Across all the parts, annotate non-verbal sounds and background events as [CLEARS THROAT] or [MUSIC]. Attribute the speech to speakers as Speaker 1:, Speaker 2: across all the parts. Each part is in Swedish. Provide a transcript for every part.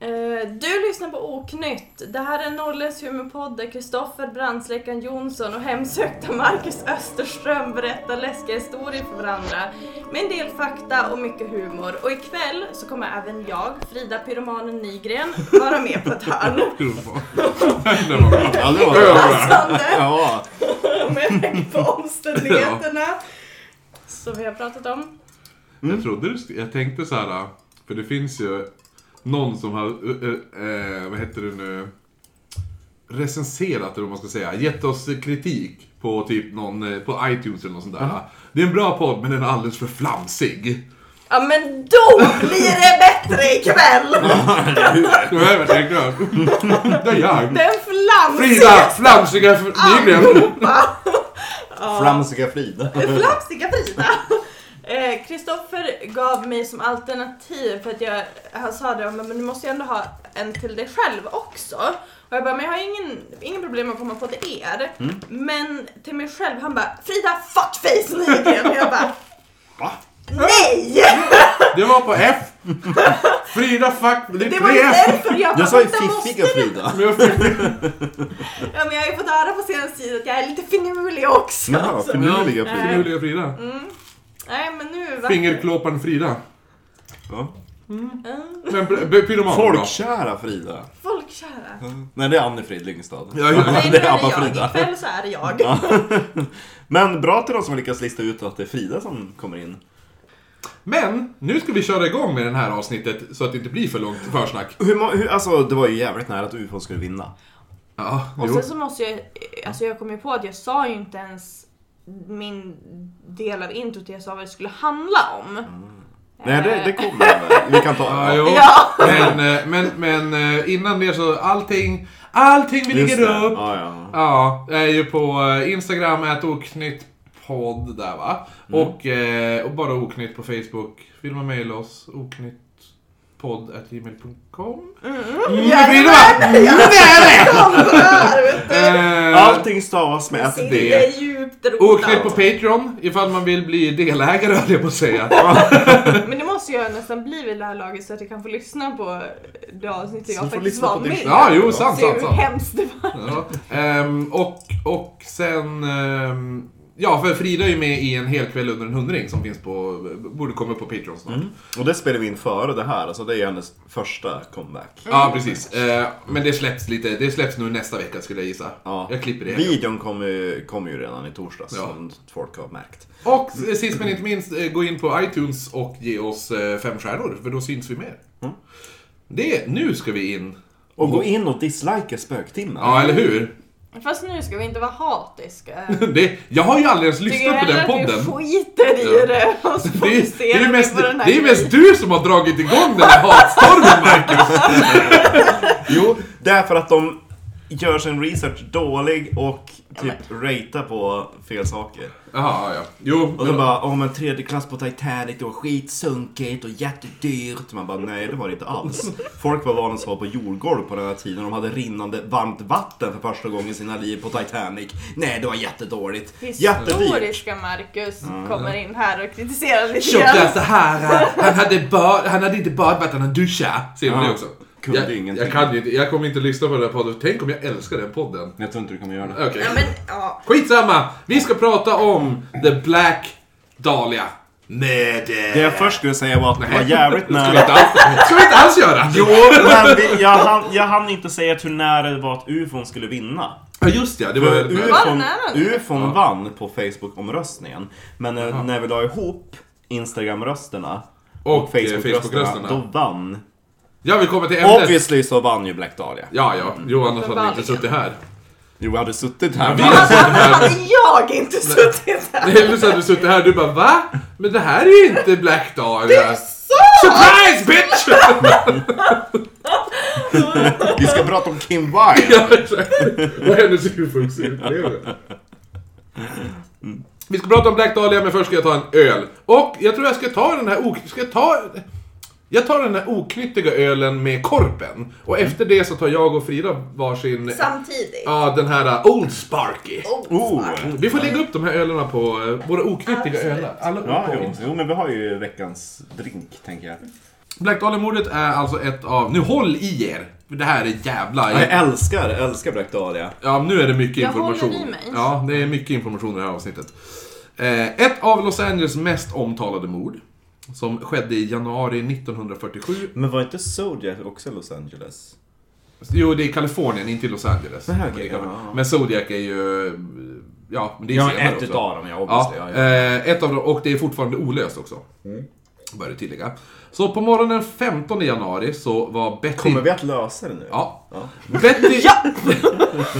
Speaker 1: Eh, Du lyssnar på Oknytt. Det här är Norrländsk humorpodd där Kristoffer Brandsläckaren Jonsson och hemsökta Marcus Österström berättar läskiga historier för varandra med en del fakta och mycket humor. Och ikväll så kommer även jag, Frida Pyromanen Nygren, vara med på ett hörn.
Speaker 2: [LAUGHS] Det var bra.
Speaker 3: Ja, det var det.
Speaker 1: Passande
Speaker 3: Ja.
Speaker 1: med tanke på omständigheterna som vi har pratat om.
Speaker 2: Jag trodde du sk- Jag tänkte så här. För det finns ju någon som har, eh, eh, eh, vad heter det nu, recenserat eller vad man ska säga, gett oss kritik på typ någon, eh, på iTunes eller något sånt där. Det är en bra podd men den är alldeles för flamsig.
Speaker 1: Ja men då blir det bättre ikväll!
Speaker 2: Nu har jag tänkt Det är jag.
Speaker 1: Den
Speaker 2: Frida,
Speaker 1: flamsiga
Speaker 2: flamsiga fr- Nygren.
Speaker 1: stampa!
Speaker 3: Flamsiga Frida.
Speaker 1: Flamsiga Frida! [LAUGHS] Eh, Kristoffer gav mig som alternativ för att jag, han sa det, men men du måste ju ändå ha en till dig själv också. Och jag bara, men jag har ingen, ingen problem med att komma på till er. Men till mig själv, han bara, Frida fuckface Nygren! Och jag bara,
Speaker 2: Va?
Speaker 1: nej!
Speaker 2: Det var på F. Frida fuck, det är
Speaker 1: Det var ju
Speaker 2: tre F.
Speaker 1: därför jag bara,
Speaker 3: Jag sa ju
Speaker 1: "Vänta, måste
Speaker 3: fiffiga
Speaker 1: du
Speaker 3: Frida.
Speaker 2: Men jag fick-
Speaker 1: Ja men jag har ju fått höra på senaste tiden att jag är lite finurlig också.
Speaker 3: Jaha,
Speaker 1: Så-
Speaker 3: finurliga Frida.
Speaker 2: Finurliga Frida.
Speaker 1: Nej men nu va?
Speaker 2: Fingerklåparen Frida.
Speaker 3: Ja.
Speaker 1: Mm,
Speaker 2: Men b- b- pyroman då?
Speaker 3: Folkkära Frida.
Speaker 1: folkkära.
Speaker 3: Nej, det är Annie Frid Lyngstad.
Speaker 2: Mm. Ja, ja.
Speaker 1: Nej nu
Speaker 3: [LAUGHS] det
Speaker 1: är
Speaker 3: är Abba
Speaker 1: det jag,
Speaker 3: Frida.
Speaker 1: ikväll så är det jag.
Speaker 3: Ja. Men bra till de som lyckas lista ut att det är Frida som kommer in.
Speaker 2: Men nu ska vi köra igång med det här avsnittet så att det inte blir för långt försnack.
Speaker 3: Hur, ma- hur, alltså, det var ju jävligt nära att UFO skulle vinna.
Speaker 2: Ja,
Speaker 1: Och
Speaker 2: jo.
Speaker 1: sen så måste jag, alltså jag kom ju på att jag sa ju inte ens min del av introt, jag sa vad det skulle handla om.
Speaker 3: Nej, det,
Speaker 1: Eh,
Speaker 3: det kommer. Vi kan ta
Speaker 2: Ja, jo.
Speaker 1: Ja.
Speaker 2: Men, eh, men, men eh, innan det så allting, allting vi
Speaker 3: Just
Speaker 2: lägger
Speaker 3: det.
Speaker 2: upp
Speaker 3: Ja, ja.
Speaker 2: Ja, jag är ju på eh, Instagram, ät oknytt podd där va. Och, eh, och bara oknytt på Facebook. Vill man mejla oss, oknytt podd at gmail.com. Mm, Frida! Mm, det är det!
Speaker 1: Kom här, vet du.
Speaker 2: Eh,
Speaker 3: Allting stavas med ett
Speaker 1: Det
Speaker 3: D.
Speaker 1: är djupt rotat.
Speaker 2: Oknytt på Patreon ifall man vill bli delägare höll jag på att
Speaker 3: [LAUGHS]
Speaker 2: säga.
Speaker 1: Men det måste jag nästan bli vid det här laget så att jag kan få lyssna på det avsnittet
Speaker 3: Så
Speaker 1: jag
Speaker 3: får
Speaker 1: faktiskt
Speaker 3: lyssna
Speaker 1: var
Speaker 3: på din-
Speaker 1: med i.
Speaker 2: Ja, jo, sant,
Speaker 1: Se
Speaker 2: sant,
Speaker 1: hur
Speaker 2: sant.
Speaker 1: hemskt det var.
Speaker 2: Ja. Ehm, och, och sen... ehm, ja, för Frida är ju med i en hel kväll under en hundring som finns på... Borde komma upp på Patreon snart.
Speaker 3: Mm. Och det spelar vi in före det här, alltså det är ju hennes första comeback.
Speaker 2: Ja, precis. Eh, men det släpps lite... Det släpps nu nästa vecka skulle jag gissa.
Speaker 3: Ja.
Speaker 2: Jag klipper det.
Speaker 3: Videon kom ju, kom ju redan i torsdags,
Speaker 2: Ja.
Speaker 3: som folk har märkt.
Speaker 2: Och sist men inte minst, eh, gå in på iTunes och ge oss eh, fem stjärnor, för då syns vi mer.
Speaker 3: Mm.
Speaker 2: Det, nu ska vi in.
Speaker 3: Och gå in och dislika spöktimmen.
Speaker 2: Ja, eller hur? [LAUGHS]
Speaker 1: Fast nu ska vi inte vara hatiska.
Speaker 2: Det, jag har ju aldrig ens
Speaker 1: Tycker
Speaker 2: lyssnat på
Speaker 1: hellre
Speaker 2: den
Speaker 1: att
Speaker 2: podden.
Speaker 1: vi skiter i
Speaker 2: Ja.
Speaker 1: det och så
Speaker 2: Det är, det,
Speaker 1: fokuserar
Speaker 2: är ju
Speaker 1: vi
Speaker 2: mest,
Speaker 1: på den här
Speaker 2: det är ju
Speaker 1: grejen.
Speaker 2: mest du som har dragit igång den här hatstormen
Speaker 3: [LAUGHS]
Speaker 2: Marcus!
Speaker 3: Jo, därför att de gör sin research dålig och typ ratear på fel saker.
Speaker 2: Jaha, ja. Jo,
Speaker 3: Och de
Speaker 2: men-
Speaker 3: bara, åh men tredje klass på Titanic, det var skitsunkigt och jättedyrt. Man bara, nej det var det inte alls. Folk var vana att vara på jordgolv på den här tiden. De hade rinnande varmt vatten för första gången i sina liv på Titanic. Nej, det var jättedåligt. Jättedyrt.
Speaker 1: Historiska Marcus kommer in här och kritiserar lite
Speaker 2: Tjockla
Speaker 1: grann.
Speaker 2: Sahara, alltså, eh, han hade, bad, han hade inte badvatten, han duschade. Ser man
Speaker 3: Ja.
Speaker 2: det också?
Speaker 3: Kunde
Speaker 2: jag,
Speaker 3: ingenting.
Speaker 2: Jag, kan ju inte, jag kommer inte lyssna på den här podden. Tänk om jag älskar den podden.
Speaker 3: Jag tror inte du kommer göra det.
Speaker 2: Okej.
Speaker 1: Ja, men, ja.
Speaker 2: Skitsamma! Vi ska prata om The Black Dahlia Murder.
Speaker 3: Det jag först skulle säga var att det var
Speaker 2: Nej.
Speaker 3: jävligt
Speaker 2: ska vi inte
Speaker 3: nära.
Speaker 2: alls, ska vi inte alls göra!
Speaker 3: Jo, men vi, jag, hann, jag hann inte säga hur nära det var att ufon skulle vinna.
Speaker 2: Ja, just ja. Det var
Speaker 3: För
Speaker 2: väldigt nära.
Speaker 1: Var det
Speaker 3: UFON,
Speaker 1: nära nu?
Speaker 3: UFON vann på Facebook-omröstningen. Men när, när vi la ihop Instagram-rösterna och,
Speaker 2: Och, eh,
Speaker 3: Facebook-rösterna,
Speaker 2: Facebook-rösterna.
Speaker 3: då vann.
Speaker 2: Jag vill komma till ämnet.
Speaker 3: Obviously så vann ju Black Dahlia.
Speaker 2: Ja, ja. Jo, annars hade vi inte suttit här.
Speaker 3: Jo, vi hade suttit här.
Speaker 2: Vi
Speaker 3: men-
Speaker 2: hade suttit Alltså, här.
Speaker 1: Hade Alltså, jag inte suttit här?
Speaker 2: Det är väl så att du suttit här och du bara va? Men det här är ju inte Black Dahlia. Surprise bitch! [LAUGHS]
Speaker 3: Vi ska prata om Kim [LAUGHS] Wilde.
Speaker 2: Ja, exakt. Och hennes ufo-upplevelse. Vi ska prata om Black Dahlia men först ska jag ta en öl. Och jag tror jag ska ta den här ok... Ska jag ta... Jag tar den här oknyttiga ölen med korpen. Och efter det så tar jag och Frida varsin...
Speaker 1: Samtidigt.
Speaker 2: Ja, den här uh, Old Sparky.
Speaker 3: Oh.
Speaker 2: Vi får lägga upp de här ölerna på... eh, Våra oknyttiga
Speaker 1: Absolut.
Speaker 2: ölar. Alla
Speaker 3: Ja,
Speaker 2: på
Speaker 3: jo.
Speaker 2: Insta.
Speaker 3: jo, men vi har ju veckans drink, tänker jag.
Speaker 2: Black Dahlia-mordet är alltså ett av... Nu håll i er! För det här är jävla...
Speaker 3: Ja, jag älskar, älskar Black Dahlia.
Speaker 2: Ja, nu är det mycket
Speaker 1: Jag
Speaker 2: information.
Speaker 1: håller i mig.
Speaker 2: Ja, det är mycket information i det här avsnittet. Eh, ett av Los Angeles mest omtalade mord. Som skedde i januari 1947.
Speaker 3: Men var inte Zodiac också Los Angeles?
Speaker 2: Jo, det är i Kalifornien, inte i Los Angeles.
Speaker 3: Nähä, okej,
Speaker 2: Men det kan-
Speaker 3: ja.
Speaker 2: Men Zodiac är ju... Ja, men det är
Speaker 3: Ja,
Speaker 2: senare
Speaker 3: ett
Speaker 2: också.
Speaker 3: utav dem, ja,
Speaker 2: Ja,
Speaker 3: obviously, ja, ja. Mm.
Speaker 2: eh, ett av dem, och det är fortfarande olöst också. Bör det tillägga. Så på morgonen 15 januari så var Betty...
Speaker 3: Kommer vi att lösa det nu?
Speaker 2: Ja.
Speaker 3: [LAUGHS] Ja.
Speaker 2: Betty, [LAUGHS]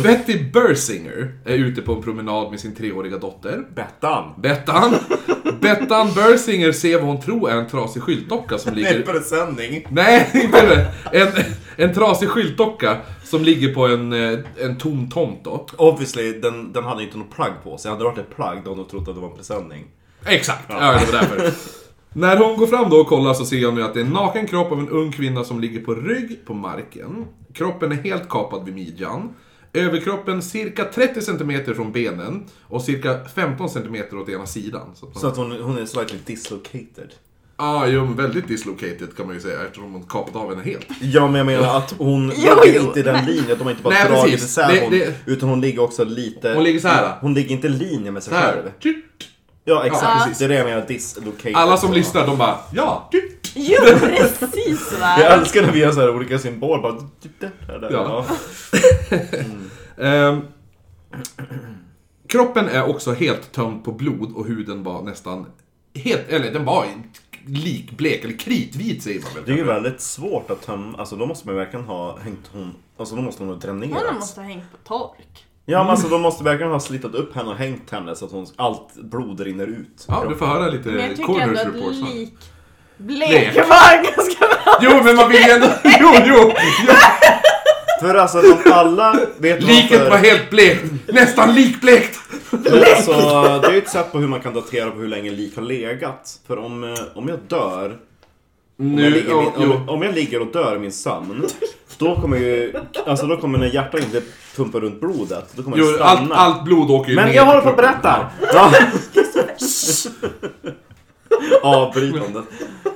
Speaker 2: Betty Bersinger är ute på en promenad med sin treåriga dotter.
Speaker 3: Bettan!
Speaker 2: Bettan.
Speaker 3: [LAUGHS]
Speaker 2: Bettan Bersinger ser vad hon tror är en trasig skyltdocka som
Speaker 3: Det är
Speaker 2: ligger...
Speaker 3: presenning!
Speaker 2: Nej, [LAUGHS] inte det. En, en trasig skyltdocka som ligger på en, eh, en tom tomt då.
Speaker 3: Obviously, den, den hade inte något plagg på sig. Hade det varit ett plagg, då hade de trott att det var en presenning.
Speaker 2: Exakt, ja. det var därför. När hon går fram då och kollar så ser jag nu att det är en naken kropp av en ung kvinna som ligger på rygg på marken. Kroppen är helt kapad vid midjan. Överkroppen cirka 30 cm från benen och cirka 15 cm åt ena sidan. Så att man...
Speaker 3: Så att hon, hon är slightly dislocated.
Speaker 2: ah, jo, men väldigt dislocated kan man ju säga eftersom hon kapat av henne helt.
Speaker 3: Ja, men jag menar att hon
Speaker 1: Jo,
Speaker 3: ligger
Speaker 1: jo,
Speaker 3: inte i den
Speaker 1: men-
Speaker 3: linjen, att de har inte bara
Speaker 2: Nej,
Speaker 3: dragit
Speaker 2: precis.
Speaker 3: isär
Speaker 2: Det-
Speaker 3: hon,
Speaker 2: det-
Speaker 3: utan hon ligger också lite...
Speaker 2: Hon ligger så här.
Speaker 3: Hon ligger inte i linje med sig
Speaker 2: Så
Speaker 3: själv.
Speaker 2: här.
Speaker 3: Ja, exakt.
Speaker 2: Ja.
Speaker 3: precis. Det är det jag menar, dislocated.
Speaker 2: Alla som
Speaker 3: Så.
Speaker 2: lyssnar de bara ja.
Speaker 1: Jo, precis
Speaker 2: [LAUGHS]
Speaker 1: va!
Speaker 3: Jag älskar när vi gör så här olika symboler, bara... typ där, där, där.
Speaker 2: Ja.
Speaker 3: Ja.
Speaker 2: Ehm, kroppen är också helt tömd på blod och huden var nästan helt, eller den var likblek eller kritvit säger man väl.
Speaker 3: Det är ju väldigt svårt att tömma, alltså då måste man ju verkligen ha hängt hon, alltså då måste hon ha dränerats.
Speaker 1: Hon måste ha hängt på tork.
Speaker 3: Ja men alltså de måste verkligen ha slitit upp henne och hängt henne så att hon, allt blod rinner ut.
Speaker 2: Ja, du får höra lite
Speaker 1: Men jag tycker ändå
Speaker 2: Eh, corners
Speaker 1: att
Speaker 2: reports. snart.
Speaker 1: lik...
Speaker 2: Blek.
Speaker 1: Blek var ganska bra!
Speaker 2: Jo, men man vill
Speaker 1: [LAUGHS]
Speaker 2: ju ändå... Jo, jo! jo.
Speaker 3: För alltså de alla vet
Speaker 2: Liket var
Speaker 3: varför.
Speaker 2: helt blekt! Nästan likblekt!
Speaker 3: Men alltså, det är ju ett sätt på hur man kan datera på hur länge lik har legat. För om, eh, om jag dör, om, jag
Speaker 2: Nu,
Speaker 3: ligger, i
Speaker 2: jo,
Speaker 3: min, om,
Speaker 2: jo.
Speaker 3: om jag ligger och dör i min sömn. Då kommer ju, alltså då kommer när hjärtat inte pumpar runt blodet, då kommer det
Speaker 2: jo allt,
Speaker 3: stanna.
Speaker 2: allt blod åker ju ner
Speaker 3: Men jag
Speaker 2: i
Speaker 3: håller på att
Speaker 2: kroppen.
Speaker 3: berätta! Ja. [LAUGHS] Avbrytande.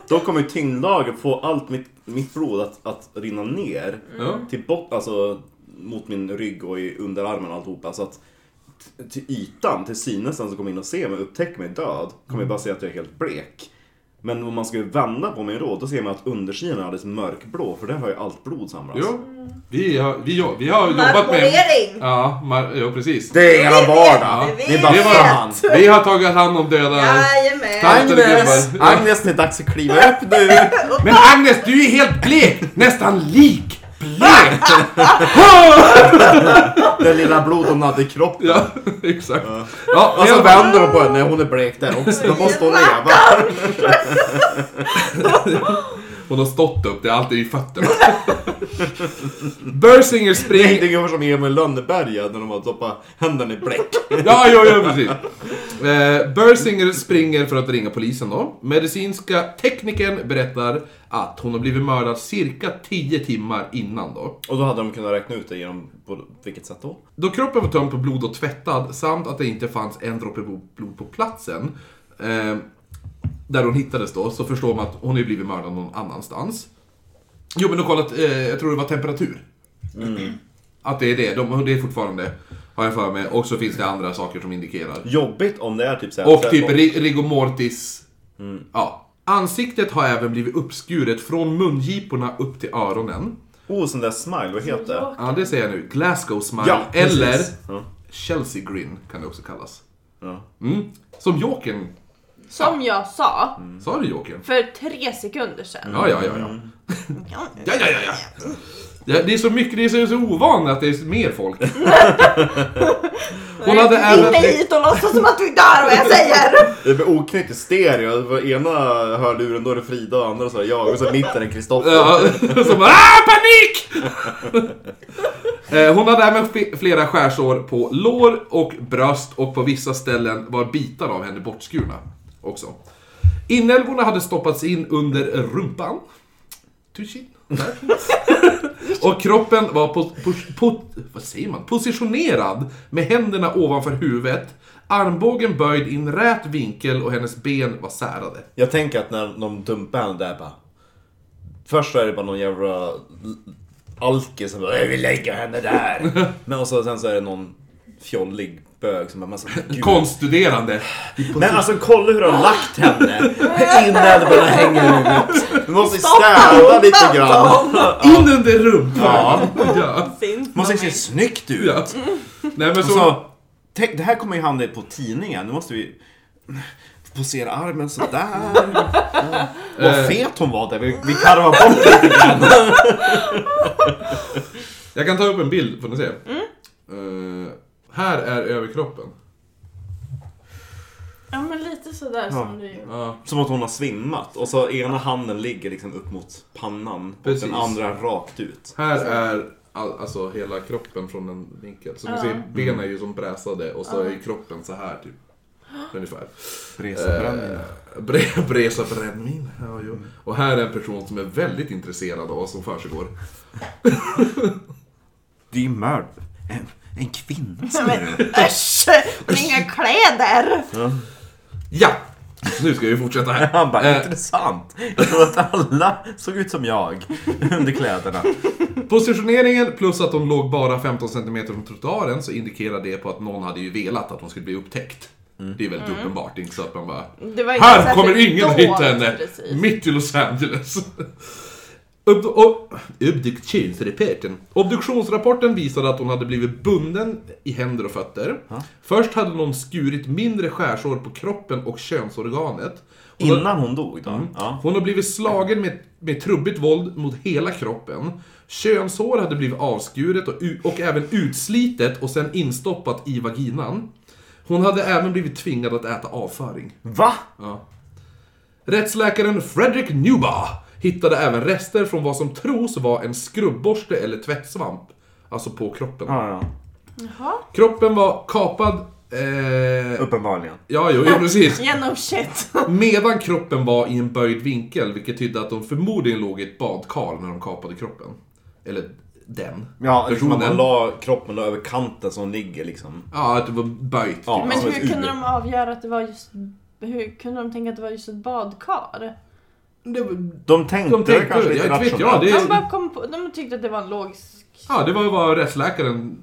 Speaker 3: Då kommer ju tyngdlagen få allt mitt, mitt blod att, att rinna ner
Speaker 2: Ja.
Speaker 3: till bot, alltså mot min rygg och i underarmen och alltihopa. Så att t- till ytan, till synes den som kommer in och ser mig och upptäcker mig död kommer ju bara se att jag är helt blek. Men om man skulle vända på mig då, då ser man att undersidan är alldeles mörkblå för där har ju allt blod samlats.
Speaker 2: Jo. Vi har, vi, har- vi har jobbat med...
Speaker 1: Marmorering!
Speaker 2: Ja, mar, ja, precis.
Speaker 3: Det är eran vardag!
Speaker 1: Vi
Speaker 3: Ni bara
Speaker 2: vet.
Speaker 3: fan!
Speaker 2: Vi har tagit hand om döda...
Speaker 1: Jajamän!
Speaker 2: Tack.
Speaker 3: Agnes!
Speaker 2: gubbar.
Speaker 3: Agnes, det är dags att kliva upp nu!
Speaker 2: Men Agnes, du är helt blek! Nästan lik! Blek!
Speaker 3: Den lilla blodhon hade i kroppen.
Speaker 2: Ja, exakt. Ja,
Speaker 3: Och så
Speaker 2: helt-
Speaker 3: vänder hon på henne, hon är blek där också. Då måste hon leva.
Speaker 2: hon har stått upp, det är alltid i fötterna. Bersinger
Speaker 3: Det
Speaker 2: springer...
Speaker 3: är ungefär som Emil Lönneberga när de har doppat händerna i bläck.
Speaker 2: Ja, ja, ja, precis. Eh, Bersinger springer för att ringa polisen då. Medicinska teknikern berättar att hon har blivit mördad cirka 10 timmar innan då.
Speaker 3: Och då hade de kunnat räkna ut det genom, på vilket sätt då?
Speaker 2: Då kroppen var tömd på blod och tvättad samt att det inte fanns en droppe bo- blod på platsen eh, där hon hittades då, så förstår man att hon har ju blivit mördad någon annanstans. Jo, men de har kollat, eh, jag tror det var temperatur.
Speaker 3: Mm.
Speaker 2: Att det är det, de, det är fortfarande, har jag för mig. Och så finns det andra saker som indikerar.
Speaker 3: Jobbigt om det är Mm. typ såhär...
Speaker 2: Och typ ri- rigor mortis. Ja. Ansiktet har även blivit uppskuret från mungiporna upp till öronen.
Speaker 3: Oh, sån där smile, vad heter det?
Speaker 2: Ja, det säger jag nu. Glasgow smile.
Speaker 3: Ja, precis.
Speaker 2: eller
Speaker 3: Ja,
Speaker 2: Chelsea grin kan det också kallas.
Speaker 3: ja.
Speaker 2: Mm. Som Jokern.
Speaker 1: Som jag sa
Speaker 2: Sa du Jokern?
Speaker 1: för tre sekunder sedan.
Speaker 2: Ja, ja, ja, ja. Mm. Ja, ja, ja, ja. ja det är så mycket, det är så, så ovanligt att det är mer folk. Hon hade även...
Speaker 1: Inte hit och låtsas som att du inte hör vad jag säger!
Speaker 3: Det blir oknytt i stereo. Det var ena hörluren, då är det Frida och andra så här jag. Och så i mitten är Kristoffer.
Speaker 2: [LAUGHS] Ja, så bara ah, panik! Eh, Hon hade även fe- flera skärsår på lår och bröst och på vissa ställen var bitar av henne bortskurna också. Inälvorna hade stoppats in under rumpan. Tuschin. Där. Och kroppen var po- po- po- vad säger man? positionerad med händerna ovanför huvudet, armbågen böjd i en rät vinkel och hennes ben var särade.
Speaker 3: Jag tänker att när de dumpar henne där bara... Först så är det bara någon jävla alke som bara "Jag vill lägga
Speaker 2: [LAUGHS]
Speaker 3: henne där. Men och så, sen så är det någon fjollig bög som bara massa... Gud.
Speaker 2: Konststuderande.
Speaker 3: Men alltså kolla hur de har lagt henne! Innan det bara hänger i huvudet. Du måste ju städa lite grann.
Speaker 2: In under rumpan!
Speaker 3: Ja.
Speaker 2: Ja.
Speaker 1: Finns
Speaker 3: Det måste
Speaker 1: någon-
Speaker 3: se snyggt ut.
Speaker 2: ja. Nej men
Speaker 3: Och
Speaker 2: så...
Speaker 3: så, tänk, det här kommer ju hamna på tidningen. Nu måste vi posera
Speaker 2: [LAUGHS]
Speaker 3: armen sådär. Ja. Vad
Speaker 2: Eh.
Speaker 3: fet hon var där. Vi, vi karvar bort lite grann.
Speaker 2: Jag kan ta upp en bild får ni se. Eh, här är överkroppen.
Speaker 1: Ja men lite sådär som du gör.
Speaker 2: Ja.
Speaker 3: Som att hon har svimmat. Och så ena handen ligger liksom upp mot pannan.
Speaker 2: Precis.
Speaker 3: Och den andra rakt ut.
Speaker 2: Här är all, alltså hela kroppen från en vinkel. Så ni
Speaker 1: Ja.
Speaker 2: ser, benen är ju som bräsade och så är kroppen så här typ. Ungefär.
Speaker 3: Resebränningen.
Speaker 2: Eh, bre- Bresa brännvin. Ja, jo. Och här är en person som är väldigt intresserad av vad som försiggår. [LAUGHS]
Speaker 3: Det är mörd. En, en kvinna.
Speaker 1: [LAUGHS] Men äsch! Inga kläder!
Speaker 2: Ja! Nu ska vi fortsätta här.
Speaker 3: Han bara,
Speaker 2: Eh,
Speaker 3: intressant. Jag tror att alla såg ut som jag [LAUGHS] under kläderna.
Speaker 2: Positioneringen plus att de låg bara 15 cm från trottoaren så indikerar det på att någon hade ju velat att de skulle bli upptäckt. Det är väldigt
Speaker 1: Mm.
Speaker 2: uppenbart, det är inte så att man bara
Speaker 1: Det var inte
Speaker 2: Här
Speaker 1: särskilt
Speaker 2: kommer ingen
Speaker 1: dolt,
Speaker 2: hitta henne!
Speaker 1: precis.
Speaker 2: Mitt i Los Angeles. [LAUGHS] Ob- ob- Obduktionsrapporten. Obduktionsrapporten visade att hon hade blivit bunden i händer och fötter. Först hade någon skurit mindre skärsår på kroppen och könsorganet. Hon har-
Speaker 3: Innan hon dog då. Ja.
Speaker 2: hon har blivit slagen med, med trubbigt våld mot hela kroppen. Könshår hade blivit avskuret och, u- och även utslitet och sen instoppat i vaginan. Hon hade även blivit tvingad att äta avföring.
Speaker 3: Va?
Speaker 2: Ja. Rättsläkaren Frederick Newba hittade även rester från vad som tros vara en skrubborste eller tvättsvamp. Alltså på kroppen.
Speaker 3: Ja, ja.
Speaker 1: Jaha.
Speaker 2: Kroppen var kapad... Eh,
Speaker 3: Uppenbarligen.
Speaker 2: ja, jo, jo, precis.
Speaker 1: Genom shit.
Speaker 2: Medan kroppen var i en böjd vinkel, vilket tydde att de förmodligen låg i ett badkar när de kapade kroppen. Eller den.
Speaker 3: Ja, liksom att man
Speaker 2: Personen.
Speaker 3: la kroppen då över kanten som ligger liksom.
Speaker 2: Ja, att det var böjt.
Speaker 3: Ja,
Speaker 1: Men
Speaker 3: som
Speaker 1: hur
Speaker 3: ett
Speaker 1: kunde
Speaker 3: U.
Speaker 1: de avgöra att det var just... Hur kunde de tänka att det var just ett badkar?
Speaker 2: Det var,
Speaker 3: De tänkte,
Speaker 2: de tänkte,
Speaker 3: kanske lite
Speaker 2: jag vet
Speaker 3: rationellt.
Speaker 2: jag,
Speaker 1: De,
Speaker 2: det,
Speaker 1: bara kom på, de tyckte att det var en logisk...
Speaker 2: ja, det var ju vad rättsläkaren...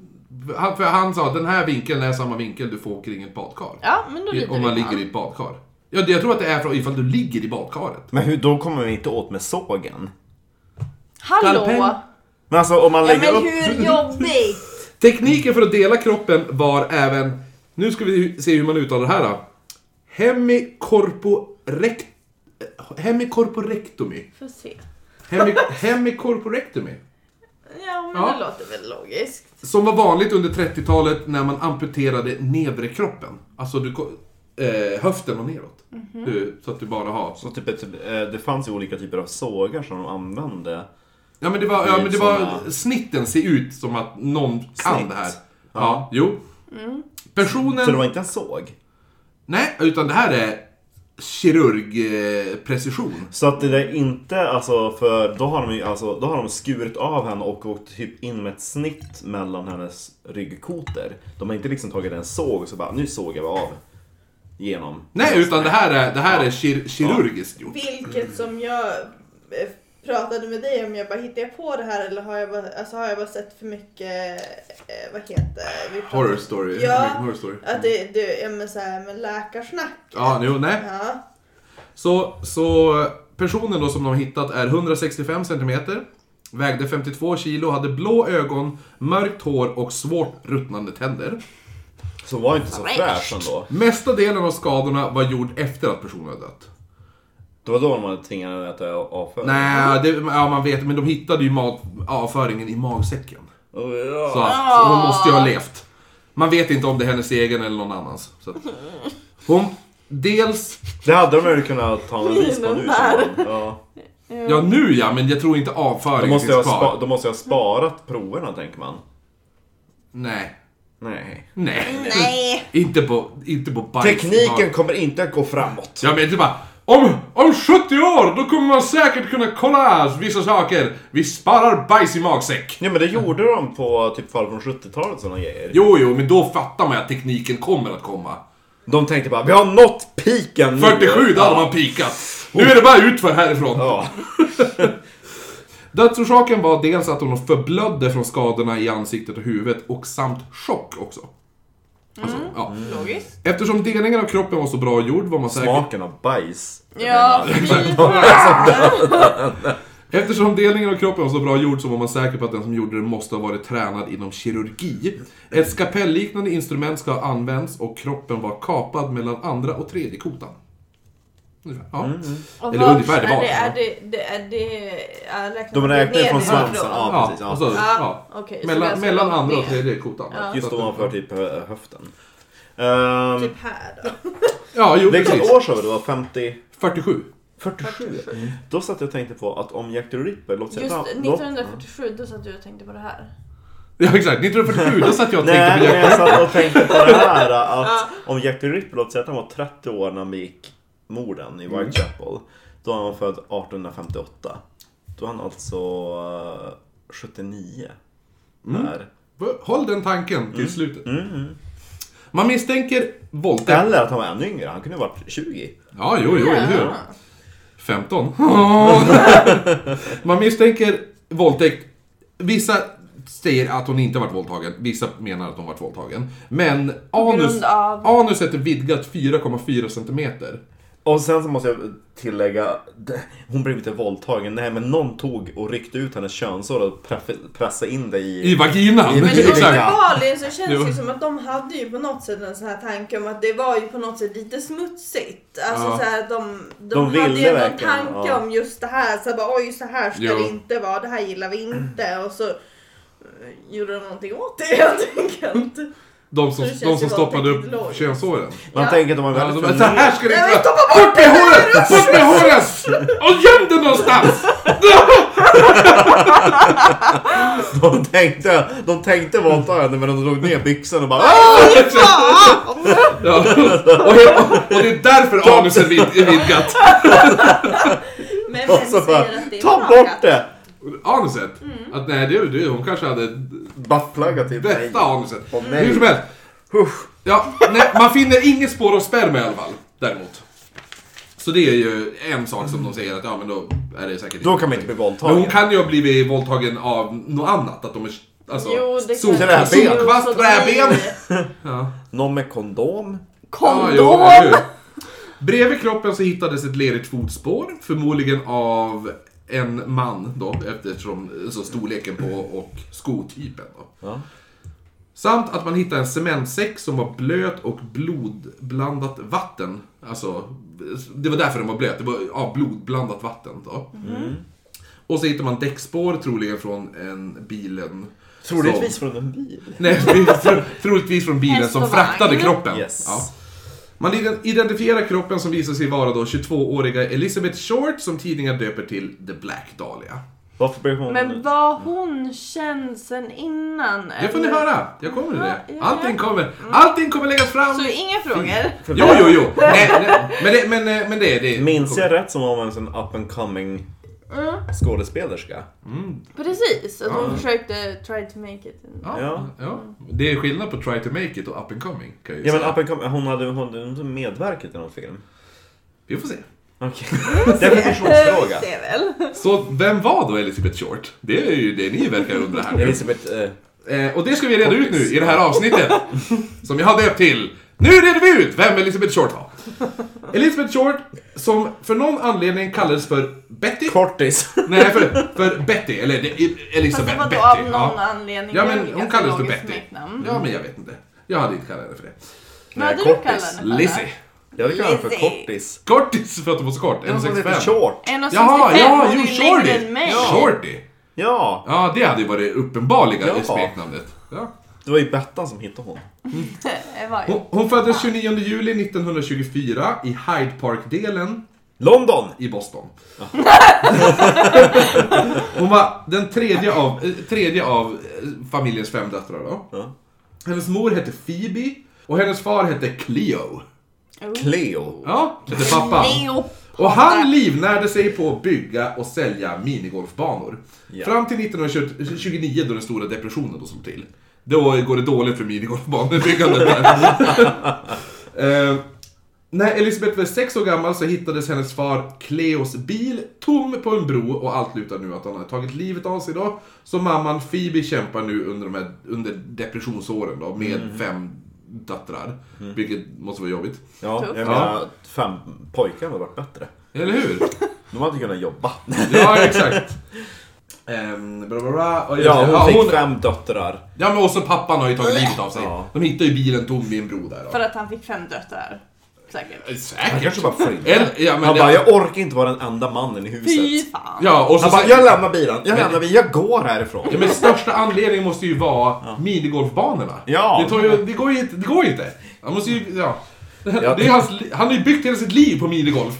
Speaker 2: Han, för han sa att den här vinkeln är samma vinkel du får kring ett badkar.
Speaker 1: Ja, men då litar
Speaker 2: om man
Speaker 1: vi
Speaker 2: ligger i ett badkar. Ja, det- jag tror att det är från ifall du ligger i badkaret.
Speaker 3: Men hur, då kommer vi inte åt med sågen.
Speaker 1: Hallå!
Speaker 2: Skalpell.
Speaker 3: Men alltså om man
Speaker 1: Ja,
Speaker 3: lägger
Speaker 1: men
Speaker 3: upp...
Speaker 1: hur
Speaker 2: [LAUGHS]
Speaker 1: jobbigt!
Speaker 2: Tekniken för att dela kroppen var även... Nu ska vi se hur man uttalar det här då. Hemikorporekt... Hemikorporektomy.
Speaker 1: Får se.
Speaker 2: Hemi,
Speaker 3: [LAUGHS]
Speaker 2: hemikorporektomy.
Speaker 1: Ja, men
Speaker 2: Ja.
Speaker 1: det låter väl logiskt.
Speaker 2: Som var vanligt under 30-talet när man amputerade nedre kroppen. Alltså du, ko- eh, höften och neråt.
Speaker 3: Mhm.
Speaker 2: Du, så att du bara har... Så.
Speaker 3: Så typ, ett- eh, det fanns ju olika typer av sågar som de använde.
Speaker 2: Ja men det var, ja, men det var
Speaker 3: Såna-
Speaker 2: snitten ser ut som att någon kan
Speaker 3: Snitt.
Speaker 2: det här. Ja,
Speaker 3: Ja. Mm.
Speaker 2: jo.
Speaker 3: Så det
Speaker 2: Personen...
Speaker 3: var inte en såg.
Speaker 2: Nej, utan det här är kirurgprecision.
Speaker 3: Så att det där inte, alltså för då har de ju alltså, då har de skurit av henne och åkt typ in med ett snitt mellan hennes ryggkotor. De har inte liksom tagit en såg och så bara, nu sågar vi av. Genom.
Speaker 2: Nej, utan det här är, det här är kir, kirurgiskt gjort.
Speaker 1: Vilket som jag eh, pratade med dig om, jag bara hittar jag på det här eller har jag bara, alltså, har jag bara sett för mycket, eh, vad heter vi pratade-
Speaker 2: Horror story.
Speaker 1: Ja.
Speaker 2: Horror story.
Speaker 1: Att det, det ja, men så här med läkarsnack.
Speaker 2: Ja, jo, nej.
Speaker 1: Ja.
Speaker 2: Så, så personen då som de har hittat är 165 cm, vägde 52 kilo, hade blå ögon, mörkt hår och svårt ruttnande tänder.
Speaker 3: Så hon var ju inte så
Speaker 1: Fräscht.
Speaker 3: fräsch ändå.
Speaker 2: Mesta delen av skadorna var gjord efter att personen hade dött.
Speaker 3: Det var då de hade tvingat henne att äta avföring.
Speaker 2: Nej, det, ja man vet, men de hittade ju mat, avföringen i magsäcken.
Speaker 3: Oh, ja.
Speaker 2: Så att hon måste ju ha levt. Man vet inte om det är hennes egen eller någon annans. Så att. Hon, dels,
Speaker 3: Det hade de ju kunnat ta analys på nu.
Speaker 1: Den där.
Speaker 3: känner man. Ja.
Speaker 2: ja nu ja, men jag tror inte
Speaker 3: De,
Speaker 2: avföringen
Speaker 3: måste ju ha
Speaker 2: finns kvar.
Speaker 3: spa- de måste ju ha sparat proverna tänker man.
Speaker 2: Nej.
Speaker 3: Nej.
Speaker 2: Nej.
Speaker 1: Nej!
Speaker 2: Inte på, inte på bajs.
Speaker 3: Tekniken kommer inte att gå framåt.
Speaker 2: Jag menar typ bara, om, om 70 år då kommer man säkert kunna kolla vissa saker. Vi sparar bajs i magsäck.
Speaker 3: Ja men det gjorde de på typ fall från 70-talet sådana grejer.
Speaker 2: Jo, jo, men då fattar man att tekniken kommer att komma.
Speaker 3: De tänkte bara vi har nått piken nu.
Speaker 2: 47, där
Speaker 3: ja.
Speaker 2: hade man pikat. Nu är det bara utför härifrån.
Speaker 3: Ja.
Speaker 2: Dödsorsaken var dels att hon förblödde från skadorna i ansiktet och huvudet och samt chock också. Alltså,
Speaker 1: Mm.
Speaker 2: ja.
Speaker 1: Logiskt.
Speaker 2: Eftersom delningen av kroppen var så bra gjord var man säker...
Speaker 3: Smaken av bajs.
Speaker 1: Ja,
Speaker 2: [LAUGHS]
Speaker 1: fy fan.
Speaker 2: Eftersom delningen av kroppen var så bra gjord så var man säker på att den som gjorde det måste ha varit tränad inom kirurgi. Ett skapelliknande instrument ska ha använts och kroppen var kapad mellan andra och tredje kotan. Ungefär, Ja.
Speaker 3: Mm,
Speaker 1: Och
Speaker 2: Eller
Speaker 1: vart
Speaker 2: ungefär, det var
Speaker 1: är det, är
Speaker 2: så.
Speaker 1: det, det, är det, ja, räknar
Speaker 3: De
Speaker 1: man
Speaker 3: räknar ju
Speaker 1: ner
Speaker 3: från
Speaker 1: ifrån?
Speaker 3: svansen. Ja,
Speaker 2: Ja,
Speaker 3: precis.
Speaker 2: och så-
Speaker 3: Ja.
Speaker 1: Ja,
Speaker 2: ja.
Speaker 1: okej, så
Speaker 2: mellan
Speaker 1: ganska
Speaker 2: mellan
Speaker 1: långt
Speaker 2: andra och
Speaker 1: ner.
Speaker 2: tredje kotan. Så
Speaker 3: Just
Speaker 2: att-
Speaker 3: ovanför typ hö- höften. Ehm,
Speaker 1: Typ här då.
Speaker 2: Ja, jo
Speaker 3: Vilket
Speaker 2: precis.
Speaker 3: år sa vi det var? 50?
Speaker 2: 47.
Speaker 3: 47? Då satt jag och tänkte på att om Jack the Ripper, låt säga...
Speaker 1: Just
Speaker 3: fram- låt-
Speaker 1: 1947, då satt du och tänkte på det här.
Speaker 2: [LAUGHS] Ja exakt, 1947 då satt jag och tänkte
Speaker 3: Nej,
Speaker 2: på
Speaker 3: men jag
Speaker 2: Jack
Speaker 3: satt och tänkte på det här
Speaker 2: [LAUGHS]
Speaker 3: att om Jack the Ripper, låt säga att han var 30 år när han begick morden
Speaker 2: Mm.
Speaker 3: i Whitechapel. Då var han född 1858. Då var han alltså eh, 79.
Speaker 2: Mm.
Speaker 3: Där.
Speaker 2: Håll den tanken till slutet. Man misstänker våldtäkt.
Speaker 3: Eller att han var ännu yngre, han kunde ha varit 20.
Speaker 2: Ja, jo, jo, eller hur?
Speaker 1: Ja.
Speaker 2: 15. [LAUGHS] Man misstänker våldtäkt. Vissa säger att hon inte varit våldtagen, vissa menar att hon varit våldtagen. Men anus,
Speaker 1: grund av-
Speaker 2: anuset är vidgat 4,4 cm.
Speaker 3: Och sen så måste jag tillägga, det- hon blev inte våldtagen, nej men någon tog och ryckte ut hennes könsår och preff- pressade in det i...
Speaker 2: I vaginan!
Speaker 1: Men
Speaker 3: I
Speaker 2: [LAUGHS]
Speaker 3: vaginan.
Speaker 2: Exakt.
Speaker 1: uppenbarligen så känns det
Speaker 2: Jo.
Speaker 1: ju som att de hade ju på något sätt en sån här tanke om att det var ju på något sätt lite smutsigt. Alltså
Speaker 2: Ja.
Speaker 1: så här, att de, de,
Speaker 3: De ville
Speaker 1: hade ju någon
Speaker 3: verkligen,
Speaker 1: tanke
Speaker 3: ja.
Speaker 1: om just det här. Så här, bara, oj så här ska
Speaker 2: Jo.
Speaker 1: det inte vara, det här gillar vi inte. Och så eh, gjorde de någonting åt det [LAUGHS] helt enkelt.
Speaker 2: De som,
Speaker 1: Så det känns
Speaker 2: de som
Speaker 1: ju
Speaker 2: stoppade upp
Speaker 1: våldtäkt logiskt.
Speaker 2: könsåren.
Speaker 3: Man
Speaker 1: Ja.
Speaker 3: tänker att de var
Speaker 2: Ja, de
Speaker 3: väldigt
Speaker 2: bara, Alltså, så [LAUGHS] här ska det
Speaker 1: Nej
Speaker 2: inte
Speaker 1: men
Speaker 2: vara!
Speaker 1: stoppa bort!
Speaker 2: Bort med håret! Bort med håret! Och göm det någonstans!
Speaker 3: De tänkte, de tänkte våldta henne men de drog ner byxan och bara
Speaker 2: [LAUGHS] Ja. Och, he- och, och det är därför anus är vid- är
Speaker 1: [LAUGHS]
Speaker 2: vidgat.
Speaker 1: Men
Speaker 3: [LAUGHS] Och
Speaker 1: vem
Speaker 3: så bara,
Speaker 1: säger att det är
Speaker 3: ta
Speaker 1: makat?
Speaker 3: bort det!
Speaker 2: Anuset?
Speaker 1: Mm.
Speaker 2: Att nej, det, det, hon kanske hade
Speaker 3: Buttplugga till mig.
Speaker 2: bästa anuset.
Speaker 3: Åh, nej.
Speaker 2: Hur som helst.
Speaker 3: Usch.
Speaker 2: Ja, nej, man finner inget spår av sperma i alla fall, däremot. Så det är ju en sak som de säger att ja, men då är det säkert
Speaker 3: Då kan man inte bli
Speaker 2: Men hon
Speaker 3: våldtagen.
Speaker 2: kan ju ha blivit våldtagen av något annat. Att de är, alltså,
Speaker 1: Jo, det
Speaker 2: sol-
Speaker 1: kan-
Speaker 3: Träben.
Speaker 1: Jo,
Speaker 2: Solkvast,
Speaker 1: så de-
Speaker 2: träben. Ja.
Speaker 3: Någon med kondom.
Speaker 2: Ja,
Speaker 1: Kondom!
Speaker 2: jo, eller hur? Bredvid kroppen så hittades ett lerigt fotspår, förmodligen av en man då, eftersom så storleken på och skotypen då.
Speaker 3: Ja.
Speaker 2: Samt att man hittade en cementsäck som var blöt och blodblandat vatten. Alltså, det var därför den var blöt. Det var ja, blodblandat vatten då.
Speaker 3: Mm.
Speaker 2: Och så hittar man däckspår, troligen från en bilen...
Speaker 3: Troligtvis
Speaker 2: Som,
Speaker 3: från en bil.
Speaker 2: nej, [LAUGHS] troligtvis från bilen
Speaker 1: Häst
Speaker 2: som
Speaker 1: och vagn.
Speaker 2: fraktade kroppen.
Speaker 3: Yes.
Speaker 2: Ja. Man ident- identifierar kroppen som visar sig vara då 22-åriga Elizabeth Short som tidningar döper till The Black Dahlia.
Speaker 3: Varför blev hon...
Speaker 1: Men var hon känd sen innan?
Speaker 2: Det får ni höra, jag kommer till
Speaker 1: Eh, Ja,
Speaker 2: det.
Speaker 1: ja.
Speaker 2: Allting kommer, allting kommer läggas fram.
Speaker 1: Så inga frågor?
Speaker 2: Jo,
Speaker 1: [LAUGHS]
Speaker 2: jo, jo. Nej, nej. Men, det, men, eh, men det är det.
Speaker 3: Minns jag rätt som var hon en sån up and coming
Speaker 1: Mm,
Speaker 3: skådespelerska?
Speaker 1: precis, att hon
Speaker 2: Ja.
Speaker 1: försökte try to make it.
Speaker 2: Ja,
Speaker 3: Ja.
Speaker 2: ja. Det är skillnad på Try to make it och Up and coming. Kan jag ju
Speaker 3: Ja men
Speaker 2: säga.
Speaker 3: up and coming, hon hade, hon hade inte medverkat i någon film.
Speaker 2: Vi får se.
Speaker 3: Okej. [LAUGHS] Det är en
Speaker 1: Det
Speaker 3: personfråga.
Speaker 1: ser väl.
Speaker 2: Så vem var då Elizabeth Short? Det är ju det ni verkar undra här nu.
Speaker 3: Elisabeth... Eh,
Speaker 2: Eh, och det ska vi reda ut nu i det här
Speaker 3: [LAUGHS]
Speaker 2: avsnittet. som jag har döpt till Nu reder vi ut vem Elizabeth Short var. Elizabeth Short, som för någon anledning kallades för Betty.
Speaker 3: kortis.
Speaker 2: Nej, för, för Betty. Eller det-
Speaker 1: Fast
Speaker 2: Elizabeth
Speaker 1: vadå
Speaker 2: Betty.
Speaker 1: av någon
Speaker 2: ja.
Speaker 1: anledning?
Speaker 2: ja,
Speaker 1: Det är
Speaker 2: men
Speaker 1: väl
Speaker 2: hon
Speaker 1: ganska
Speaker 2: kallades för
Speaker 1: logiskt
Speaker 2: Betty.
Speaker 1: smeknamn.
Speaker 2: Ja, men jag vet inte. Jag hade inte kallat henne för det.
Speaker 1: Vad hade
Speaker 3: Nej,
Speaker 1: du kallat
Speaker 3: kortis.
Speaker 1: henne för?
Speaker 2: Lizzie.
Speaker 3: Jag hade kallat henne för
Speaker 1: Lizzie.
Speaker 3: kortis.
Speaker 2: Kortis för att hon var så kort.
Speaker 3: Hon som heter
Speaker 2: 1,65.
Speaker 3: short.
Speaker 1: 1,65,
Speaker 2: Jaha, ja,
Speaker 1: hon
Speaker 2: jo,
Speaker 1: är ju längre än
Speaker 2: Shorty.
Speaker 1: mig.
Speaker 2: Shorty.
Speaker 3: Ja,
Speaker 2: Ja, det hade ju varit uppenbarliga
Speaker 3: Ja.
Speaker 2: i smeknamnet. Ja.
Speaker 3: det var ju Bettan som hittade hon.
Speaker 1: Det var ju-
Speaker 2: Hon, hon föddes 29 juli 1924 i Hyde Park-delen
Speaker 3: London!
Speaker 2: i Boston. [LAUGHS] Hon var den tredje av, eh, tredje av eh, familjens fem döttrar då.
Speaker 3: Ja.
Speaker 2: Hennes mor hette Phoebe och hennes far hette Cleo.
Speaker 3: Cleo.
Speaker 2: Ja, hette pappa.
Speaker 1: Leo.
Speaker 2: Och han livnärde sig på att bygga och sälja minigolfbanor.
Speaker 3: Ja.
Speaker 2: Fram till 1929 då den stora depressionen då slog till. Då går det dåligt för minigolfbanebyggandet där. Eh, När Elisabeth var sex år gammal så hittades hennes far Cleos bil tom på en bro och allt lutar nu att han har tagit livet av sig då. Så mamman Phoebe kämpar nu under, de här, under depressionsåren då med fem döttrar. Vilket måste vara jobbigt.
Speaker 3: Ja, jag
Speaker 1: Tufft.
Speaker 3: menar, fem pojkar hade varit bättre.
Speaker 2: Eller hur?
Speaker 3: De hade kunnat jobba.
Speaker 2: [LAUGHS] Ja, exakt. Ehm, bla bla bla. Och
Speaker 3: Ja, hon
Speaker 2: ja,
Speaker 3: fick fem döttrar.
Speaker 2: ja, men också pappan har ju tagit livet av sig.
Speaker 3: Ja.
Speaker 2: De hittar ju bilen tom vid en bro där då.
Speaker 1: För att han fick fem döttrar. Säkert.
Speaker 2: Eh,
Speaker 3: Han
Speaker 2: Säkert.
Speaker 3: kanske bara flydde.
Speaker 2: Eller, ja, men
Speaker 3: Typ. Han
Speaker 2: det-
Speaker 3: bara, jag orkar inte vara den enda mannen i
Speaker 1: Fy
Speaker 3: huset.
Speaker 1: fan.
Speaker 2: ja, och så
Speaker 3: Han bara,
Speaker 2: sen-
Speaker 3: jag lämnar bilen, jag
Speaker 2: Men-
Speaker 3: lämnar bilen, jag går härifrån.
Speaker 2: Ja, men största anledningen måste ju vara minigolfbanorna.
Speaker 3: Ja.
Speaker 2: Det, tar ju, det går ju inte. Det går ju inte. Han måste ju... Ja.
Speaker 3: Ja.
Speaker 2: Det är hans, li- han har ju byggt hela sitt liv på
Speaker 3: [LAUGHS]
Speaker 2: minigolf.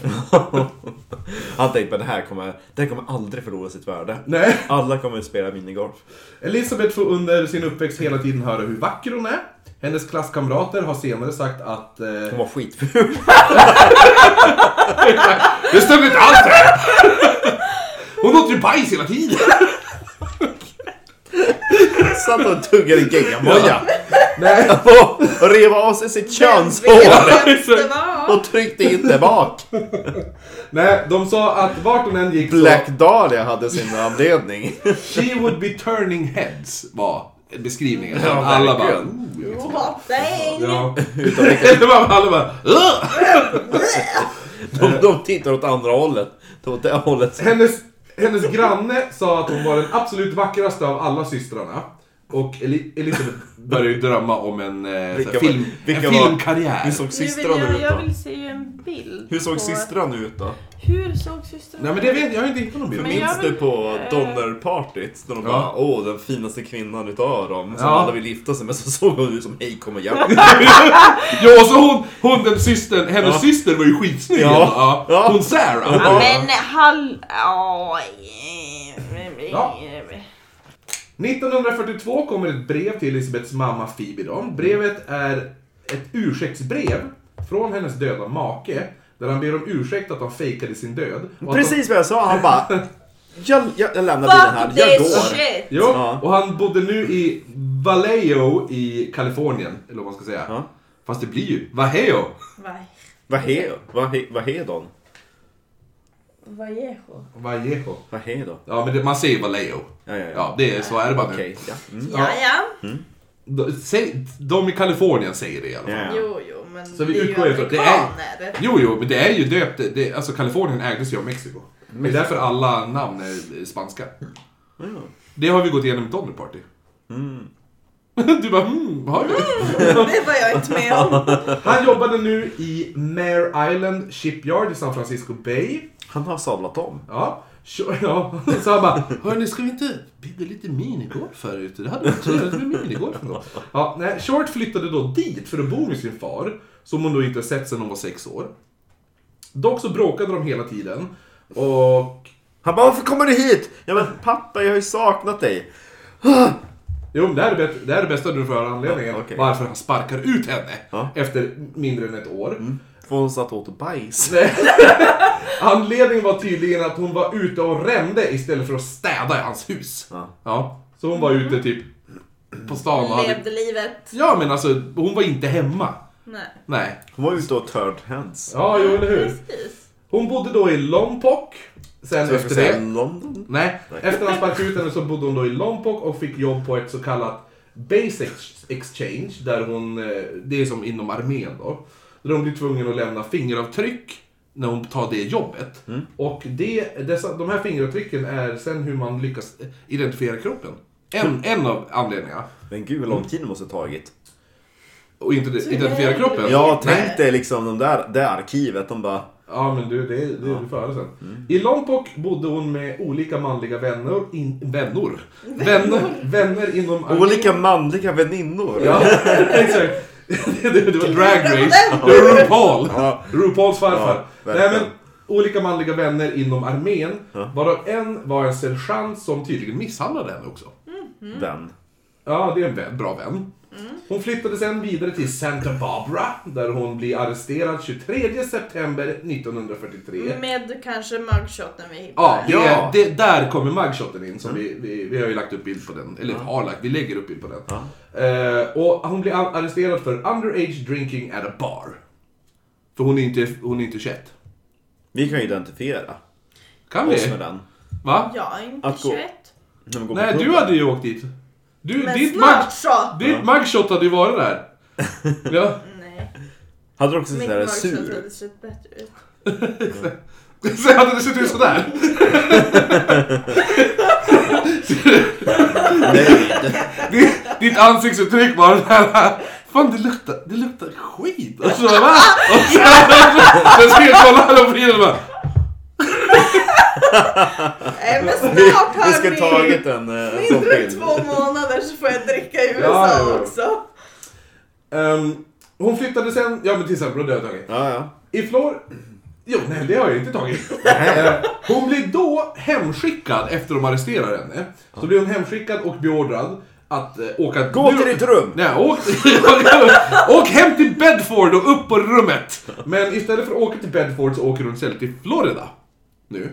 Speaker 3: Han tänkte, men det här kommer, det här kommer aldrig förlora sitt värde.
Speaker 2: Nej.
Speaker 3: Alla kommer att spela minigolf.
Speaker 2: Elisabeth får under sin uppväxt hela tiden höra hur vacker hon är. Hennes klasskamrater har senare sagt att... Eh,
Speaker 3: Hon var skitful.
Speaker 2: det stämmer inte alls! här! Hon åt ju bajs hela tiden!
Speaker 3: [LAUGHS] Satt och tuggade geggamoja.
Speaker 2: Nej.
Speaker 3: [LAUGHS] Och rev av sig sitt
Speaker 1: Vem
Speaker 3: könshår.
Speaker 1: vet
Speaker 2: [LAUGHS]
Speaker 1: vems det var?
Speaker 3: Och tryckte in det bak.
Speaker 2: Nej, de sa att vart hon än gick
Speaker 3: Black Dahlia hade sin [LAUGHS] anledning.
Speaker 2: så... She would be turning heads var beskrivningen.
Speaker 3: Ja,
Speaker 2: alla bara...
Speaker 3: verkligen.
Speaker 2: "Ooh, jag
Speaker 1: Åh, dang.
Speaker 2: Ja. [LAUGHS] Det var alla bara "Ugh!"
Speaker 3: De, de tittar åt andra hållet. Det var åt det hållet.
Speaker 2: hennes, hennes granne sa att hon var den absolut vackraste av alla systrarna. Och Eli- Elisabeth började ju drömma om en, eh, så här,
Speaker 3: Vilka-
Speaker 2: film, en
Speaker 3: vilka var-
Speaker 2: filmkarriär.
Speaker 3: Hur såg
Speaker 1: Nu vill
Speaker 3: systrarna
Speaker 1: jag,
Speaker 3: ut
Speaker 1: jag
Speaker 3: då?
Speaker 1: vill se en bild.
Speaker 3: Hur såg
Speaker 1: på-
Speaker 3: systrarna ut då?
Speaker 1: Hur såg systrarna
Speaker 2: Nej men det vet jag, jag har inte hittat någon bild.
Speaker 1: Men jag
Speaker 3: Minns du
Speaker 1: vill-
Speaker 3: på
Speaker 1: eh,
Speaker 3: Donnerpartyt? När de
Speaker 2: Ja.
Speaker 3: bara åh den finaste kvinnan utav dem som
Speaker 2: Ja.
Speaker 3: alla vill gifta sig med. Så [LAUGHS] såg hon ut som hej kom och
Speaker 1: [LAUGHS]
Speaker 3: hjälp.
Speaker 2: Ja, och så hon, hon den systern, hennes
Speaker 3: Ja.
Speaker 2: syster var ju skitsnygg.
Speaker 3: Ja.
Speaker 2: ändå. Ja.
Speaker 3: Ja.
Speaker 2: Hon Sarah.
Speaker 1: Ja, men hall... Ja. eh,
Speaker 2: Ja. 1942 kommer ett brev till Elisabeths mamma Phoebe då. Brevet är ett ursäktsbrev från hennes döda make. Där han ber om ursäkt att han fejkade sin död. och att de-
Speaker 3: [LAUGHS] Precis vad jag sa, han bara jag, jag, jag lämnar bilen här,
Speaker 1: Fuck
Speaker 3: jag
Speaker 1: this
Speaker 3: går.
Speaker 1: shit!
Speaker 2: Jo,
Speaker 3: Ja.
Speaker 2: och han bodde nu i Vallejo i Kalifornien, eller vad man ska säga.
Speaker 3: Ja.
Speaker 2: Fast det blir ju Vallejo.
Speaker 1: Va-
Speaker 3: Vad he, vad he, vad he don?
Speaker 1: Vallejo.
Speaker 2: Vallejo.
Speaker 3: Vad he då?
Speaker 2: Ja, men det, man säger Vallejo.
Speaker 3: Ja, ja, ja.
Speaker 2: Ja, det är, så är det bara nu.
Speaker 3: Okej, ja. Mm.
Speaker 1: Ja, ja.
Speaker 2: De, säg, de i Kalifornien säger det i alla fall.
Speaker 3: Ja, ja.
Speaker 1: Jo, jo, men
Speaker 2: Så vi
Speaker 1: det är ju
Speaker 2: utgår ifrån att det är-
Speaker 1: amerikaner.
Speaker 2: Jo, jo, men det är ju döpt. Det, alltså, Kalifornien ägdes ju av Mexiko. Det är därför alla namn är eh, spanska.
Speaker 3: Ja.
Speaker 2: Det har vi gått igenom i Donner Party. Mm. [LAUGHS] Du bara mm, har
Speaker 1: [LAUGHS]
Speaker 2: vi?
Speaker 1: Det var jag inte med om.
Speaker 2: Han jobbade nu i Mare Island Shipyard i San Francisco Bay.
Speaker 3: Han har sablat om.
Speaker 2: Ja. tjo- Ja, [LAUGHS] så han bara, hörni ska vi inte bygga lite minigolf här ute? Det hade varit trevligt med minigolf ändå. Ja, nej, Short flyttade då dit för att bo med sin far, som hon då inte sett sedan hon var sex år. Dock så bråkade de hela tiden. Och...
Speaker 3: Han bara varför kommer du hit? Ja men pappa jag har ju saknat dig.
Speaker 2: Jo, men det här är, bäst, det här är bästa du får höra anledningen
Speaker 3: Ja, okej.
Speaker 2: varför han sparkar ut henne
Speaker 3: Ja. Mm.
Speaker 2: efter mindre än ett år.
Speaker 3: För hon satt och åt bajs.
Speaker 2: Nej. Anledningen var tydligen att hon var ute och rände istället för att städa i hans hus.
Speaker 3: Ja.
Speaker 2: Så hon var ute typ på stan och hade...
Speaker 1: Levde livet.
Speaker 2: Ja men alltså, hon var inte hemma.
Speaker 1: Nej.
Speaker 2: Nej.
Speaker 3: Hon var ute och turned hands.
Speaker 2: Ja, jo eller hur.
Speaker 1: Precis.
Speaker 2: Hon bodde då i Lompoc. Sen
Speaker 3: Så jag
Speaker 2: efter
Speaker 3: ska säga
Speaker 2: det...
Speaker 3: London?
Speaker 2: Nej. Efter han sparkade ut henne så bodde hon då i Lompoc och fick jobb på ett så kallat Base ex- Exchange. Där hon... eh, Det är som inom armén då. Där hon blir tvungen att lämna fingeravtryck när hon tar det jobbet. Och det, dessa, de här fingeravtrycken är sen hur man lyckas eh, identifiera kroppen. En, en av anledningarna.
Speaker 3: Men gud vad lång tid det måste ha tagit.
Speaker 2: Och inte identifiera kroppen.
Speaker 3: Ja,
Speaker 2: Mm. Nej.
Speaker 3: tänk dig liksom de där, det arkivet. De bara,
Speaker 2: Ja men du, det, det är du före sen.
Speaker 3: Mm.
Speaker 2: I Lompoc bodde hon med olika manliga vänner, in, vänner. Vänner, vänner inom... armén.
Speaker 3: olika manliga väninnor.
Speaker 2: Ja, [LAUGHS] exakt. Det, det, det var drag race. Det var RuPaul.
Speaker 3: Ja.
Speaker 2: RuPauls farfar.
Speaker 3: Ja,
Speaker 2: Nej
Speaker 3: verkligen.
Speaker 2: men, olika manliga vänner inom armén.
Speaker 3: Ja.
Speaker 2: Varav en var en sergeant som tydligen misshandlade henne också.
Speaker 3: Den.
Speaker 2: Ja, det är en vän, bra vän. Hon flyttade sen vidare till Santa Barbara där hon blir arresterad 23 september 1943.
Speaker 1: Med kanske mugshoten vi
Speaker 2: Ja,
Speaker 1: hittade.
Speaker 2: det,
Speaker 3: Ja.
Speaker 2: Det, där kommer mugshoten in. Som vi, vi, vi har ju lagt upp bild på den. Eller har lagt, vi lägger upp bild på den. Eh, och hon blir a- arresterad för underage drinking at a bar. För hon är inte, hon är inte 21.
Speaker 3: Vi kan ju identifiera
Speaker 2: Kan
Speaker 3: oss med
Speaker 2: vi?
Speaker 3: den.
Speaker 2: Va?
Speaker 1: Jag är inte
Speaker 3: Att gå-
Speaker 1: 21.
Speaker 3: När vi går på
Speaker 2: Nej,
Speaker 3: puben.
Speaker 2: du hade ju åkt dit. Du,
Speaker 1: Men
Speaker 2: ditt,
Speaker 1: snart
Speaker 2: mug,
Speaker 1: så!
Speaker 2: ditt mugshot hade ju varit där. Ja.
Speaker 1: Nej,
Speaker 3: Hade du också
Speaker 1: mitt
Speaker 3: sett där
Speaker 1: mörkret
Speaker 3: sur?
Speaker 1: hade sett bättre ut.
Speaker 2: Så hade det sett ut sådär.
Speaker 3: Nej,
Speaker 2: Ditt, ditt ansiktsuttryck bara där. Fan det luktar, det luktar skit. Och så bara va? Och så, och så, så jag kollar här och Frida och bara.
Speaker 1: Nej men
Speaker 2: [LAUGHS]
Speaker 3: vi,
Speaker 1: snart
Speaker 3: vi ska
Speaker 1: hörni!
Speaker 3: tagit en, eh, en sån
Speaker 1: Mindre än
Speaker 3: bild.
Speaker 1: två månader så får jag dricka i USA
Speaker 2: Ja, ja, ja.
Speaker 1: också.
Speaker 2: Ehm, hon flyttade sen, ja men till exempel, det har jag tagit.
Speaker 3: Ja, ja.
Speaker 2: I Flor... Jo, nej det har jag inte tagit. Eh, hon blir då hemskickad efter de arresterar henne. Så blir hon hemskickad och beordrad att eh, åka...
Speaker 3: Gå
Speaker 2: nu-
Speaker 3: till ditt rum!
Speaker 2: Nej, åk, [LAUGHS] åk hem till Bedford och upp på rummet! Men istället för att åka till Bedford så åker hon istället till Florida. Nu.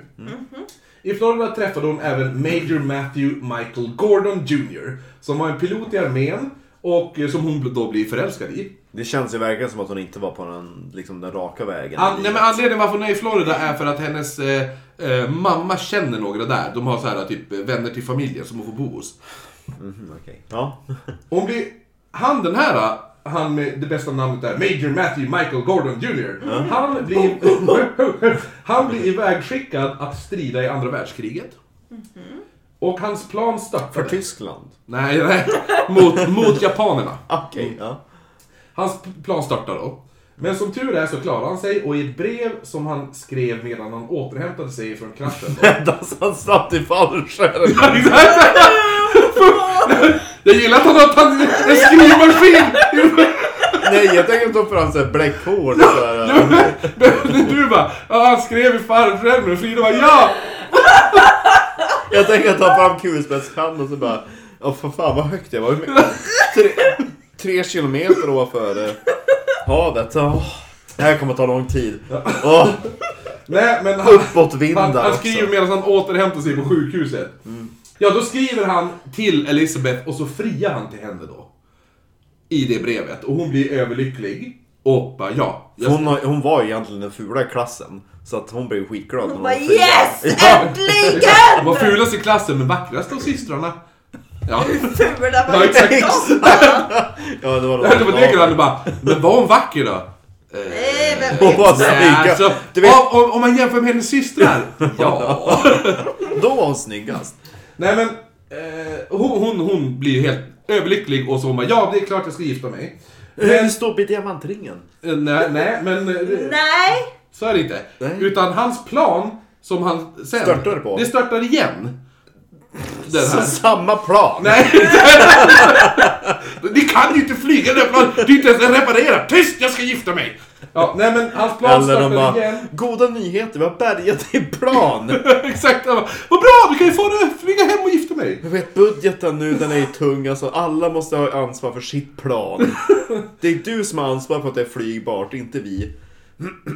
Speaker 2: I Florida träffade hon även Major Matthew Michael Gordon Jr. Som var en pilot i armén och eh, som hon då blir förälskad i.
Speaker 3: Det känns ju verkligen som att hon inte var på den, liksom, den raka vägen.
Speaker 2: An- nej, men anledningen varför hon är i Florida är för att hennes eh, eh, mamma känner några där. De har så här typ eh, vänner till familjen som hon får bo hos.
Speaker 3: Mhm, okej. Ja. [LAUGHS]
Speaker 2: Hon blir... Han den här, han med det bästa namnet där, Major Matthew Michael Gordon Jr. Han blir... han blir [LAUGHS] ivägskickad att strida i andra världskriget. Och hans plan
Speaker 3: För
Speaker 2: störtade.
Speaker 3: Tyskland? Ah,
Speaker 2: Nej, nej. Mot, mot japanerna.
Speaker 3: Okej,
Speaker 2: Mm.
Speaker 3: ja. [LAUGHS]
Speaker 2: Hans p- plan startar då. Men som tur är så klarar han sig och i ett brev som han skrev medan han återhämtade sig från kraschen då,
Speaker 3: Dansade Alltså, han snabbt i fallskärmen?
Speaker 2: Ja, exakt. Jag gillar att han har tagit en skrivmaskin!
Speaker 3: Nej, jag tänker ta fram såhär bläckhorn och
Speaker 2: [LAUGHS]
Speaker 3: såhär.
Speaker 2: Men Du bara, ja han skrev i fallskärmen och Frida bara ja!
Speaker 3: Jag tänker ta fram kulspetskanten och så bara... Ja, för fan vad högt jag var. Tre, tre kilometer ovanför eh, havet. Oh, det här kommer ta lång tid. Oh,
Speaker 2: Nej men han, han,
Speaker 3: uppåtvindar
Speaker 2: han
Speaker 3: också. Mm.
Speaker 2: skriver medan han återhämtar sig på sjukhuset. Ja då skriver han till Elisabeth och så friar han till henne då. I det brevet och hon blir överlycklig. Och bara ja. jag-
Speaker 3: Hon, har- hon var ju egentligen den fula i klassen. Så att hon blev skitglad när
Speaker 1: Hon bara
Speaker 3: var fri.
Speaker 1: yes!
Speaker 2: Ja.
Speaker 1: Äntligen!
Speaker 2: Hon var fulast i klassen men vackrast av systrarna. Ja. [LAUGHS]
Speaker 1: Fula
Speaker 2: Ja, exakt.
Speaker 3: Ja, det var
Speaker 2: [LAUGHS] Det var det han bara, men var hon vacker då? Eh,
Speaker 1: Nej, men
Speaker 2: [LAUGHS]
Speaker 3: Hon var
Speaker 2: Nej,
Speaker 3: snygga.
Speaker 2: alltså,
Speaker 3: Du vet,
Speaker 2: om, om- om man jämför med hennes systrar.
Speaker 3: [LAUGHS]
Speaker 2: ja.
Speaker 3: då var hon snyggast.
Speaker 2: Nej men, eh, hon, hon, hon blir ju helt överlycklig och så hon bara, ja det är klart jag ska gifta mig. Men,
Speaker 3: Hur står på diamantringen?
Speaker 2: eh, nej, nej, men eh,
Speaker 1: Nej!
Speaker 2: så är det inte.
Speaker 3: Nej.
Speaker 2: Utan hans plan som han sen...
Speaker 3: Störtar på.
Speaker 2: Det störtar igen. Den
Speaker 3: Så
Speaker 2: här.
Speaker 3: samma plan.
Speaker 2: Nej! [LAUGHS] Ni kan ju inte flyga den här planen! Det är inte ens reparerat! Tyst! Jag ska gifta mig! Ja, nej men hans plan
Speaker 3: Eller de
Speaker 2: störtar
Speaker 3: bara,
Speaker 2: igen. [LAUGHS]
Speaker 3: goda nyheter, vi har bärgat din plan.
Speaker 2: Exakt! han bara, Vad bra! Du kan ju få det, flyga hem och gifta mig!
Speaker 3: Du vet budgeten nu, den är ju tung alltså. Alla måste ha ansvar för sitt plan. Det är du som har ansvar för att det är flygbart, inte vi.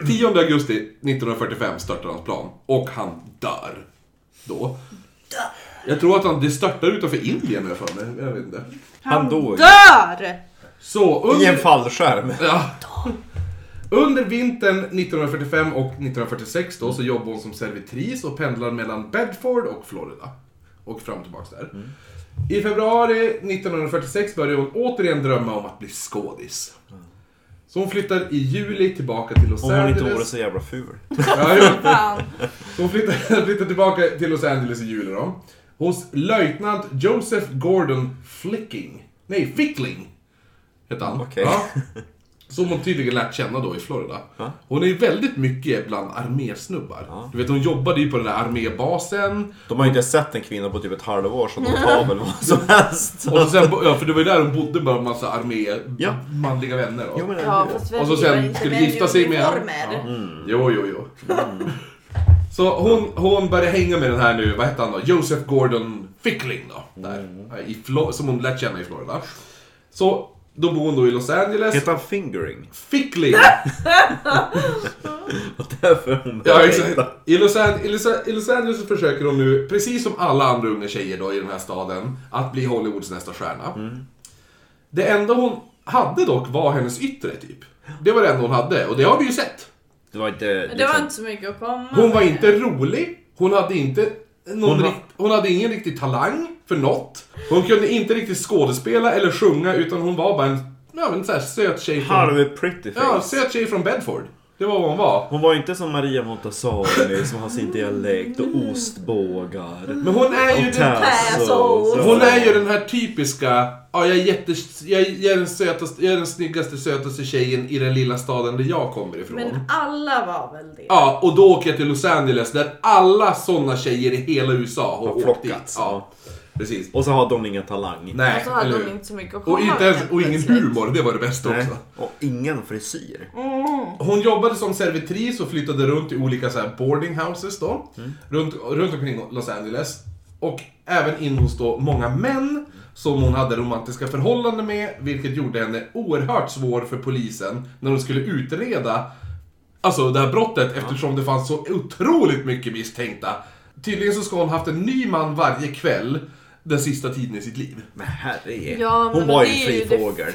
Speaker 2: 10 augusti 1945 störtar hans plan och han dör. Då. Jag tror att han, det störtar utanför Indien har jag för mig. Jag vet inte.
Speaker 3: Han dog.
Speaker 1: Dör!
Speaker 2: Så
Speaker 3: I en
Speaker 2: under...
Speaker 3: fallskärm.
Speaker 2: Ja. Under vintern 1945 och 1946 då så jobbar hon som servitris och pendlar mellan Bedford och Florida. Och fram och tillbaks där.
Speaker 3: Mm.
Speaker 2: I februari 1946 börjar hon återigen drömma om att bli skådis. Så hon flyttar i juli tillbaka till Los
Speaker 3: Om Mm. hon
Speaker 2: Angeles.
Speaker 3: inte vore så jävla ful.
Speaker 2: Ja, jo.
Speaker 1: Fan.
Speaker 2: Så hon [LAUGHS] flyttade, flyttade tillbaka till Los Angeles i juli då. Hos löjtnant Joseph Gordon Flicking. Nej, Fickling! Hette han.
Speaker 3: Okej. [LAUGHS]
Speaker 2: Som hon tydligen lärt känna då i Florida.
Speaker 3: Ja.
Speaker 2: Hon är ju väldigt mycket bland armésnubbar.
Speaker 3: Ja.
Speaker 2: Du vet, hon jobbade ju på den där armébasen.
Speaker 3: De har ju inte sett en kvinna på typ ett halvår, så de tar väl vad som [LAUGHS] helst.
Speaker 2: Och så sen, [LAUGHS] ja, för det var ju där hon bodde med en massa armé...
Speaker 3: Ja.
Speaker 2: manliga vänner då.
Speaker 3: Jo, men-
Speaker 1: Ja, fast
Speaker 2: Och så
Speaker 1: vi var
Speaker 2: sen
Speaker 1: inte
Speaker 2: skulle
Speaker 1: med i
Speaker 2: gifta sig med
Speaker 1: uniformer.
Speaker 2: Ja. Jo, jo, jo. Så hon, hon började hänga med den här nu, vad hette han då? Joseph Gordon Fickling då. Där. I Flo- som hon lärt känna i Florida. Så då bor hon då i Los Angeles.
Speaker 3: Heter han fingering? [LAUGHS]
Speaker 2: Fickling!
Speaker 3: Och därför hon
Speaker 2: Ja, exakt. I Los, An- i, Los I Los Angeles försöker hon nu, precis som alla andra unga tjejer då i den här staden, att bli Hollywoods nästa stjärna. Det enda hon hade dock var hennes yttre typ. Det var det enda hon hade och det har vi ju sett.
Speaker 4: Det var inte...
Speaker 1: Det var inte så mycket att komma
Speaker 2: Hon var
Speaker 1: med.
Speaker 2: inte rolig, hon hade inte någon
Speaker 3: Hon
Speaker 2: hon,
Speaker 3: ha-
Speaker 2: rikt, hon hade ingen riktig talang för något. Hon kunde inte riktigt skådespela eller sjunga utan hon var bara en, ja, en så här söt tjej från,
Speaker 3: Halv pretty
Speaker 2: ja,
Speaker 3: face.
Speaker 2: söt tjej från Bedford. Det var vad hon var.
Speaker 3: Hon var inte som Maria Montazami som har sin dialekt och ostbågar.
Speaker 2: Men hon Mm. är ju
Speaker 3: Och
Speaker 2: den,
Speaker 3: tassels.
Speaker 1: Tassels.
Speaker 2: hon är ju den här typiska, ja jag är, jätte, jag, är- jag, är den sötaste, jag är den snyggaste sötaste tjejen i den lilla staden där jag kommer ifrån.
Speaker 1: Men alla var väl det.
Speaker 2: Ja, och då åker jag till Los Angeles där alla sådana tjejer i hela USA har,
Speaker 3: Har
Speaker 2: åkt dit.
Speaker 3: flockats.
Speaker 2: Ja, precis.
Speaker 3: Och så har de ingen talang.
Speaker 2: Nej,
Speaker 1: Och så hade
Speaker 2: eller
Speaker 1: de
Speaker 2: hur?
Speaker 1: inte så mycket att komma
Speaker 2: Och, inte
Speaker 1: med
Speaker 2: ens, och ingen
Speaker 1: plötsligt.
Speaker 2: humor, det var det bästa
Speaker 3: Nej.
Speaker 2: också.
Speaker 4: Och ingen frisyr.
Speaker 1: Mm.
Speaker 2: Hon jobbade som servitris och flyttade runt i olika så här boarding houses då. Runt, runt omkring Los Angeles. Och även in hos då många män som hon hade romantiska förhållanden med, vilket gjorde henne oerhört svår för polisen när de skulle utreda alltså det här brottet eftersom det fanns så otroligt mycket misstänkta. Tydligen så ska hon haft en ny man varje kväll den sista tiden i sitt liv.
Speaker 4: Men herre
Speaker 1: Ja, men
Speaker 4: Hon var ju
Speaker 1: det
Speaker 4: en
Speaker 1: är
Speaker 4: fri
Speaker 1: ju det-
Speaker 4: fågel.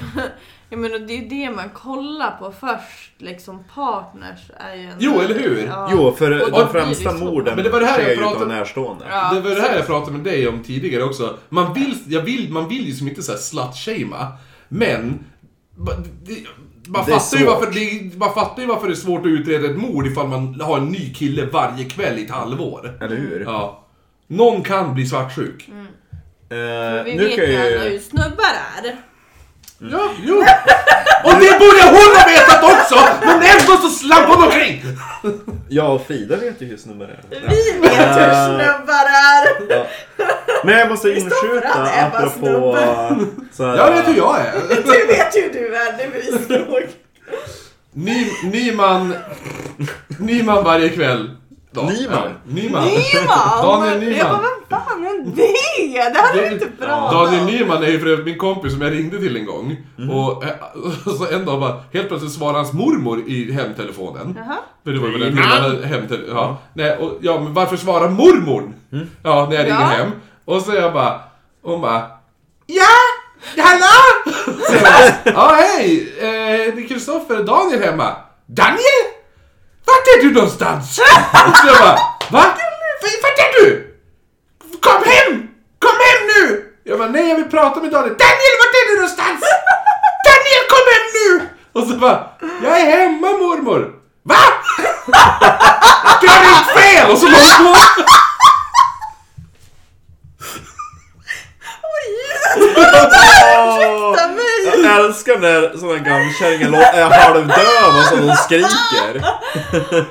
Speaker 1: Jag menar det är ju det man kollar på först. Liksom partners är ju en...
Speaker 2: Jo, eller hur?
Speaker 1: Ja.
Speaker 3: Jo, för
Speaker 1: Och
Speaker 3: de
Speaker 1: då blir
Speaker 3: främsta
Speaker 1: det så.
Speaker 3: morden
Speaker 2: Men det var det här jag
Speaker 3: sker ju
Speaker 2: pratade-
Speaker 3: utan närstående.
Speaker 1: Ja.
Speaker 2: Det var det här jag pratade med dig om tidigare också. Man vill, jag vill, man vill ju som inte såhär slut-shamea, men... ba- det- Man
Speaker 3: Det är
Speaker 2: fattar, ju
Speaker 3: svårt.
Speaker 2: varför det, man fattar ju varför det är svårt att utreda ett mord ifall man har en ny kille varje kväll i ett halvår.
Speaker 3: Eller hur?
Speaker 2: Ja. Någon kan bli svartsjuk.
Speaker 3: Eh,
Speaker 1: Vi
Speaker 3: nu
Speaker 1: vet
Speaker 3: kan
Speaker 1: ju alla
Speaker 3: ju...
Speaker 1: hur snubbar är.
Speaker 2: Ja, jo. Och det borde hon ha vetat också! Men ändå så slank hon omkring!
Speaker 3: Jag och Frida vet ju hur snubbar är.
Speaker 1: Vi vet hur snubbar är!
Speaker 3: Ja. Men jag måste
Speaker 1: för
Speaker 3: inskjuta
Speaker 1: att Ebba
Speaker 3: apropå...
Speaker 1: snubbe.
Speaker 3: Så här,
Speaker 2: Jag vet hur jag är.
Speaker 1: Du vet hur du är, det bevisar nog.
Speaker 2: Ny, ny man... Ny man varje kväll. Då.
Speaker 3: Ny man?
Speaker 2: Ja, Ny man.
Speaker 1: Nyman!
Speaker 2: Daniel Nyman.
Speaker 1: Jag bara, vem fan är det? Det här är inte bra
Speaker 2: Daniel
Speaker 1: namn.
Speaker 2: Nyman är ju för övrigt min kompis som jag ringde till en gång. Och, eh, [LAUGHS] så en dag bara, helt plötsligt svarade hans mormor i hemtelefonen.
Speaker 1: Jaha.
Speaker 2: För det var väl en
Speaker 3: Nyman!
Speaker 2: hela hemtele- ja. Nej, och, ja, men varför svarar mormorn? Ja, när jag ringer
Speaker 1: Ja.
Speaker 2: hem. Och så jag bara, hon bara, ja! Hallå! [LAUGHS] Så jag bara, ja hej! Eh, det är Kristoffer och Daniel hemma. Daniel? Vart är du någonstans? [LAUGHS] Och så jag bara, va? V- Vart är du? Kom hem! Kom hem nu! Jag bara, nej jag vill prata med Daniel. Daniel, vart är du någonstans? Daniel, kom hem nu! Och så bara, jag är hemma mormor. Va? Du har ringt fel! Och så låg hon på.
Speaker 3: Åh, Jag älskar när såna gammelkärringar lå- är halvdöva som de skriker.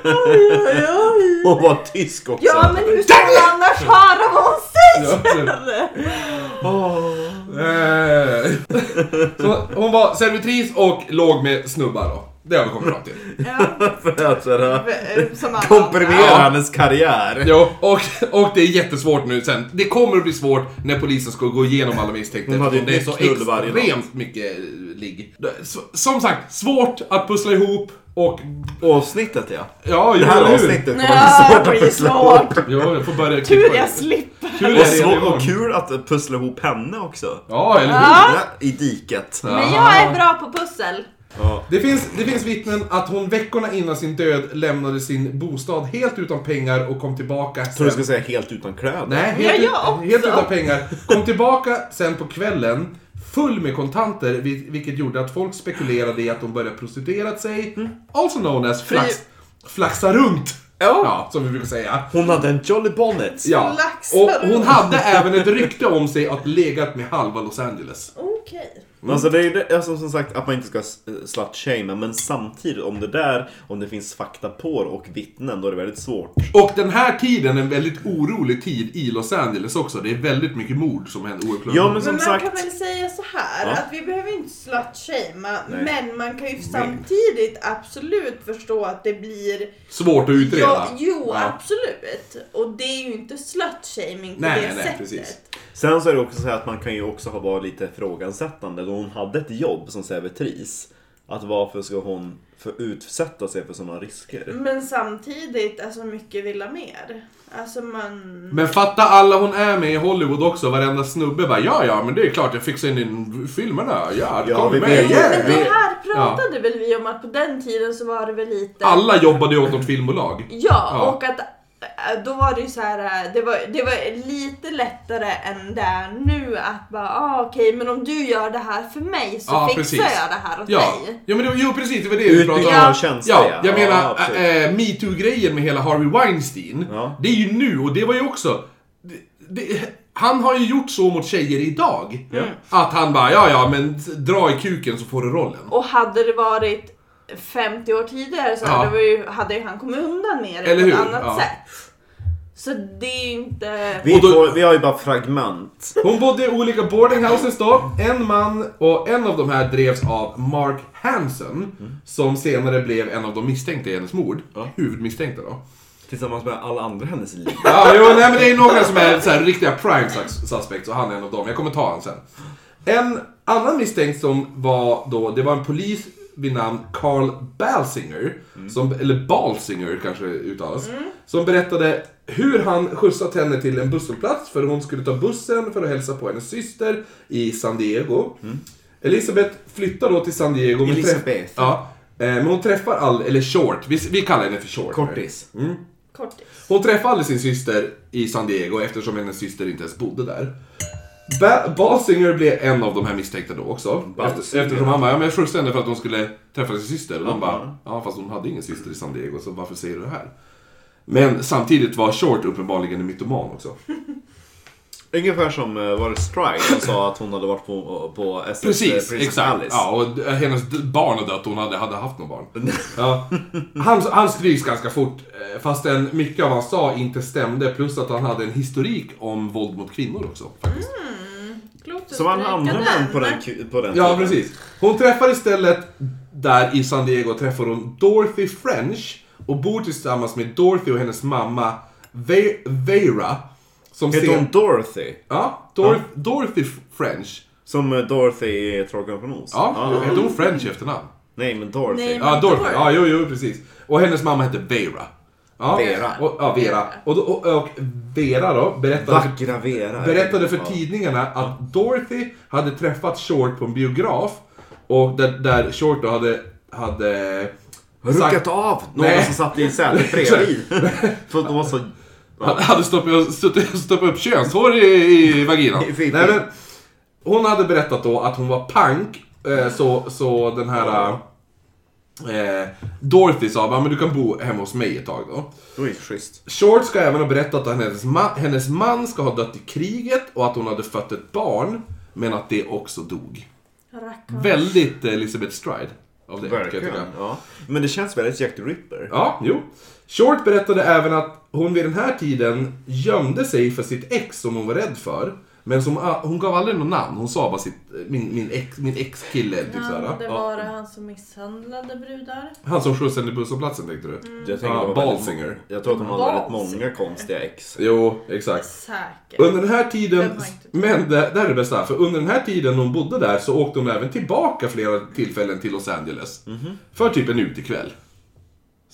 Speaker 1: Oj, oj.
Speaker 3: Och var tysk också.
Speaker 1: Ja men hur ska man annars höra vad hon säger?
Speaker 2: [LAUGHS] Eh, så hon var servitris och låg med snubbar då. Det har vi kommit fram till.
Speaker 3: För att så här,
Speaker 1: Ja, som alla
Speaker 3: komprimera
Speaker 1: andra.
Speaker 2: Ja.
Speaker 3: hennes karriär.
Speaker 2: Jo, och, och det är jättesvårt nu sen. Det kommer att bli svårt när polisen ska gå igenom alla misstänkta.
Speaker 3: Hon hade ju
Speaker 2: det är så
Speaker 3: knull varje dag.
Speaker 2: extremt mycket ligg. S- Som sagt, svårt att pussla ihop och...
Speaker 3: Avsnittet ja.
Speaker 2: Ja,
Speaker 3: Det
Speaker 2: jo,
Speaker 3: här
Speaker 2: eller hur?
Speaker 3: avsnittet kommer
Speaker 1: Ja,
Speaker 3: bli svårt
Speaker 1: det
Speaker 3: att
Speaker 1: blir
Speaker 3: pussla ihop.
Speaker 1: svårt.
Speaker 2: Jo, jag får börja klippa.
Speaker 1: Tur jag slipper.
Speaker 2: Tur jag
Speaker 3: Och,
Speaker 2: redan
Speaker 3: så,
Speaker 2: igång.
Speaker 3: och kul att pussla ihop henne också.
Speaker 2: Ja, eller hur?
Speaker 1: Ja,
Speaker 3: Ja, I diket.
Speaker 1: men jag är bra på pussel.
Speaker 2: Det finns, det finns vittnen att hon veckorna innan sin död lämnade sin bostad helt utan pengar och kom tillbaka
Speaker 3: Tror
Speaker 2: sen.
Speaker 3: du ska säga helt utan kläder?
Speaker 2: Nej,
Speaker 1: Ja,
Speaker 2: helt, ut-
Speaker 1: jag också.
Speaker 2: helt utan pengar. Kom tillbaka sen på kvällen full med kontanter, vil- vilket gjorde att folk spekulerade i att hon började prostituera sig.
Speaker 1: Mm.
Speaker 2: Also known as flax, flaxa runt.
Speaker 3: Ja.
Speaker 1: Oh.
Speaker 2: ja, som vi brukar säga.
Speaker 3: Hon hade en Jolly Bonnet.
Speaker 2: Ja.
Speaker 1: Flaxa
Speaker 2: Och hon
Speaker 1: runt.
Speaker 2: hade även ett rykte om sig att legat med halva Los Angeles.
Speaker 1: Okej.
Speaker 3: Mm. Alltså det är ju det, alltså som sagt att man inte ska slut shamea men samtidigt om det där, om det finns fakta på det och vittnen, då är det väldigt svårt.
Speaker 2: Och den här tiden är en väldigt orolig tid i Los Angeles också. Det är väldigt mycket mord som händer oerhört.
Speaker 3: Ja men
Speaker 1: Men
Speaker 3: som
Speaker 1: man
Speaker 3: sagt,
Speaker 1: kan väl säga så här
Speaker 3: Ja.
Speaker 1: att vi behöver inte slut-shamea
Speaker 3: Nej.
Speaker 1: men man kan ju samtidigt absolut förstå att det blir
Speaker 2: Svårt att utreda.
Speaker 1: Ja, jo,
Speaker 2: Ja.
Speaker 1: absolut. Och det är ju inte slut-shaming på
Speaker 2: Nej,
Speaker 1: det
Speaker 2: nej, nej,
Speaker 1: sättet.
Speaker 2: precis.
Speaker 3: sen så är det också så här att man kan ju också ha varit lite frågansättande då hon hade ett jobb som servitris. Att varför ska hon för utsätta sig för sådana risker?
Speaker 1: Men samtidigt, alltså mycket vill ha mer. Alltså man...
Speaker 2: Men fatta alla hon är med i Hollywood också, varenda snubbe bara ja ja men det är klart jag fixar in i filmerna, ja,
Speaker 3: Ja,
Speaker 2: kom
Speaker 3: vi
Speaker 2: med,
Speaker 3: vet ju.
Speaker 1: Ja,
Speaker 2: yeah.
Speaker 1: men det här
Speaker 2: Ja.
Speaker 1: pratade väl vi om att på den tiden så var det väl lite...
Speaker 2: Alla jobbade ju åt något filmbolag.
Speaker 1: Ja,
Speaker 2: Ja.
Speaker 1: och att äh, då var det ju så här, äh, det var, det var lite lättare än det är nu att bara ah, okej men om du gör det här för mig så
Speaker 2: Ja,
Speaker 1: fixar
Speaker 2: precis.
Speaker 1: jag det här åt
Speaker 2: Ja,
Speaker 1: dig.
Speaker 2: ja men det var, jo precis, det var det vi pratade om.
Speaker 3: Utbyggnad
Speaker 1: Ja.
Speaker 3: av tjänster
Speaker 2: Ja, jag menar
Speaker 3: absolut.
Speaker 2: äh, metoo-grejen med hela Harvey Weinstein.
Speaker 3: Ja.
Speaker 2: Det är ju nu och det var ju också... Det, det, han har ju gjort så mot tjejer idag. Att han bara ja ja men dra i kuken så får du rollen.
Speaker 1: Och hade det varit 50 år tidigare så
Speaker 2: Ja.
Speaker 1: hade, vi ju, hade ju han kommit undan mer
Speaker 2: Eller
Speaker 1: på ett
Speaker 2: hur?
Speaker 1: annat
Speaker 2: Ja.
Speaker 1: sätt. Så det är ju inte...
Speaker 3: vi,
Speaker 2: och då-
Speaker 3: får, vi har ju bara fragment.
Speaker 2: Hon bodde i olika boardinghouses då. En man och en av de här drevs av Mark Hansen.
Speaker 3: Mm.
Speaker 2: Som senare blev en av de misstänkta i hennes mord. Huvudmisstänkta då.
Speaker 3: Tillsammans med alla andra i hennes liv.
Speaker 2: [LAUGHS] Ja, jo, nej, men det är några som är så här, riktiga prime sus- suspects och han är en av dem. Jag kommer ta han sen. En annan misstänkt som var då, det var en polis vid namn Carl Balsinger,
Speaker 3: Mm.
Speaker 2: som, eller Balsinger kanske uttalas, som berättade hur han skjutsat henne till en busshållplats för hon skulle ta bussen för att hälsa på hennes syster i San Diego. Elisabeth flyttar då till San Diego. men träff-
Speaker 3: Mm. Elisabeth.
Speaker 2: Ja, eh, men hon träffar all, eller Short, vi, vi kallar henne för Short.
Speaker 3: Kortis.
Speaker 2: Mm.
Speaker 3: Mm.
Speaker 1: Kortis.
Speaker 2: Hon träffade aldrig sin syster i San Diego eftersom hennes syster inte ens bodde där. Ba- Balsinger blev en av de här misstänkta då också. Efter,
Speaker 3: Balsinger.
Speaker 2: eftersom han bara, ja men jag frustade henne för att hon skulle träffa sin syster. Och de bara, ja fast hon hade ingen syster i San Diego så varför säger du det här? Men samtidigt var Short uppenbarligen en mytoman också.
Speaker 3: Ungefär som eh, var det Strike som sa att hon hade varit på, på SS
Speaker 2: Precis,
Speaker 3: Prison
Speaker 2: exakt.
Speaker 3: Palace.
Speaker 2: Ja, och d- hennes d- barn har dött, hon hade, hade haft något barn. Ja. Han, han stryks ganska fort, eh, fastän mycket av vad han sa inte stämde. Plus att han hade en historik om våld mot kvinnor också. Faktiskt.
Speaker 1: Klokt att
Speaker 3: Som alla
Speaker 1: stryka
Speaker 3: andra män på den,
Speaker 1: den.
Speaker 3: ku- på den
Speaker 2: Ja,
Speaker 3: tiden.
Speaker 2: precis. Hon träffar istället, där i San Diego, träffar hon Dorothy French och bor tillsammans med Dorothy och hennes mamma Ve- Vera. Som
Speaker 3: Heter
Speaker 2: sen-
Speaker 3: hon Dorothy?
Speaker 2: Ja, Dor- Dorothy F- French.
Speaker 3: Som eh, Dorothy i Trollkarlen från Oz?
Speaker 2: Ja,
Speaker 3: Ah,
Speaker 2: hette hon French i efternamn?
Speaker 3: Nej men Dorothy.
Speaker 1: Nej, men-
Speaker 2: Ja, Dorothy.
Speaker 1: Dorothy.
Speaker 2: Ja, jo, jo, precis. Och hennes mamma hette Vera. Ja,
Speaker 3: Vera.
Speaker 2: Och, ja, Vera. Och, då- och, och Vera då berättade för,
Speaker 3: Vackra Vera.
Speaker 2: berättade för
Speaker 3: Ja.
Speaker 2: tidningarna att Dorothy hade träffat Short på en biograf och där, där Short då hade, hade
Speaker 3: Ruckat av någon
Speaker 2: Nej.
Speaker 3: som satt
Speaker 2: [LAUGHS]
Speaker 3: i sätet bredvid. För de var så...
Speaker 2: Han hade stoppat, stoppat, stoppat upp könshår i, i vaginan.
Speaker 3: [LAUGHS] I
Speaker 2: Nej,
Speaker 3: fiffi.
Speaker 2: men, hon hade berättat då att hon var punk, eh, så, så den här... Eh, Dorothy sa "Ja, men du kan bo hemma hos mig ett tag då.
Speaker 3: Det var ju schysst.
Speaker 2: Short ska även ha berättat att hennes, ma- hennes man ska ha dött i kriget och att hon hade fött ett barn, men att det också dog.
Speaker 1: Rackarn.
Speaker 2: Väldigt eh, Elizabeth Stride av det, kan jag
Speaker 3: Verkligen.
Speaker 2: tycka.
Speaker 3: Ja. Men det känns väldigt Jack the Ripper.
Speaker 2: Ja, jo. Short berättade även att hon vid den här tiden gömde sig för sitt ex som hon var rädd för. Men som, ah, hon gav aldrig något namn, hon sa bara sitt, eh, min, min, ex, min ex-kille. Typ såhär.
Speaker 1: Han, det
Speaker 2: Ja.
Speaker 1: var han som misshandlade brudar.
Speaker 2: Han som skjutsade henne till busshållplatsen tänkte du?
Speaker 1: Mm.
Speaker 3: Jag tänker
Speaker 2: Ja,
Speaker 3: det var väldigt-
Speaker 2: Balsinger.
Speaker 3: Jag tror att de hade väldigt
Speaker 1: Balsinger.
Speaker 3: många konstiga ex.
Speaker 2: Jo, exakt.
Speaker 1: Säkert.
Speaker 2: Under den här tiden,
Speaker 1: Den var inte-
Speaker 2: men det, det här är det bästa, för under den här tiden hon bodde där så åkte hon även tillbaka flera tillfällen till Los Angeles.
Speaker 3: Mhm.
Speaker 2: För typ en utekväll.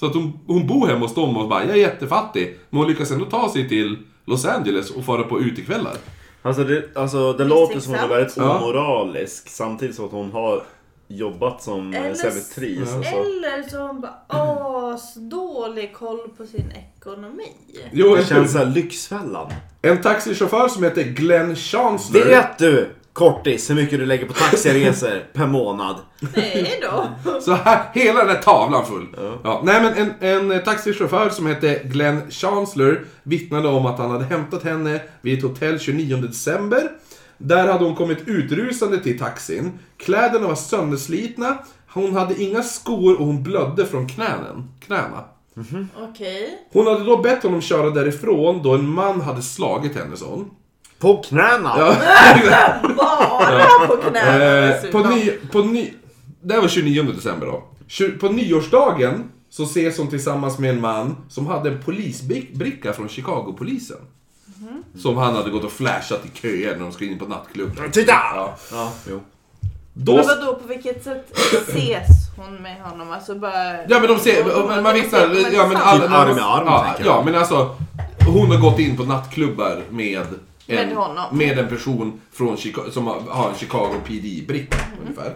Speaker 2: Så att hon, hon bor hemma hos dem och bara, jag är jättefattig. Men hon lyckas ändå ta sig till Los Angeles och fara på utekvällar.
Speaker 3: Alltså det, alltså, det låter som att hon är väldigt
Speaker 2: Ja.
Speaker 3: omoralisk samtidigt som att hon har jobbat som eh,
Speaker 1: Eller-
Speaker 3: servitris. och
Speaker 2: alltså.
Speaker 3: så.
Speaker 1: Eller så har hon bara asdålig koll på sin ekonomi.
Speaker 2: Jo,
Speaker 3: Det
Speaker 2: en,
Speaker 3: känns såhär Lyxfällan.
Speaker 2: en taxichaufför som heter Glenn Chancellor.
Speaker 3: Vet du kortis hur mycket du lägger på taxiresor [LAUGHS] per månad?
Speaker 1: Nej då.
Speaker 2: [LAUGHS] Så här, hela den här tavlan full. Ja, nej men en, en taxichaufför som hette Glenn Chancellor vittnade om att han hade hämtat henne vid ett hotell 29 december. Där hade hon kommit utrusande till taxin. Kläderna var sönderslitna, hon hade inga skor och hon blödde från knänen, knäna.
Speaker 1: Okej.
Speaker 2: Hon hade då bett honom köra därifrån då en man hade slagit henne, sa hon.
Speaker 3: På knäna!
Speaker 1: Bara på knäna
Speaker 2: Eh, på,
Speaker 1: dessutom.
Speaker 2: ny, på ny, Det här var 29 december då. Tju- På nyårsdagen så ses hon tillsammans med en man som hade en polisbricka från Chicago-polisen. Som han hade gått och flashat i köer när de skulle in på nattklubben.
Speaker 3: Titta!
Speaker 2: Ja.
Speaker 3: Ja, jo.
Speaker 1: Men
Speaker 3: Då...
Speaker 1: vadå, på vilket sätt ses hon med honom? Alltså bara...
Speaker 2: Ja men de ser,
Speaker 1: Hon- hon-
Speaker 2: men man
Speaker 1: hon-
Speaker 2: visar,
Speaker 1: hon- hon-
Speaker 2: ja
Speaker 1: hon-
Speaker 2: men alla...
Speaker 4: Typ arm i arm,
Speaker 2: ja,
Speaker 4: tänker jag.
Speaker 2: ja men alltså, hon har gått in på nattklubbar med en,
Speaker 1: Med honom.
Speaker 2: med en person från Chica- som har- har en Chicago PD-britt ungefär.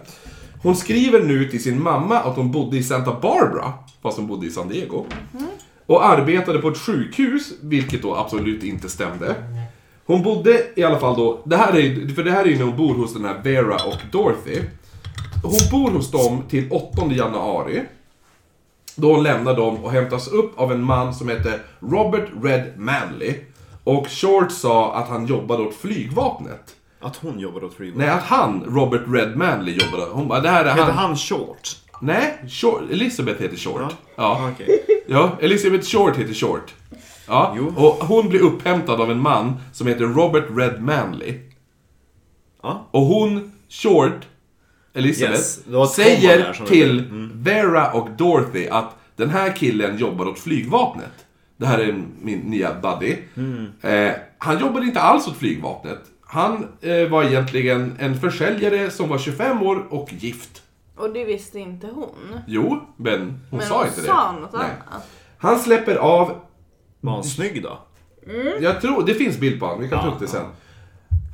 Speaker 2: Hon skriver nu till sin mamma att hon bodde i Santa Barbara, fast hon bodde i San Diego. Och arbetade på ett sjukhus, vilket då absolut inte stämde. Hon bodde i alla fall då, det här är ju- för det här är ju när hon bor hos den här Vera och Dorothy. Hon bor hos dem till 8 januari. Då lämnar de och hämtas upp av en man som heter Robert Red Manley. Och Short sa att han jobbade åt flygvapnet.
Speaker 4: Att hon jobbar åt Freeman.
Speaker 2: Nej, att han, Robert Red Manley, jobbade. Hon bara, det här är
Speaker 4: Heter
Speaker 2: han.
Speaker 4: han Short?
Speaker 2: Nej, Short, Elizabeth heter Short.
Speaker 4: Ja.
Speaker 2: ja.
Speaker 4: Ah, okej.
Speaker 3: [LAUGHS]
Speaker 2: Ja, Elizabeth Short heter Short. Ja,
Speaker 4: Jo.
Speaker 2: och hon blir upphämtad av en man som heter Robert Red Manley.
Speaker 4: Ja.
Speaker 2: Och hon, Short, Elizabeth,
Speaker 4: Yes, det var ett komma där
Speaker 2: säger
Speaker 4: som Mm.
Speaker 2: till Vera och Dorothy att den här killen jobbar åt flygvapnet. Det här är min nya buddy.
Speaker 4: Mm.
Speaker 2: Eh, han jobbade inte alls åt flygvapnet. Han eh, var egentligen en försäljare som var 25 år och gift.
Speaker 1: Och det visste inte hon.
Speaker 2: Jo, men hon
Speaker 1: Men
Speaker 2: sa
Speaker 1: hon
Speaker 2: inte det.
Speaker 1: sa något
Speaker 2: Nej.
Speaker 1: annat.
Speaker 2: Han släpper av
Speaker 4: Var han snygg då?
Speaker 2: Jag tror, det finns bild på honom, vi kan ta
Speaker 4: Ja,
Speaker 2: upp det
Speaker 4: ja.
Speaker 2: sen.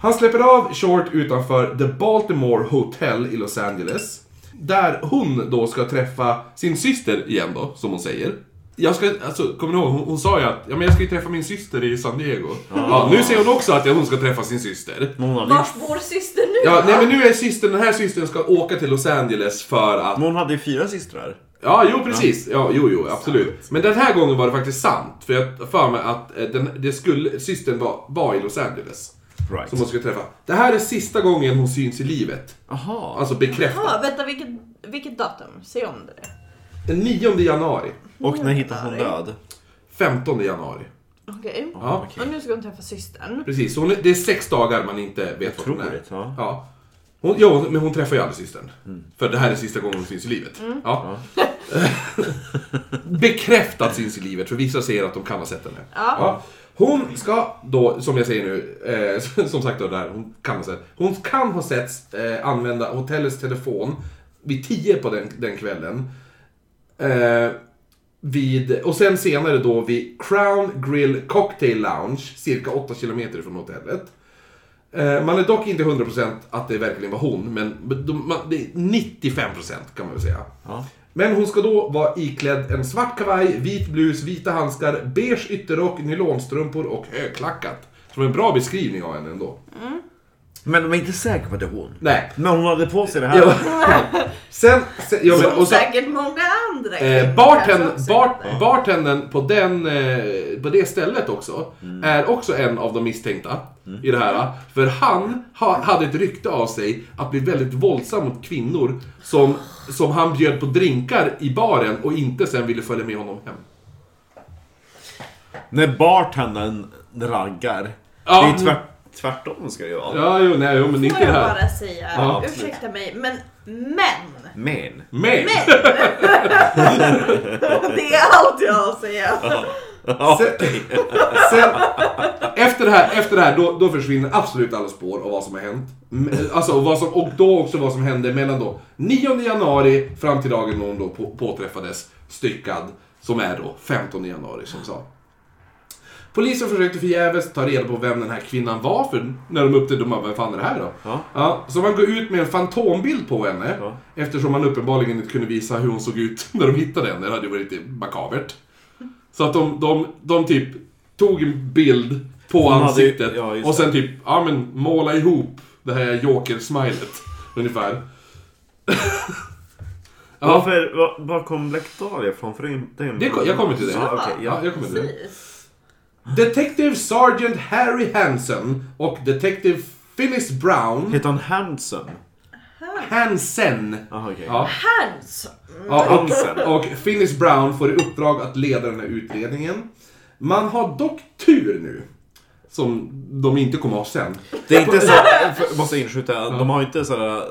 Speaker 2: Han släpper av Short utanför The Baltimore Hotel i Los Angeles. Där hon då ska träffa sin syster igen då, som hon säger. Jag ska, alltså, kommer ni ihåg, hon, hon sa ju att ja, men jag ska ju träffa min syster i San Diego. Ja, nu säger hon också att hon ska träffa sin syster.
Speaker 4: Men hon hade, ju,
Speaker 1: Vars bor syster nu?
Speaker 2: Ja, nej men nu är systern, den här systern ska åka till Los Angeles för att
Speaker 4: men hon hade ju fyra systrar.
Speaker 2: Ja, jo precis. Ja, jo, jo, absolut. Men den här gången var det faktiskt sant. För jag har för mig att eh, den, det skulle, systern var, var i Los Angeles.
Speaker 4: Right.
Speaker 2: Som hon skulle träffa. Det här är sista gången hon syns i livet.
Speaker 4: Aha.
Speaker 2: Alltså bekräftat.
Speaker 1: Ja, vänta, vilket, vilket datum? Se om det. där.
Speaker 2: Den 9 januari.
Speaker 4: Och när hittade hon död?
Speaker 2: 15 januari.
Speaker 1: Okej.
Speaker 2: Ja,
Speaker 4: okej.
Speaker 1: Och nu ska hon träffa systern.
Speaker 2: precis. Så hon, det är sex dagar man inte vet vad hon är.
Speaker 4: Otroligt, ja. Mm.
Speaker 2: Ja. Hon, jo, men hon träffar ju aldrig systern. För det här är sista gången hon syns i livet. Ja. [LAUGHS] Bekräftat syns i livet, för vissa säger att de kan ha sett henne.
Speaker 1: Ja.
Speaker 2: Hon ska då, som jag säger nu, eh, [LAUGHS] som sagt då där, hon kan ha sett. Hon kan ha setts eh, använda hotellets telefon vid 10 på den, den kvällen. Eh, vid, och sen senare då vid Crown Grill Cocktail Lounge, cirka 8 kilometer från hotellet. Eh, Man är dock inte 100% att det verkligen var hon, men de- man- det är 95% kan man väl säga.
Speaker 4: Ja.
Speaker 2: Men hon ska då vara iklädd en svart kavaj, vit blus, vita handskar, beige ytterrock, nylonstrumpor och högklackat. Som en bra beskrivning av henne ändå.
Speaker 4: Men de är inte säkra på att det är hon.
Speaker 2: Nej.
Speaker 4: Men hon hade på sig det här.
Speaker 2: Ja. sen, sen, ja, men,
Speaker 1: Som
Speaker 2: och så,
Speaker 1: säkert många andra.
Speaker 2: eh,
Speaker 1: kvinnor
Speaker 2: barten,
Speaker 1: kanske också
Speaker 2: bart,
Speaker 1: heter.
Speaker 2: bartendern på, den, eh, på det stället också,
Speaker 1: Mm.
Speaker 2: är också en av de misstänkta i det här. För han ha, hade ett rykte av sig att bli väldigt våldsam mot kvinnor som, som han bjöd på drinkar i baren och inte sen ville följa med honom hem.
Speaker 4: När bartendern raggar.
Speaker 2: Ja.
Speaker 4: Det är ju tvärt, tvärtom ska det ju vara.
Speaker 2: Ja, jo, nej, jo, men inte
Speaker 1: Får
Speaker 2: det
Speaker 1: jag
Speaker 2: här.
Speaker 1: bara säga,
Speaker 2: Ja, absolut.
Speaker 1: ursäkta mig, men män!
Speaker 4: Men.
Speaker 2: Men!
Speaker 1: [LAUGHS] Det är allt jag har att säga.
Speaker 2: Sen, sen, efter det här, efter det här då, då försvinner absolut alla spår av vad som har hänt. Men, Alltså, och vad som, och då också vad som hände mellan då 9 januari fram till dagen då hon då på, påträffades styckad, som är då 15 januari som sa. Polisen försökte förgäves ta reda på vem den här kvinnan var, för när de upptäckte, de bara, vem fan är det här då?
Speaker 4: Ja.
Speaker 2: så man går ut med en fantombild på henne,
Speaker 4: Ja.
Speaker 2: eftersom man uppenbarligen inte kunde visa hur hon såg ut [LAUGHS] när de hittade henne. Det hade ju varit lite makabert. Så att de, de, de typ tog en bild på
Speaker 4: hade ju-
Speaker 2: ansiktet
Speaker 4: ja, just
Speaker 2: och sen typ, ja men måla ihop det här joker-smilet. [LAUGHS] Ungefär. ja,
Speaker 4: Varför, var, var kom Lektalia från? För det är ju- det är ju-
Speaker 2: Det kom- jag kommer till det.
Speaker 4: Ja, okej,
Speaker 2: ja,
Speaker 4: ja.
Speaker 2: jag kommer till det.
Speaker 1: Precis.
Speaker 2: Detective Sergeant Harry Hansen och Detective Phyllis Brown
Speaker 4: Heter han Handsome?
Speaker 2: Hansen.
Speaker 4: Jaha okej.
Speaker 2: Ja.
Speaker 1: Hans!
Speaker 2: Ja,
Speaker 4: Hansen.
Speaker 2: och, och Phyllis Brown får i uppdrag att leda den här utredningen. Man har dock tur nu. Som de inte kommer ha sen.
Speaker 4: Det är inte så, för- måste inskjuta, de har ju inte sådana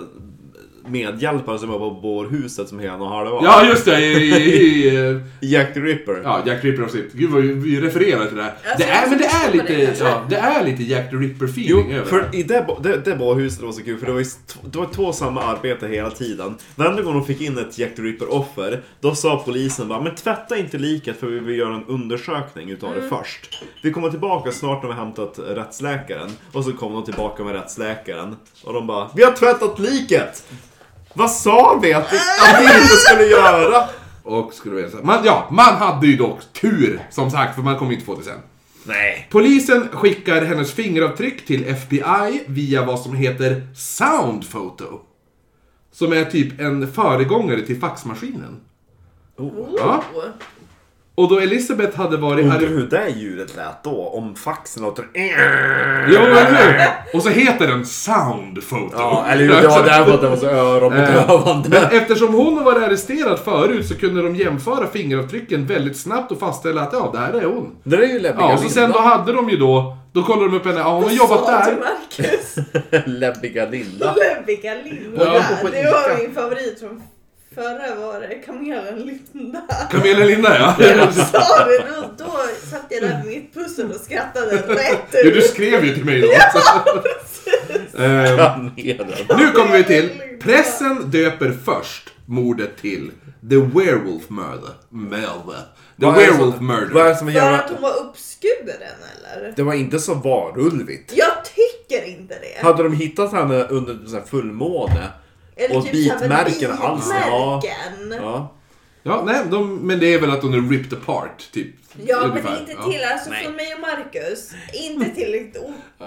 Speaker 3: medhjälpare som var på bårhuset som hela och halva.
Speaker 2: Ja, just det! I, i, i, eh,
Speaker 3: Jack the Ripper.
Speaker 2: ja, Jack the Ripper avsnitt. Gud vad vi- vi refererar till det här.
Speaker 1: Jag
Speaker 2: Det
Speaker 1: ser
Speaker 2: är, men det är
Speaker 1: också på det,
Speaker 2: lite,
Speaker 1: kanske.
Speaker 2: ja, det är lite Jack the Ripper-feeling
Speaker 3: Jo,
Speaker 2: över
Speaker 3: för
Speaker 2: det.
Speaker 3: i det, bo- det, det bårhuset var så kul för det var, ju st- det var två samma arbete hela tiden. Varenda gång de fick in ett Jack the Ripper-offer, då sa polisen bara men tvätta inte liket för vi vill göra en undersökning utav det först. Vi kommer tillbaka snart när vi har hämtat rättsläkaren. Och så kom de tillbaka med rättsläkaren och de bara vi har tvättat liket! Vad sa vi att vi, att vi inte skulle göra?
Speaker 2: Och skulle vi säga. Man, ja, man hade ju dock tur, som sagt, för man kommer inte få det sen.
Speaker 3: Nej.
Speaker 2: Polisen skickar hennes fingeravtryck till FBI via vad som heter Sound Photo. Som är typ en föregångare till faxmaskinen. Ja.
Speaker 1: Oh.
Speaker 2: Och då Elisabeth hade varit
Speaker 3: Undrar
Speaker 2: här...
Speaker 3: hur det ljudet lät då, om faxen låter...
Speaker 2: Jo, eller hur? Och så heter den Sound Photo.
Speaker 3: Ja, eller hur? Det var därför att det var så öronbedövande.
Speaker 2: Men eftersom hon var arresterad förut så kunde de jämföra fingeravtrycken väldigt snabbt och fastställa att ja, där är hon.
Speaker 3: Det är ju läbbiga
Speaker 2: Ja, och så sen då hade de ju då... Då kollade de upp henne, ja hon har jobbat
Speaker 1: Sa du,
Speaker 2: där.
Speaker 1: Marcus?
Speaker 3: [LAUGHS] läbbiga Linda.
Speaker 1: Läbbiga Linda.
Speaker 2: Ja, jag
Speaker 3: går på
Speaker 1: det var
Speaker 3: Ica.
Speaker 1: min favorit från förra var det kamelen Linda.
Speaker 2: Camilla Linda ja.
Speaker 1: Sa du då, då satt jag där med mitt pussel och skrattade rätt
Speaker 2: Ja,
Speaker 1: ut.
Speaker 2: du skrev ju till mig då. Ehm, nu kommer vi till pressen döper först mordet till The Werewolf Murder. Murder. The
Speaker 3: Vad är det som-
Speaker 2: Werewolf
Speaker 3: Vad är
Speaker 2: Murder.
Speaker 3: det som är
Speaker 1: För att
Speaker 3: jävla...
Speaker 1: hon var uppskuren eller?
Speaker 3: Det var inte så varulvigt.
Speaker 1: Jag tycker inte det.
Speaker 3: Hade de hittat henne under typ så här fullmåne? och
Speaker 1: typ så här med
Speaker 3: bitmärken och allt sånt. Ja.
Speaker 1: bitmärken. Ja,
Speaker 3: Ja.
Speaker 2: Ja, nej, de, men det är väl att hon är ripped apart, typ.
Speaker 1: men
Speaker 2: ungefär.
Speaker 1: inte
Speaker 2: Ja.
Speaker 1: till, alltså
Speaker 3: Nej.
Speaker 1: från mig och Marcus, inte tillräckligt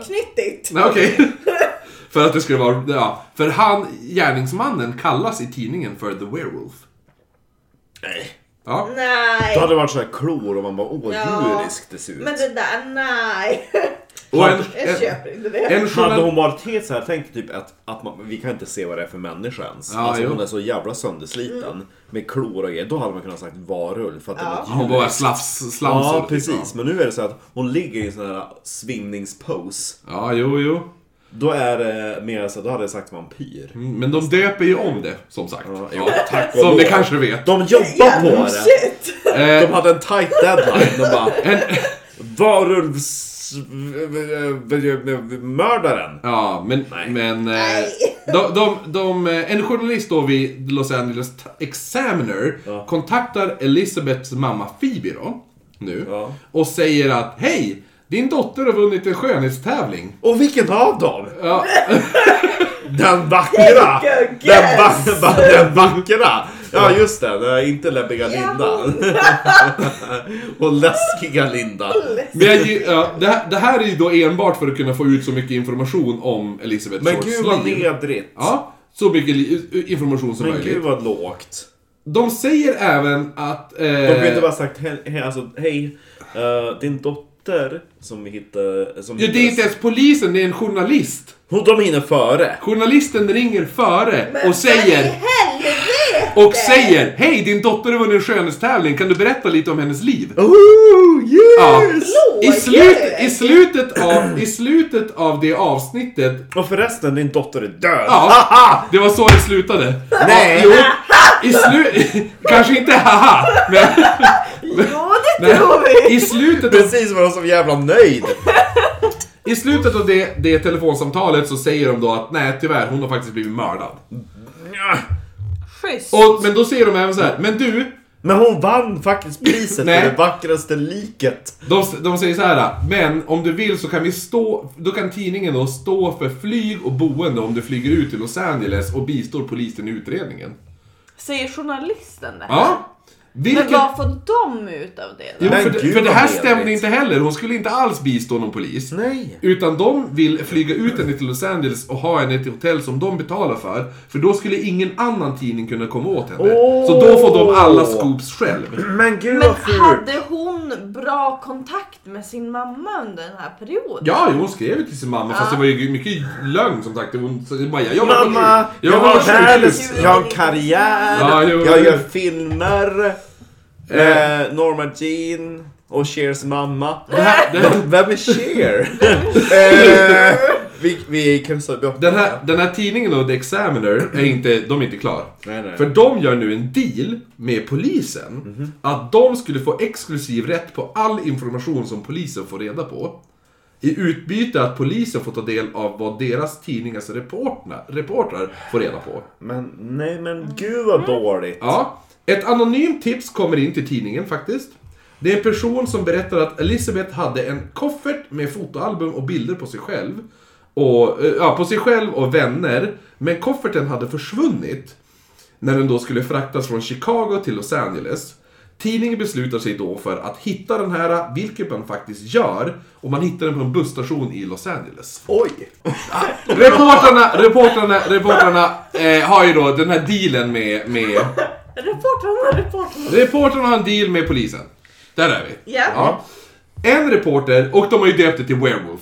Speaker 1: oknyttigt.
Speaker 2: Nej, okej. [LAUGHS] för att det skulle vara... Ja. För han, gärningsmannen, kallas i tidningen för The Werewolf.
Speaker 3: Nej.
Speaker 2: Ja.
Speaker 1: Nej.
Speaker 3: Då hade det varit så här klor och man bara åh,
Speaker 1: Ja.
Speaker 3: djuriskt det ser ut.
Speaker 1: Men det där, nej.
Speaker 2: Och en,
Speaker 1: Jag
Speaker 2: en,
Speaker 1: köper inte det.
Speaker 2: en
Speaker 3: Hade
Speaker 2: journal...
Speaker 3: hon varit helt så här, tänk typ att, att man, vi kan inte se vad det är för människa ens.
Speaker 2: Ja,
Speaker 3: alltså
Speaker 2: jo.
Speaker 3: hon är så jävla söndersliten med klor och grejer. Då hade man kunnat sagt varulv för att det
Speaker 1: Mm. Ja.
Speaker 3: var ett
Speaker 2: Hon
Speaker 3: djur.
Speaker 2: bara slafs, slamsor.
Speaker 3: Ja,
Speaker 2: typ.
Speaker 3: precis. Men nu är det så att hon ligger i en sån här svimningspose.
Speaker 2: Ja, jo, jo.
Speaker 3: Då är det mer så, då hade jag sagt vampyr.
Speaker 2: Mm, Men de döper ju om det, som sagt.
Speaker 3: Ja, jo,
Speaker 2: Ja.
Speaker 3: tack och
Speaker 2: Som
Speaker 3: lov.
Speaker 2: ni kanske vet.
Speaker 3: De jobbar på
Speaker 1: Jävla
Speaker 3: det!
Speaker 1: shit.
Speaker 2: Eh,
Speaker 3: De hade en tight deadline. De bara
Speaker 2: en, [LAUGHS]
Speaker 3: Varulvs... eh, mördaren.
Speaker 2: ja, men...
Speaker 3: Nej.
Speaker 2: men eh,
Speaker 1: Nej.
Speaker 2: de, de, de, eh, en journalist då vid Los Angeles Examiner
Speaker 3: Ja.
Speaker 2: kontaktar Elizabeths mamma Phoebe då, nu,
Speaker 3: Ja.
Speaker 2: och säger att Hej! Din dotter har vunnit en skönhetstävling.
Speaker 3: Och vilken av dem?
Speaker 2: Ja,
Speaker 3: [LAUGHS] Den vackra!
Speaker 1: Vilken
Speaker 3: Den, va- [LAUGHS] va- den vackra! Ja just det, det är inte läbbiga
Speaker 1: Ja.
Speaker 3: Linda. Och läskiga Linda.
Speaker 2: men jag, gi- ja, det, här, det här är ju då enbart för att kunna få ut så mycket information om Elizabeth
Speaker 3: Men
Speaker 2: Shorts
Speaker 3: gud vad
Speaker 2: liv.
Speaker 3: nedrigt.
Speaker 2: Ja, så mycket li- information som
Speaker 3: Men
Speaker 2: möjligt.
Speaker 3: gud vad lågt.
Speaker 2: De säger även att... Eh,
Speaker 3: De kunde inte bara sagt hej, hej, alltså, hej eh, din dotter som vi hittade... Som
Speaker 2: Ja, det är inte ens polisen, det är en journalist.
Speaker 3: Hon, de hinner före.
Speaker 2: Journalisten ringer före
Speaker 1: Men
Speaker 2: och
Speaker 1: vad i
Speaker 2: säger...
Speaker 1: helvete!
Speaker 2: Och säger Hej, din dotter har vunnit en skönhetstävling, kan du berätta lite om hennes liv?
Speaker 3: Oh,
Speaker 2: Ja.
Speaker 3: yes!
Speaker 2: I,
Speaker 1: Låg!
Speaker 2: slut, i, slutet av, I slutet av det avsnittet...
Speaker 3: Och förresten, din dotter är död.
Speaker 2: Ja, det var så det slutade.
Speaker 3: Nej.
Speaker 2: Ja, jo, I slut... [LAUGHS] Kanske inte haha,
Speaker 3: [LAUGHS]
Speaker 2: men...
Speaker 1: Ja, det
Speaker 2: men
Speaker 1: tror vi!
Speaker 2: I slutet av
Speaker 3: Precis var hon så jävla nöjd.
Speaker 2: I slutet av det, det telefonsamtalet så säger de då att nej tyvärr, hon har faktiskt blivit mördad.
Speaker 1: Schysst.
Speaker 2: Och, men då säger de även så här, men du,
Speaker 3: Men hon vann faktiskt priset
Speaker 2: Nej.
Speaker 3: för det vackraste liket.
Speaker 2: de, de säger så här, men om du vill så kan vi stå, då kan tidningen då stå för flyg och boende om du flyger ut till Los Angeles och bistår polisen i utredningen.
Speaker 1: Säger journalisten det här?
Speaker 2: Ja. Vilket...
Speaker 1: Men vad får de ut av det då?
Speaker 2: Jo,
Speaker 3: Men
Speaker 2: för, det-
Speaker 3: gud,
Speaker 2: för det här
Speaker 3: vad
Speaker 2: stämde
Speaker 3: trevligt.
Speaker 2: inte heller, hon skulle inte alls bistå någon polis.
Speaker 3: Nej.
Speaker 2: Utan de vill flyga ut henne till Los Angeles och ha henne till hotell som de betalar för. För då skulle ingen annan tidning kunna komma åt henne.
Speaker 3: Åh!
Speaker 2: Så då får de alla scoops själv.
Speaker 3: Men gud
Speaker 1: Men
Speaker 3: vad fult.
Speaker 1: hade hon bra kontakt med sin mamma under den här perioden?
Speaker 2: Ja, jo, hon skrev ju till sin mamma fast det var ju mycket lögn som sagt. Hon sa bara jag jobbar
Speaker 3: Mamma,
Speaker 2: på
Speaker 3: jag
Speaker 2: jobbar på
Speaker 3: har världens...
Speaker 2: sjukhus."
Speaker 3: Jag har en karriär.
Speaker 2: Ja, jo,
Speaker 3: jag
Speaker 2: jo.
Speaker 3: gör filmer. Eh, Norma Jean och Cheers mamma. [LAUGHS]
Speaker 2: [LAUGHS] Det här, det här,
Speaker 3: Vem är Cher? eh, Vi, vi kryssar bort
Speaker 2: Den här, den här tidningen då, The Examiner, är inte, de är inte klar.
Speaker 3: Mm. Nej, nej. Mhm.
Speaker 2: För de gör nu en deal med polisen. Att de skulle få exklusiv rätt på all information som polisen får reda på. I utbyte att polisen får ta del av vad deras tidningars reportrar, reportrar får reda på.
Speaker 3: Men nej men gud vad dåligt.
Speaker 2: Ja. Ett anonymt tips kommer in till tidningen faktiskt. Det är en person som berättar att Elizabeth hade en koffert med fotoalbum och bilder på sig själv. Och, eh, ja, på sig själv och vänner. Men kofferten hade försvunnit. När den då skulle fraktas från Chicago till Los Angeles. Tidningen beslutar sig då för att hitta den här, vilket man faktiskt gör. Och man hittar den på en busstation i Los Angeles.
Speaker 3: Oj!
Speaker 2: [LAUGHS] Reportrarna, reportrarna, reportrarna eh, har ju då den här dealen med, med
Speaker 1: Reportrarna, reportrarna.
Speaker 2: Reportern har en deal med polisen. Där är vi.
Speaker 1: Ja.
Speaker 2: En reporter, och de har ju döpt det till Werewolf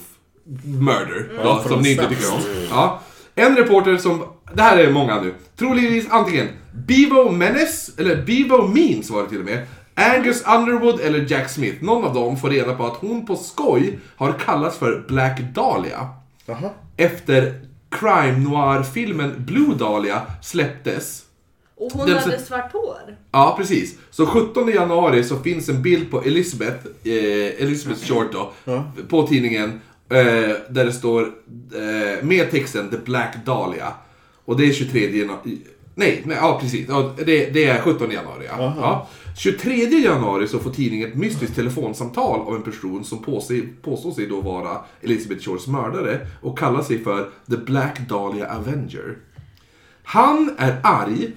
Speaker 2: Murder, då, som ni inte tycker om. Ja. En reporter som, det här är många nu, troligtvis antingen Bevo Menes, eller Bevo Means var det till och med, Angus Underwood eller Jack Smith. Någon av dem får reda på att hon på skoj har kallats för Black Dahlia.
Speaker 3: Jaha.
Speaker 2: Efter crime noir-filmen Blue Dahlia släpptes
Speaker 1: Och hon
Speaker 2: Den-
Speaker 1: hade svart hår.
Speaker 2: Ja, precis. Så 17 januari så finns en bild på Elizabeth, eh, Elizabeth Short då, på tidningen. Eh, där det står eh, med texten The Black Dahlia. Och det är 23 januari. Nej, nej, ja precis. Ja, det, det är 17 januari. Ja. Ja. 23 januari så får tidningen ett mystiskt telefonsamtal av en person som påstår, påstår sig då vara Elizabeth Shorts mördare och kallar sig för The Black Dahlia Avenger. Han är arg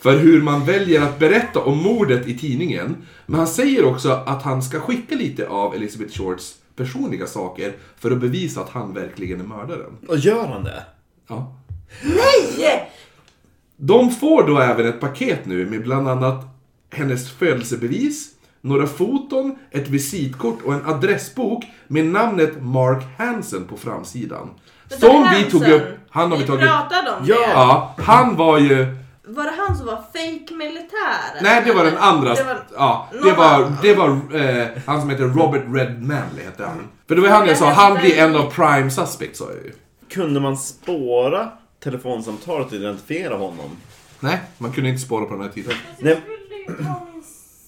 Speaker 2: för hur man väljer att berätta om mordet i tidningen. Men han säger också att han ska skicka lite av Elizabeth Shorts personliga saker för att bevisa att han verkligen är mördaren.
Speaker 3: Och gör han det?
Speaker 2: Ja.
Speaker 1: Nej!
Speaker 2: De får då även ett paket nu med bland annat hennes födelsebevis, några foton, ett visitkort och en adressbok med namnet Mark Hansen på framsidan.
Speaker 1: Men
Speaker 2: Som
Speaker 1: den här
Speaker 2: vi tog
Speaker 1: sen,
Speaker 2: upp, han har vi tagit upp.
Speaker 1: pratade om det.
Speaker 2: Ja, han var ju...
Speaker 1: Var det han som var fake militär?
Speaker 2: Nej, det var den andra.
Speaker 1: Det var-
Speaker 2: Ja, det
Speaker 1: någon
Speaker 2: var,
Speaker 1: annan.
Speaker 2: det var eh, han som heter Robert Red Manley, hette han. För det var han jag sa, han blir en av prime suspects sa jag ju.
Speaker 3: Kunde man spåra telefonsamtalet och identifiera honom?
Speaker 2: Nej, man kunde inte spara på den här tiden.
Speaker 3: Nej,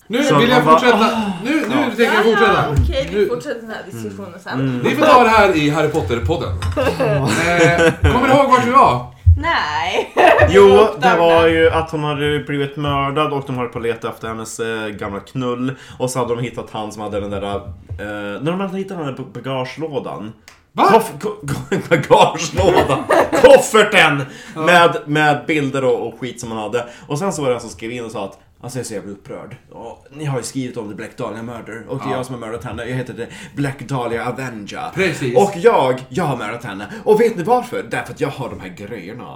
Speaker 2: Nu
Speaker 4: Så
Speaker 2: vill jag
Speaker 4: man bara,
Speaker 2: fortsätta. Nu, nu tänker jag
Speaker 1: Ja,
Speaker 2: fortsätta.
Speaker 1: ja, okej, vi
Speaker 2: Nu-
Speaker 1: fortsätter den här diskussionen sen.
Speaker 2: Ni får ta det här i Harry
Speaker 1: [LAUGHS]
Speaker 2: Potter-podden. Eh, kommer du ihåg vart vi var?
Speaker 1: Nej.
Speaker 2: [LAUGHS]
Speaker 4: Jo,
Speaker 1: Upptagna.
Speaker 4: det var ju att hon hade blivit mördad och de var på att leta efter hennes eh, gamla knull. Och så hade de hittat han som hade den där... Eh, när de hade hittat han på bagagelådan.
Speaker 2: Va?
Speaker 4: Koff, ko, ko, [LAUGHS]
Speaker 2: [LAUGHS]
Speaker 4: bagagelådan! Kofferten! Med, med bilder och, och skit som han hade. Och sen så var det en som skrev in och sa att Alltså jag är så jävla upprörd. Ja, ni har ju skrivit om The Black Dahlia Murder och det är jag som har mördat henne. Jag heter The Black Dahlia Avenger.
Speaker 2: Precis.
Speaker 4: Och jag, jag har mördat henne. Och vet ni varför? Därför att jag har de här grejerna.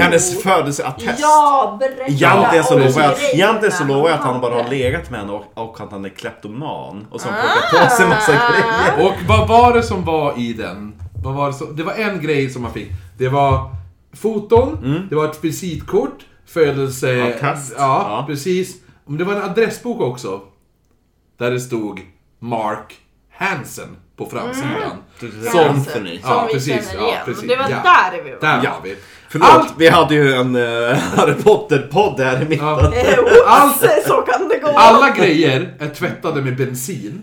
Speaker 4: Hennes födelseattest.
Speaker 1: Ja, berätta
Speaker 4: Egentligen så,
Speaker 1: om
Speaker 4: lovar jag,
Speaker 1: grejerna
Speaker 4: egentligen så lovar jag att han bara har
Speaker 1: hade.
Speaker 4: legat med henne och, och att han är kleptoman. Och så har han plockat på sig massa grejer.
Speaker 2: Och vad var det som var i den? Vad var det, som, det var en grej som man fick. Det var foton, det var ett visitkort, födelse...
Speaker 4: Attest.
Speaker 2: Mm. Ja,
Speaker 4: Ja.
Speaker 2: precis. Men det var en adressbok också. Där det stod Mark Hansen på framsidan. Som...
Speaker 1: Mm. Som vi
Speaker 2: Ja,
Speaker 1: känner
Speaker 2: precis, ja,
Speaker 1: igen.
Speaker 2: precis,
Speaker 1: Det var
Speaker 2: ja.
Speaker 1: där vi var.
Speaker 2: Där
Speaker 4: Ja.
Speaker 2: var vi.
Speaker 4: Förlåt,
Speaker 2: Allt-
Speaker 4: vi hade ju en eh, [LAUGHS] Harry Potter-podd här i mitten.
Speaker 2: Ja.
Speaker 1: Eh, [LAUGHS]
Speaker 2: Allt-
Speaker 1: Oops, så kan det gå.
Speaker 2: Alla grejer är tvättade med bensin.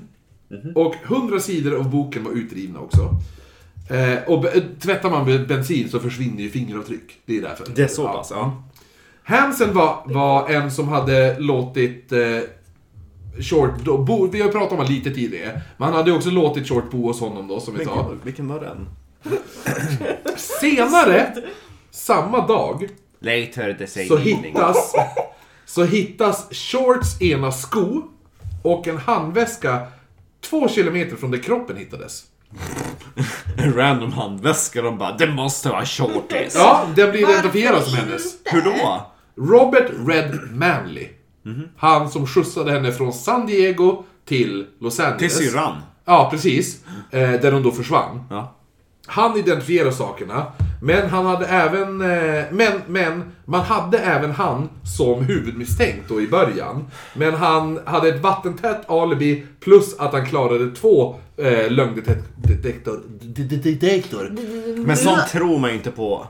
Speaker 2: Och 100 sidor av boken var utrivna också. Eh, och be- tvättar man med bensin så försvinner ju fingeravtryck. Det är därför.
Speaker 4: Det är så
Speaker 2: Ja.
Speaker 4: pass, ja.
Speaker 2: Hansen var, var en som hade låtit eh, Short då, bo, vi har ju pratat om honom lite tidigare. Men han hade ju också låtit Short bo hos honom då som vi
Speaker 4: Vilken,
Speaker 2: sa.
Speaker 4: var- vilken var den?
Speaker 2: Senare, samma dag,
Speaker 4: Later the same
Speaker 2: så hittas, så hittas Shorts ena sko och en handväska två kilometer från där kroppen hittades.
Speaker 4: En random handväska de bara, det måste vara shorties.
Speaker 2: Ja, den blir
Speaker 1: Varför
Speaker 2: identifierad som hennes.
Speaker 1: inte?
Speaker 4: Hur då?
Speaker 2: Robert Red Manley. Han som skjutsade henne från San Diego till Los
Speaker 4: Till
Speaker 2: Angeles.
Speaker 4: syrran.
Speaker 2: Ja, precis. Eh, där hon då försvann.
Speaker 4: Ja.
Speaker 2: Han identifierar sakerna, men han hade även... eh, Men, men man hade även han som huvudmisstänkt då i början. Men han hade ett vattentätt alibi plus att han klarade två eh, lögndetektor... de- de- Detektor.
Speaker 3: Men sånt
Speaker 1: Okej,
Speaker 3: tror man ju inte på.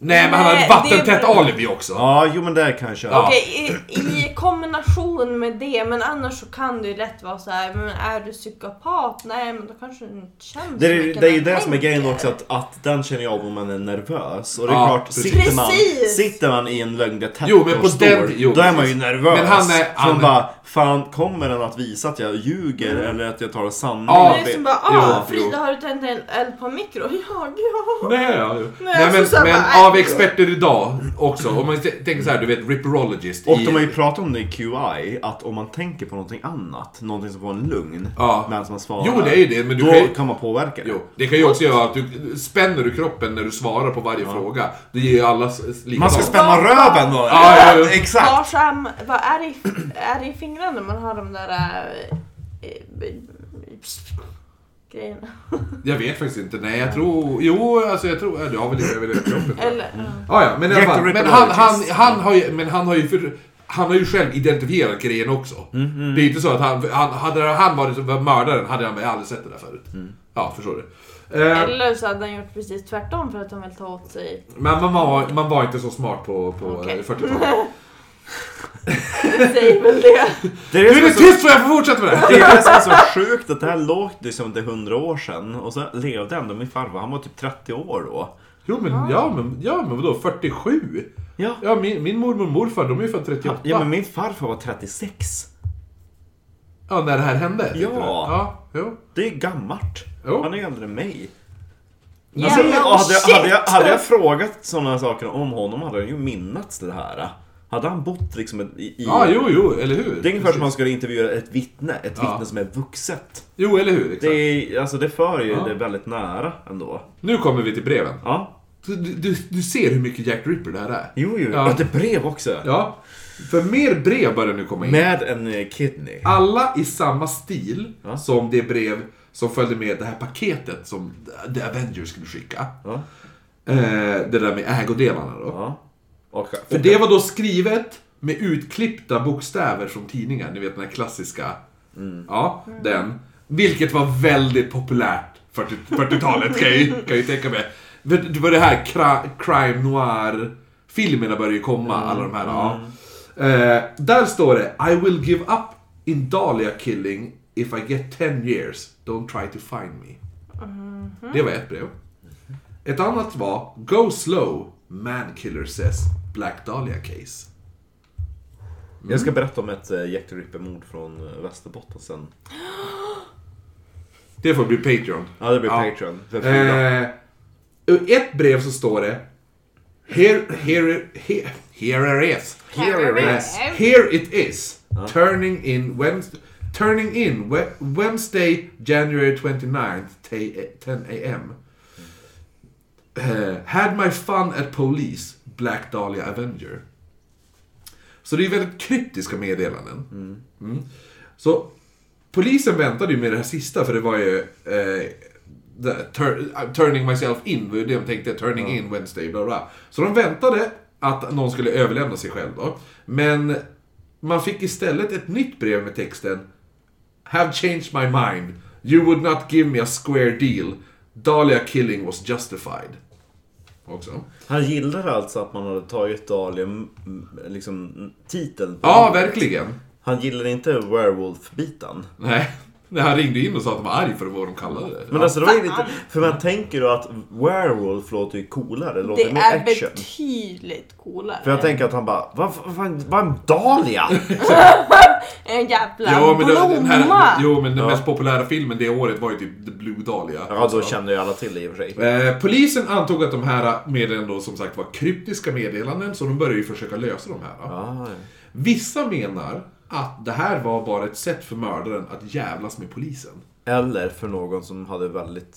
Speaker 2: Nej, men han hade
Speaker 1: Nej,
Speaker 2: ett
Speaker 1: det är
Speaker 2: vattentätt
Speaker 1: bra.
Speaker 2: alibi också.
Speaker 3: Ja, jo men det kan jag köra.
Speaker 2: Ja.
Speaker 1: i, i kombination med det, men annars så kan det ju lätt vara så här, men är du psykopat? Nej, men då kanske du inte känns
Speaker 3: Det
Speaker 1: så
Speaker 3: är,
Speaker 1: mycket
Speaker 3: det är ju
Speaker 1: när
Speaker 3: det
Speaker 1: jag
Speaker 3: som är grejen
Speaker 1: tänker.
Speaker 3: också, att, att den känner jag av om man är nervös. Och det är
Speaker 2: Ja,
Speaker 3: klart,
Speaker 2: precis.
Speaker 3: sitter man,
Speaker 1: Precis.
Speaker 3: sitter man i en lögndetektor
Speaker 2: Jo, men på
Speaker 3: stor,
Speaker 2: den- jo,
Speaker 3: då är man ju
Speaker 2: precis.
Speaker 3: nervös.
Speaker 2: Men han är-
Speaker 3: För
Speaker 2: han
Speaker 3: man
Speaker 2: är- Mm.
Speaker 3: bara, fan kommer den att visa att jag ljuger eller att jag talar sanning?
Speaker 2: Ja,
Speaker 1: Det är som bara, ah,
Speaker 2: Jo,
Speaker 1: Frida
Speaker 2: jo.
Speaker 1: har du tänt en eld på mikro? [LAUGHS] Ja, ja.
Speaker 2: Nej, ja, ja.
Speaker 1: Nej,
Speaker 2: Nej,
Speaker 1: alltså, så här
Speaker 2: men, men
Speaker 1: bara,
Speaker 2: av
Speaker 1: äh,
Speaker 2: experter idag också. Om man t- tänker så här, du vet, ripperologist.
Speaker 3: Och
Speaker 2: i-
Speaker 3: de har ju pratat om det i QI, att om man tänker på någonting annat, någonting som får en lugn,
Speaker 2: Ja.
Speaker 3: medan man svarar.
Speaker 2: Jo, det är ju det, men du
Speaker 3: då
Speaker 2: kan ju-
Speaker 3: kan man påverka det.
Speaker 2: Jo, det kan ju också göra att du spänner du kroppen när du svarar på varje fråga. Det ger ju alla s- s- likadant.
Speaker 3: Man ska spänna
Speaker 1: Ja.
Speaker 3: röven då!
Speaker 2: Ja, ja, ja.
Speaker 3: [LAUGHS] Exakt!
Speaker 1: Vars är, vad är, det i, är det i fingrarna man har de där äh, grejerna?
Speaker 2: Jag vet faktiskt inte. Nej, jag tror... Jo, alltså jag tror... ja, Du har väl inte över kroppen? tror jag.
Speaker 1: Eller,
Speaker 2: Ja, ja, men i alla fall. Men han, han,
Speaker 3: Rectorologist.
Speaker 2: han har ju... Men han har ju för, han har ju själv identifierat grejen också.
Speaker 3: Mm-hmm.
Speaker 2: Det är ju inte så att han, han... Hade han varit mördaren hade han väl aldrig sett det där förut.
Speaker 3: Mm.
Speaker 2: Ja, förstår du. Eh,
Speaker 1: eller så hade han gjort precis tvärtom för att han vill ta åt sig. [LAUGHS]
Speaker 2: men man var, man var inte så smart på, på
Speaker 1: Okej.
Speaker 2: eh, 40-talet.
Speaker 1: [LAUGHS] Det säger väl det.
Speaker 3: Det
Speaker 2: Nu
Speaker 3: är
Speaker 2: är
Speaker 3: som är
Speaker 2: det
Speaker 3: så-
Speaker 2: tyst så jag får fortsätta med det här!
Speaker 3: Det är det som är
Speaker 2: [LAUGHS]
Speaker 3: så sjukt att det här låter ju som att det är 100 år sedan och så levde ändå min farfar, han var typ 30 år då.
Speaker 2: Jo men, ja men, ja, men vadå 47?
Speaker 3: Ja.
Speaker 2: Ja, min, min mormor och morfar, de är ju född 38.
Speaker 3: Ja men min farfar var 36.
Speaker 2: Ja, när det här hände? tänkte
Speaker 3: Ja.
Speaker 2: du? Ja, jo.
Speaker 3: Det är gammalt.
Speaker 2: Jo.
Speaker 3: Han är ju äldre än mig.
Speaker 1: Jävlar,
Speaker 3: och Alltså, hade, jag,
Speaker 1: shit!
Speaker 3: hade, jag, hade jag frågat sådana saker om honom hade jag ju minnats det här. Hade han bott liksom i... i
Speaker 2: Ja, jo, jo, eller hur?
Speaker 3: Det är ungefär som man
Speaker 2: Precis.
Speaker 3: skulle intervjua ett vittne, ett
Speaker 2: Ja.
Speaker 3: vittne som är vuxet.
Speaker 2: Jo, eller hur? Exakt.
Speaker 3: Det, är, alltså, det för ju
Speaker 2: Ja.
Speaker 3: det väldigt nära ändå.
Speaker 2: Nu kommer vi till breven.
Speaker 3: Ja.
Speaker 2: Du, du, du ser hur mycket Jack Ripper det här är?
Speaker 3: Jo, jo.
Speaker 2: Ja.
Speaker 3: Ja. det brev också.
Speaker 2: Ja. För mer brev börjar nu komma in.
Speaker 3: Med en eh, kidney.
Speaker 2: Alla i samma stil
Speaker 3: Ja.
Speaker 2: som det brev som följde med det här paketet som The Avengers skulle skicka.
Speaker 3: Ja.
Speaker 2: Eh, det där med ägodelarna då.
Speaker 3: Ja. Och,
Speaker 2: För det var då skrivet med utklippta bokstäver från tidningar, ni vet den här klassiska. Ja, den. Vilket var väldigt populärt 40 40-talet kan, jag ju- kan jag ju tänka mig. För Det var det här cra- crime noir-filmerna började ju komma, alla de här. Ja. Eh, där står det I will give up in Dahlia killing if I get 10 years. Don't try to find me. Det var ett brev. Ett annat var Go slow, Mankiller says Black Dahlia case.
Speaker 3: Jag ska berätta om ett eh, Jack the Ripper-mord från eh, Västerbotten sen.
Speaker 2: Det får bli Patreon.
Speaker 3: Ja, det blir
Speaker 2: Ja.
Speaker 3: Patreon. För fyra.
Speaker 2: Eh, I ett brev så står det Here, here, here, here it is.
Speaker 3: Here it
Speaker 2: Eh, Here it is. Turning in Wednesday, turning in we- Wednesday, January 29th, ta- 10 a.m. Eh, had my fun at police, Black Dahlia Avenger. Så det är väldigt kryptiska meddelanden. Mm. Så polisen väntade ju med det här sista för det var ju eh, the, tur, I'm turning myself in, var ju det de tänkte, turning in Wednesday, bla bla. Så de väntade att någon skulle överlämna sig själv då. Men man fick istället ett nytt brev med texten Have changed my mind. You would not give me a square deal. Dahlia killing was justified. Också.
Speaker 3: Han gillade alltså att man hade tagit Dahlia, m- m- liksom titeln. på-
Speaker 2: Ja, verkligen.
Speaker 3: Han gillade inte werewolf-biten.
Speaker 2: Nej, [LAUGHS] när han ringde in och sa att han var arg för vad de kallade det.
Speaker 3: Men alltså det var ju lite, för man tänker då att werewolf låter ju coolare, låter
Speaker 1: Det
Speaker 3: mer
Speaker 1: är
Speaker 3: action.
Speaker 1: betydligt coolare.
Speaker 3: För jag tänker att han bara, vad vad fan, vad är en
Speaker 1: [LAUGHS]
Speaker 3: dahlia?
Speaker 1: En jävla
Speaker 2: Ja, men det,
Speaker 1: blomma!
Speaker 2: den här, jo, men den
Speaker 3: Ja.
Speaker 2: mest populära filmen det året var ju typ The Blue Dahlia.
Speaker 3: Ja, alltså,
Speaker 1: Alltså.
Speaker 3: då kände ju alla till det i och för sig.
Speaker 2: Eh, polisen antog att de här meddelandena då som sagt var kryptiska meddelanden, så de började ju försöka lösa de här. Då.
Speaker 3: Ja,
Speaker 2: Vissa menar att det här var bara ett sätt för mördaren att jävlas med polisen.
Speaker 3: Eller för någon som hade väldigt,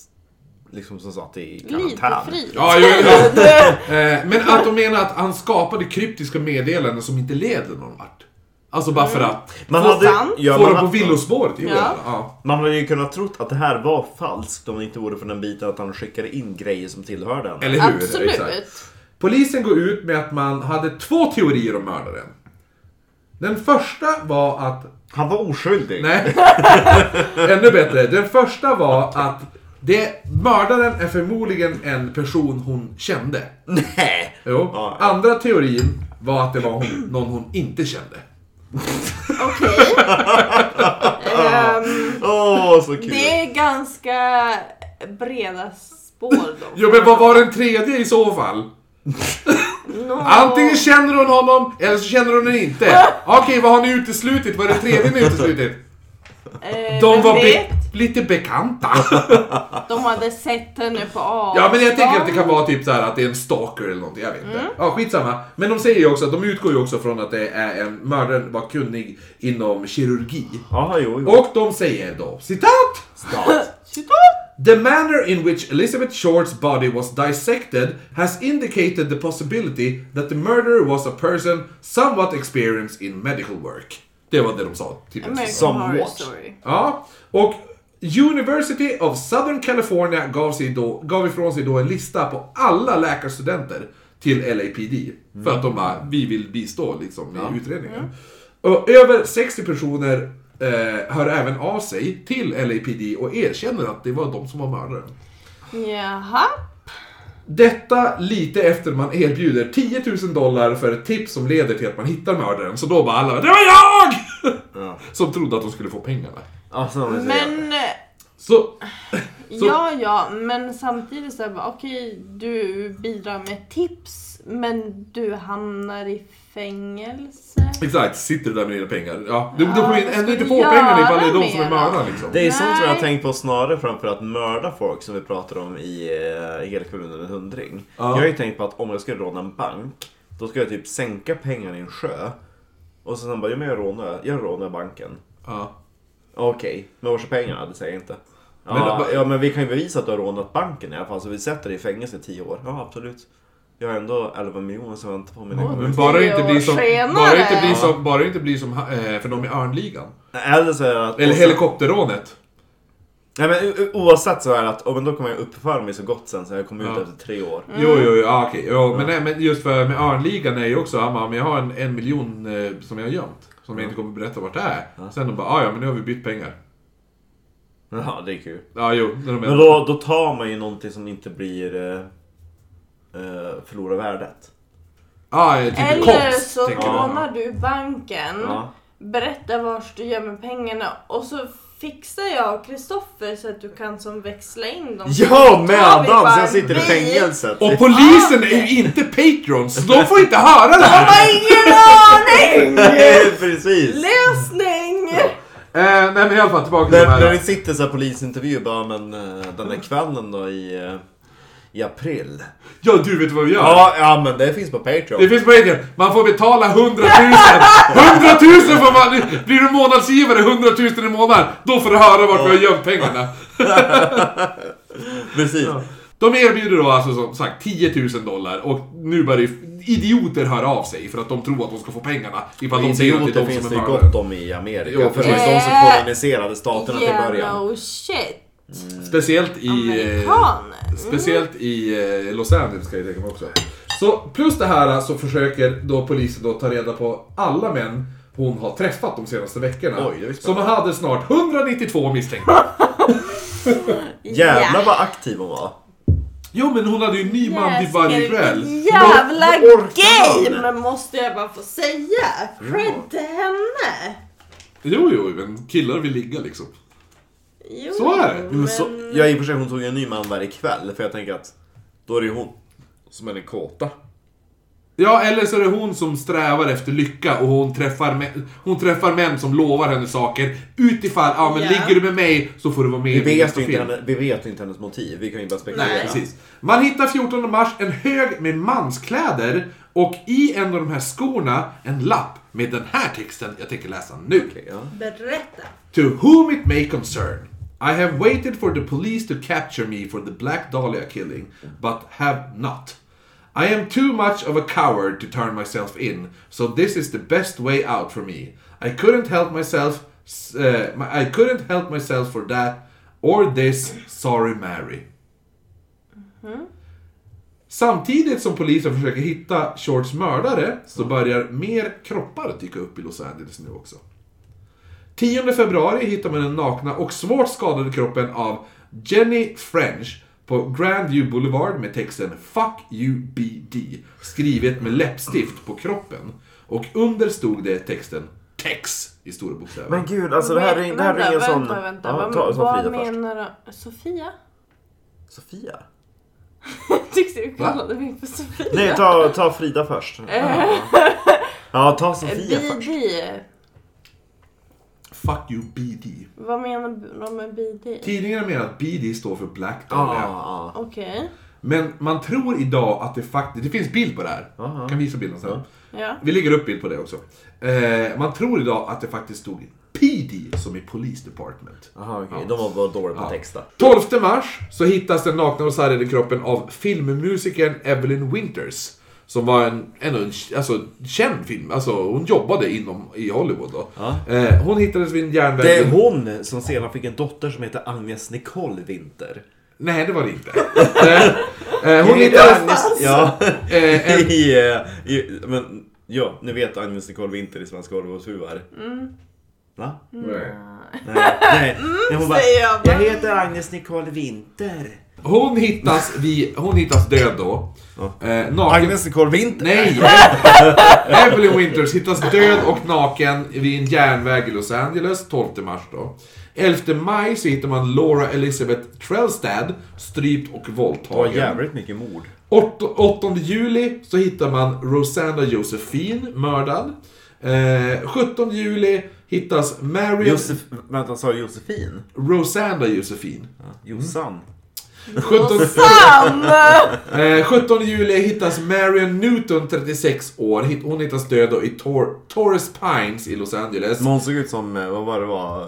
Speaker 3: liksom som satt i
Speaker 1: Lite
Speaker 3: karantän.
Speaker 1: fri.
Speaker 2: [LAUGHS] Ja, jo, jo. Eh, Men att de menar att han skapade kryptiska meddelanden som inte leder någon vart. Alltså bara för att.
Speaker 3: Man
Speaker 1: Få
Speaker 3: hade,
Speaker 1: fan.
Speaker 3: ja,
Speaker 2: få
Speaker 3: man,
Speaker 2: dem på
Speaker 3: hade-
Speaker 2: villospår typ.
Speaker 1: Ja.
Speaker 2: Ja.
Speaker 3: man hade ju kunnat trott att det här var falskt om det inte vore för den biten att han skickade in grejer som tillhörde henne.
Speaker 2: Eller hur? Exakt.
Speaker 1: Absolut.
Speaker 2: Polisen går ut med att man hade två teorier om mördaren. Den första var att...
Speaker 3: Han var oskyldig.
Speaker 2: Nej. [LAUGHS] Ännu bättre. Den första var att det, mördaren är förmodligen en person hon kände.
Speaker 3: Nej.
Speaker 2: Jo.
Speaker 3: Ja, ja.
Speaker 2: Andra teorin var att det var hon, någon hon inte kände.
Speaker 1: Okej. Ehm,
Speaker 3: Åh, så kul.
Speaker 1: det är ganska breda spår då.
Speaker 2: [LAUGHS] Jo men vad var den tredje i så fall?
Speaker 1: Nå.
Speaker 2: Antingen känner hon honom eller så känner hon henne inte. Okej, vad har ni uteslutit? Vad är det tredje ni uteslutit?
Speaker 1: Eh,
Speaker 2: De
Speaker 1: vem
Speaker 2: var
Speaker 1: vet?
Speaker 2: be- lite bekanta.
Speaker 1: De hade sett henne på avstånd.
Speaker 2: Ja men jag tänker att det kan vara typ så här att det är en stalker eller någonting, jag vet inte. Ja skitsamma. Men de säger ju också att de utgår ju också från att det är en mördaren var kunnig inom kirurgi.
Speaker 3: Jaha, jo, jo.
Speaker 2: Och de säger då, citat! The manner in which Elizabeth Short's body was dissected has indicated the possibility that the murderer was a person somewhat experienced in medical work. Det var det de sa. Typ.
Speaker 1: American
Speaker 3: Somewhat.
Speaker 1: Horror Story.
Speaker 2: Ja, och University of Southern California gav, sig då, gav ifrån sig då en lista på alla läkarstudenter till LAPD. För att de bara, vi vill bistå liksom i utredningen. Och över 60 personer eh, hör även av sig till LAPD och erkänner att det var de som var mördaren.
Speaker 1: Jaha.
Speaker 2: Detta lite efter man erbjuder 10 000 dollar för ett tips som leder till att man hittar mördaren. Så då bara alla, det var jag!
Speaker 3: Ja.
Speaker 2: [LAUGHS] Som trodde att de skulle få pengarna.
Speaker 3: Alltså, men...
Speaker 1: Men, eh,
Speaker 2: Så Så-
Speaker 1: ja ja, men samtidigt så är det bara, okej du bidrar med tips men du hamnar i fängelse.
Speaker 2: Exakt, sitter du där med dina pengar. Ja, du, du
Speaker 1: Ja,
Speaker 2: kommer in,
Speaker 1: vad
Speaker 2: ändå
Speaker 1: ska
Speaker 2: inte
Speaker 1: du
Speaker 2: få
Speaker 1: göra
Speaker 2: pengarna ifall det är de som är
Speaker 1: med
Speaker 2: mördaren
Speaker 1: dem?
Speaker 2: liksom.
Speaker 3: Det är sånt som jag har
Speaker 1: Nej.
Speaker 3: tänkt på snarare framför att mörda folk som vi pratade om i eh, Elkulen under en hundring.
Speaker 2: Ja.
Speaker 3: Jag har ju tänkt på att om jag skulle råna en bank, då ska jag typ sänka pengarna i en sjö. Och sen bara, ja men jag rånar, jag rånar banken.
Speaker 2: Ja.
Speaker 3: Okej, men vars är pengarna? Det säger jag inte. Ja
Speaker 2: Men
Speaker 3: men,
Speaker 2: då-
Speaker 3: ja, men vi kan ju bevisa att du har rånat banken i alla fall, så vi sätter dig i fängelse i tio år. Ja, absolut. Jag har ändå 11 miljoner som väntar på mig.
Speaker 1: Oj.
Speaker 2: Men bara det inte
Speaker 1: Tio
Speaker 2: blir
Speaker 1: år
Speaker 2: som,
Speaker 1: senare.
Speaker 2: bara det inte blir som, bara det inte blir som eh, för de i Örnligan.
Speaker 3: Eller så är det att...
Speaker 2: Eller
Speaker 3: och så-
Speaker 2: helikopterrånet.
Speaker 3: Nej men o- o- oavsett så är det att, oh, men då kommer jag uppföra mig så gott sen så jag kommer
Speaker 2: Ja.
Speaker 3: ut efter tre år.
Speaker 1: Mm.
Speaker 2: Jo, jo, jo, ah, okej. Jo, men, nej, men just för med Örnligan är ju också, han bara, men jag har en, en miljon eh, som jag har gömt. Som jag inte kommer berätta vart det är. Sen de bara, ah, ja men nu har vi bytt pengar.
Speaker 3: Ja, det är kul.
Speaker 2: Ja, jo. när de är-
Speaker 3: Men då, då tar man ju någonting som inte blir... Eh, eh, förlorar värdet.
Speaker 2: ah, jag tycker
Speaker 1: Eller
Speaker 2: konst,
Speaker 1: så
Speaker 2: tänker du.
Speaker 1: rånar du banken,
Speaker 3: Ja.
Speaker 1: berättar vart du gömmer pengarna och så fixar jag Kristoffer så att du kan som växla in dem.
Speaker 3: Ja,
Speaker 1: Tar vi bara
Speaker 3: medans jag sitter i
Speaker 1: en bil?
Speaker 3: fängelset! [LAUGHS]
Speaker 2: Och polisen är
Speaker 1: Ah!
Speaker 2: ju inte patrons, så de får inte höra det
Speaker 1: Jag
Speaker 2: här!
Speaker 1: [LAUGHS] har ingen aning!
Speaker 3: Precis!
Speaker 1: Lösning!
Speaker 2: Eh, nej men i alla fall tillbaka till de
Speaker 3: När, när
Speaker 2: här.
Speaker 3: det sitter så här polisintervju bara men eh, den där kvällen då i, eh, i april.
Speaker 2: Ja, du vet vad vi gör?
Speaker 3: Ja, ja men det finns på Patreon.
Speaker 2: Det finns på Patreon. Man får betala 100 000.
Speaker 3: [LAUGHS]
Speaker 2: 100 000 får man! Blir du månadsgivare 100 000 i månaden, då får du höra vart vi har gömt pengarna.
Speaker 3: Precis.
Speaker 2: De erbjuder då alltså som sagt 10 000 dollar och nu börjar ju idioter höra av sig för att de tror att de ska få pengarna. Ifall de säger att det
Speaker 3: Idioter
Speaker 2: är de
Speaker 3: finns
Speaker 2: som
Speaker 3: det
Speaker 2: är
Speaker 3: ju
Speaker 2: mördare.
Speaker 3: gott om i Amerika.
Speaker 2: Jo,
Speaker 3: för det
Speaker 2: precis.
Speaker 3: är de som
Speaker 1: Eh,
Speaker 3: koloniserade staterna till början.
Speaker 1: Yellow shit.
Speaker 2: Speciellt i... eh,
Speaker 1: Amerikaner.
Speaker 2: Speciellt i eh, Los Angeles kan jag tänka mig också. Så plus det här eh, så försöker då polisen då ta reda på alla män hon har träffat de senaste veckorna.
Speaker 3: Oj, det är
Speaker 2: så
Speaker 3: spännande.
Speaker 2: man hade snart 192 misstänkta.
Speaker 3: Jävlar vad aktiv hon var.
Speaker 2: jo men hon hade ju en ny man till varje kväll.
Speaker 1: Jävla
Speaker 3: Vad orkar man?
Speaker 1: game måste jag bara få säga. Cred till henne.
Speaker 2: Jo jo, men killar vill ligga liksom.
Speaker 1: Jo,
Speaker 2: Så är det.
Speaker 3: Men... Så, ja i och för sig hon tog ju en ny man varje kväll för jag tänker att då är det ju hon som är den kåta.
Speaker 2: Ja, eller så är det hon som strävar efter lycka och hon träffar, mä- hon träffar män som lovar henne saker utifall, ja men
Speaker 1: Ja.
Speaker 2: ligger du med mig så får du vara med
Speaker 3: Vi
Speaker 2: i min
Speaker 3: vet,
Speaker 2: nästa
Speaker 3: ju inte
Speaker 2: film.
Speaker 3: henne, vi vet ju inte hennes motiv, vi kan ju bara spekulera.
Speaker 1: Nej.
Speaker 2: Precis. Man hittar 14 mars en hög med manskläder och i en av de här skorna en lapp med den här texten jag tänker läsa nu.
Speaker 3: Okej, ja.
Speaker 1: Berätta.
Speaker 2: To whom it may concern. I have waited for the police to capture me for the Black Dahlia killing, but have not. I am too much of a coward to turn myself in, so this is the best way out for me. I couldn't help myself. s- Uh, my- I couldn't help myself for that or this. Sorry, Mary. Samtidigt som polisen försöker hitta Shorts mördare så börjar mer kroppar dyka upp i Los Angeles nu också. 10 februari hittar man den nakna och svårt skadade kroppen av Jenny French på Grandview Boulevard med texten Fuck you BD skrivet med läppstift på kroppen. Och under stod det texten TEX i stora bokstäver.
Speaker 5: Men gud, alltså det här är, det här är ingen
Speaker 1: vänta,
Speaker 5: sån...
Speaker 1: Vänta, vänta.
Speaker 5: Ja,
Speaker 1: vad
Speaker 5: ta, ta
Speaker 1: vad
Speaker 5: Frida först.
Speaker 1: menar du? Sofia? [LAUGHS]
Speaker 5: Sofia?
Speaker 1: Tyckte du kallade mig för Sofia?
Speaker 5: Nej, ta, ta Frida först.
Speaker 1: Eh.
Speaker 5: Ja, [LAUGHS] ja ta Sofia först.
Speaker 1: BD.
Speaker 2: Fuck you BD.
Speaker 1: Vad menar de med BD?
Speaker 2: Tidningarna menar att BD står för Black Dahlia.
Speaker 5: Ah,
Speaker 1: Okej.
Speaker 2: Men man tror idag att det faktiskt... Det finns bild på det här. Kan visa bilden sen.
Speaker 1: Ja.
Speaker 2: Vi lägger upp bild på det också. Eh, man tror idag att det faktiskt stod PD som i Police Department.
Speaker 5: aha, okej. De var bara dåliga på att texta.
Speaker 2: 12 mars så hittas den nakna och sargade kroppen av filmmusikern Evelyn Winters. Som var en, en, en alltså, känd film, alltså hon jobbade inom, i Hollywood då. Eh, hon hittades vid en järnväg...
Speaker 5: Det är hon som senare fick en dotter som heter Agnes Nicole Winter.
Speaker 2: Nej, det var det inte. [LAUGHS] Eh, eh, hon hittades...
Speaker 5: Agnes, [LAUGHS] ja,
Speaker 2: Eh, en,
Speaker 5: i, eh, i, men, ja, ni vet Agnes Nicole Winter i Svenska Hollywoodfruar. Mm. Va? Nej,
Speaker 1: [LAUGHS]
Speaker 5: nej. nej hon bara,
Speaker 1: Mm, säger jag bara.
Speaker 5: jag heter Agnes Nicole Winter.
Speaker 2: hon hittas vid, hon hittas död då. Eh, naken...
Speaker 5: Agnes Nicole Winter?
Speaker 2: Nej! Evelyn Winters hittas död och naken vid en järnväg i Los Angeles 12 mars då. 11 maj så hittar man Laura Elizabeth Trellstad strypt och
Speaker 5: Det var
Speaker 2: våldtagen.
Speaker 5: jävligt mycket mord.
Speaker 2: 8, 8 juli så hittar man Rosanna Josephine mördad. Eh, 17 juli hittas Marion...
Speaker 5: Josef, vänta, sa du Josefin?
Speaker 2: Rosanna Josephine.
Speaker 5: Jossan?
Speaker 2: 17,
Speaker 1: Sam!
Speaker 2: Eh, 17 juli hittas Marion Newton, 36 år. Hitt- Hon hittas död då i Tor- Torres Pines i Los Angeles.
Speaker 5: Men hon såg ut som, eh, vad var det var,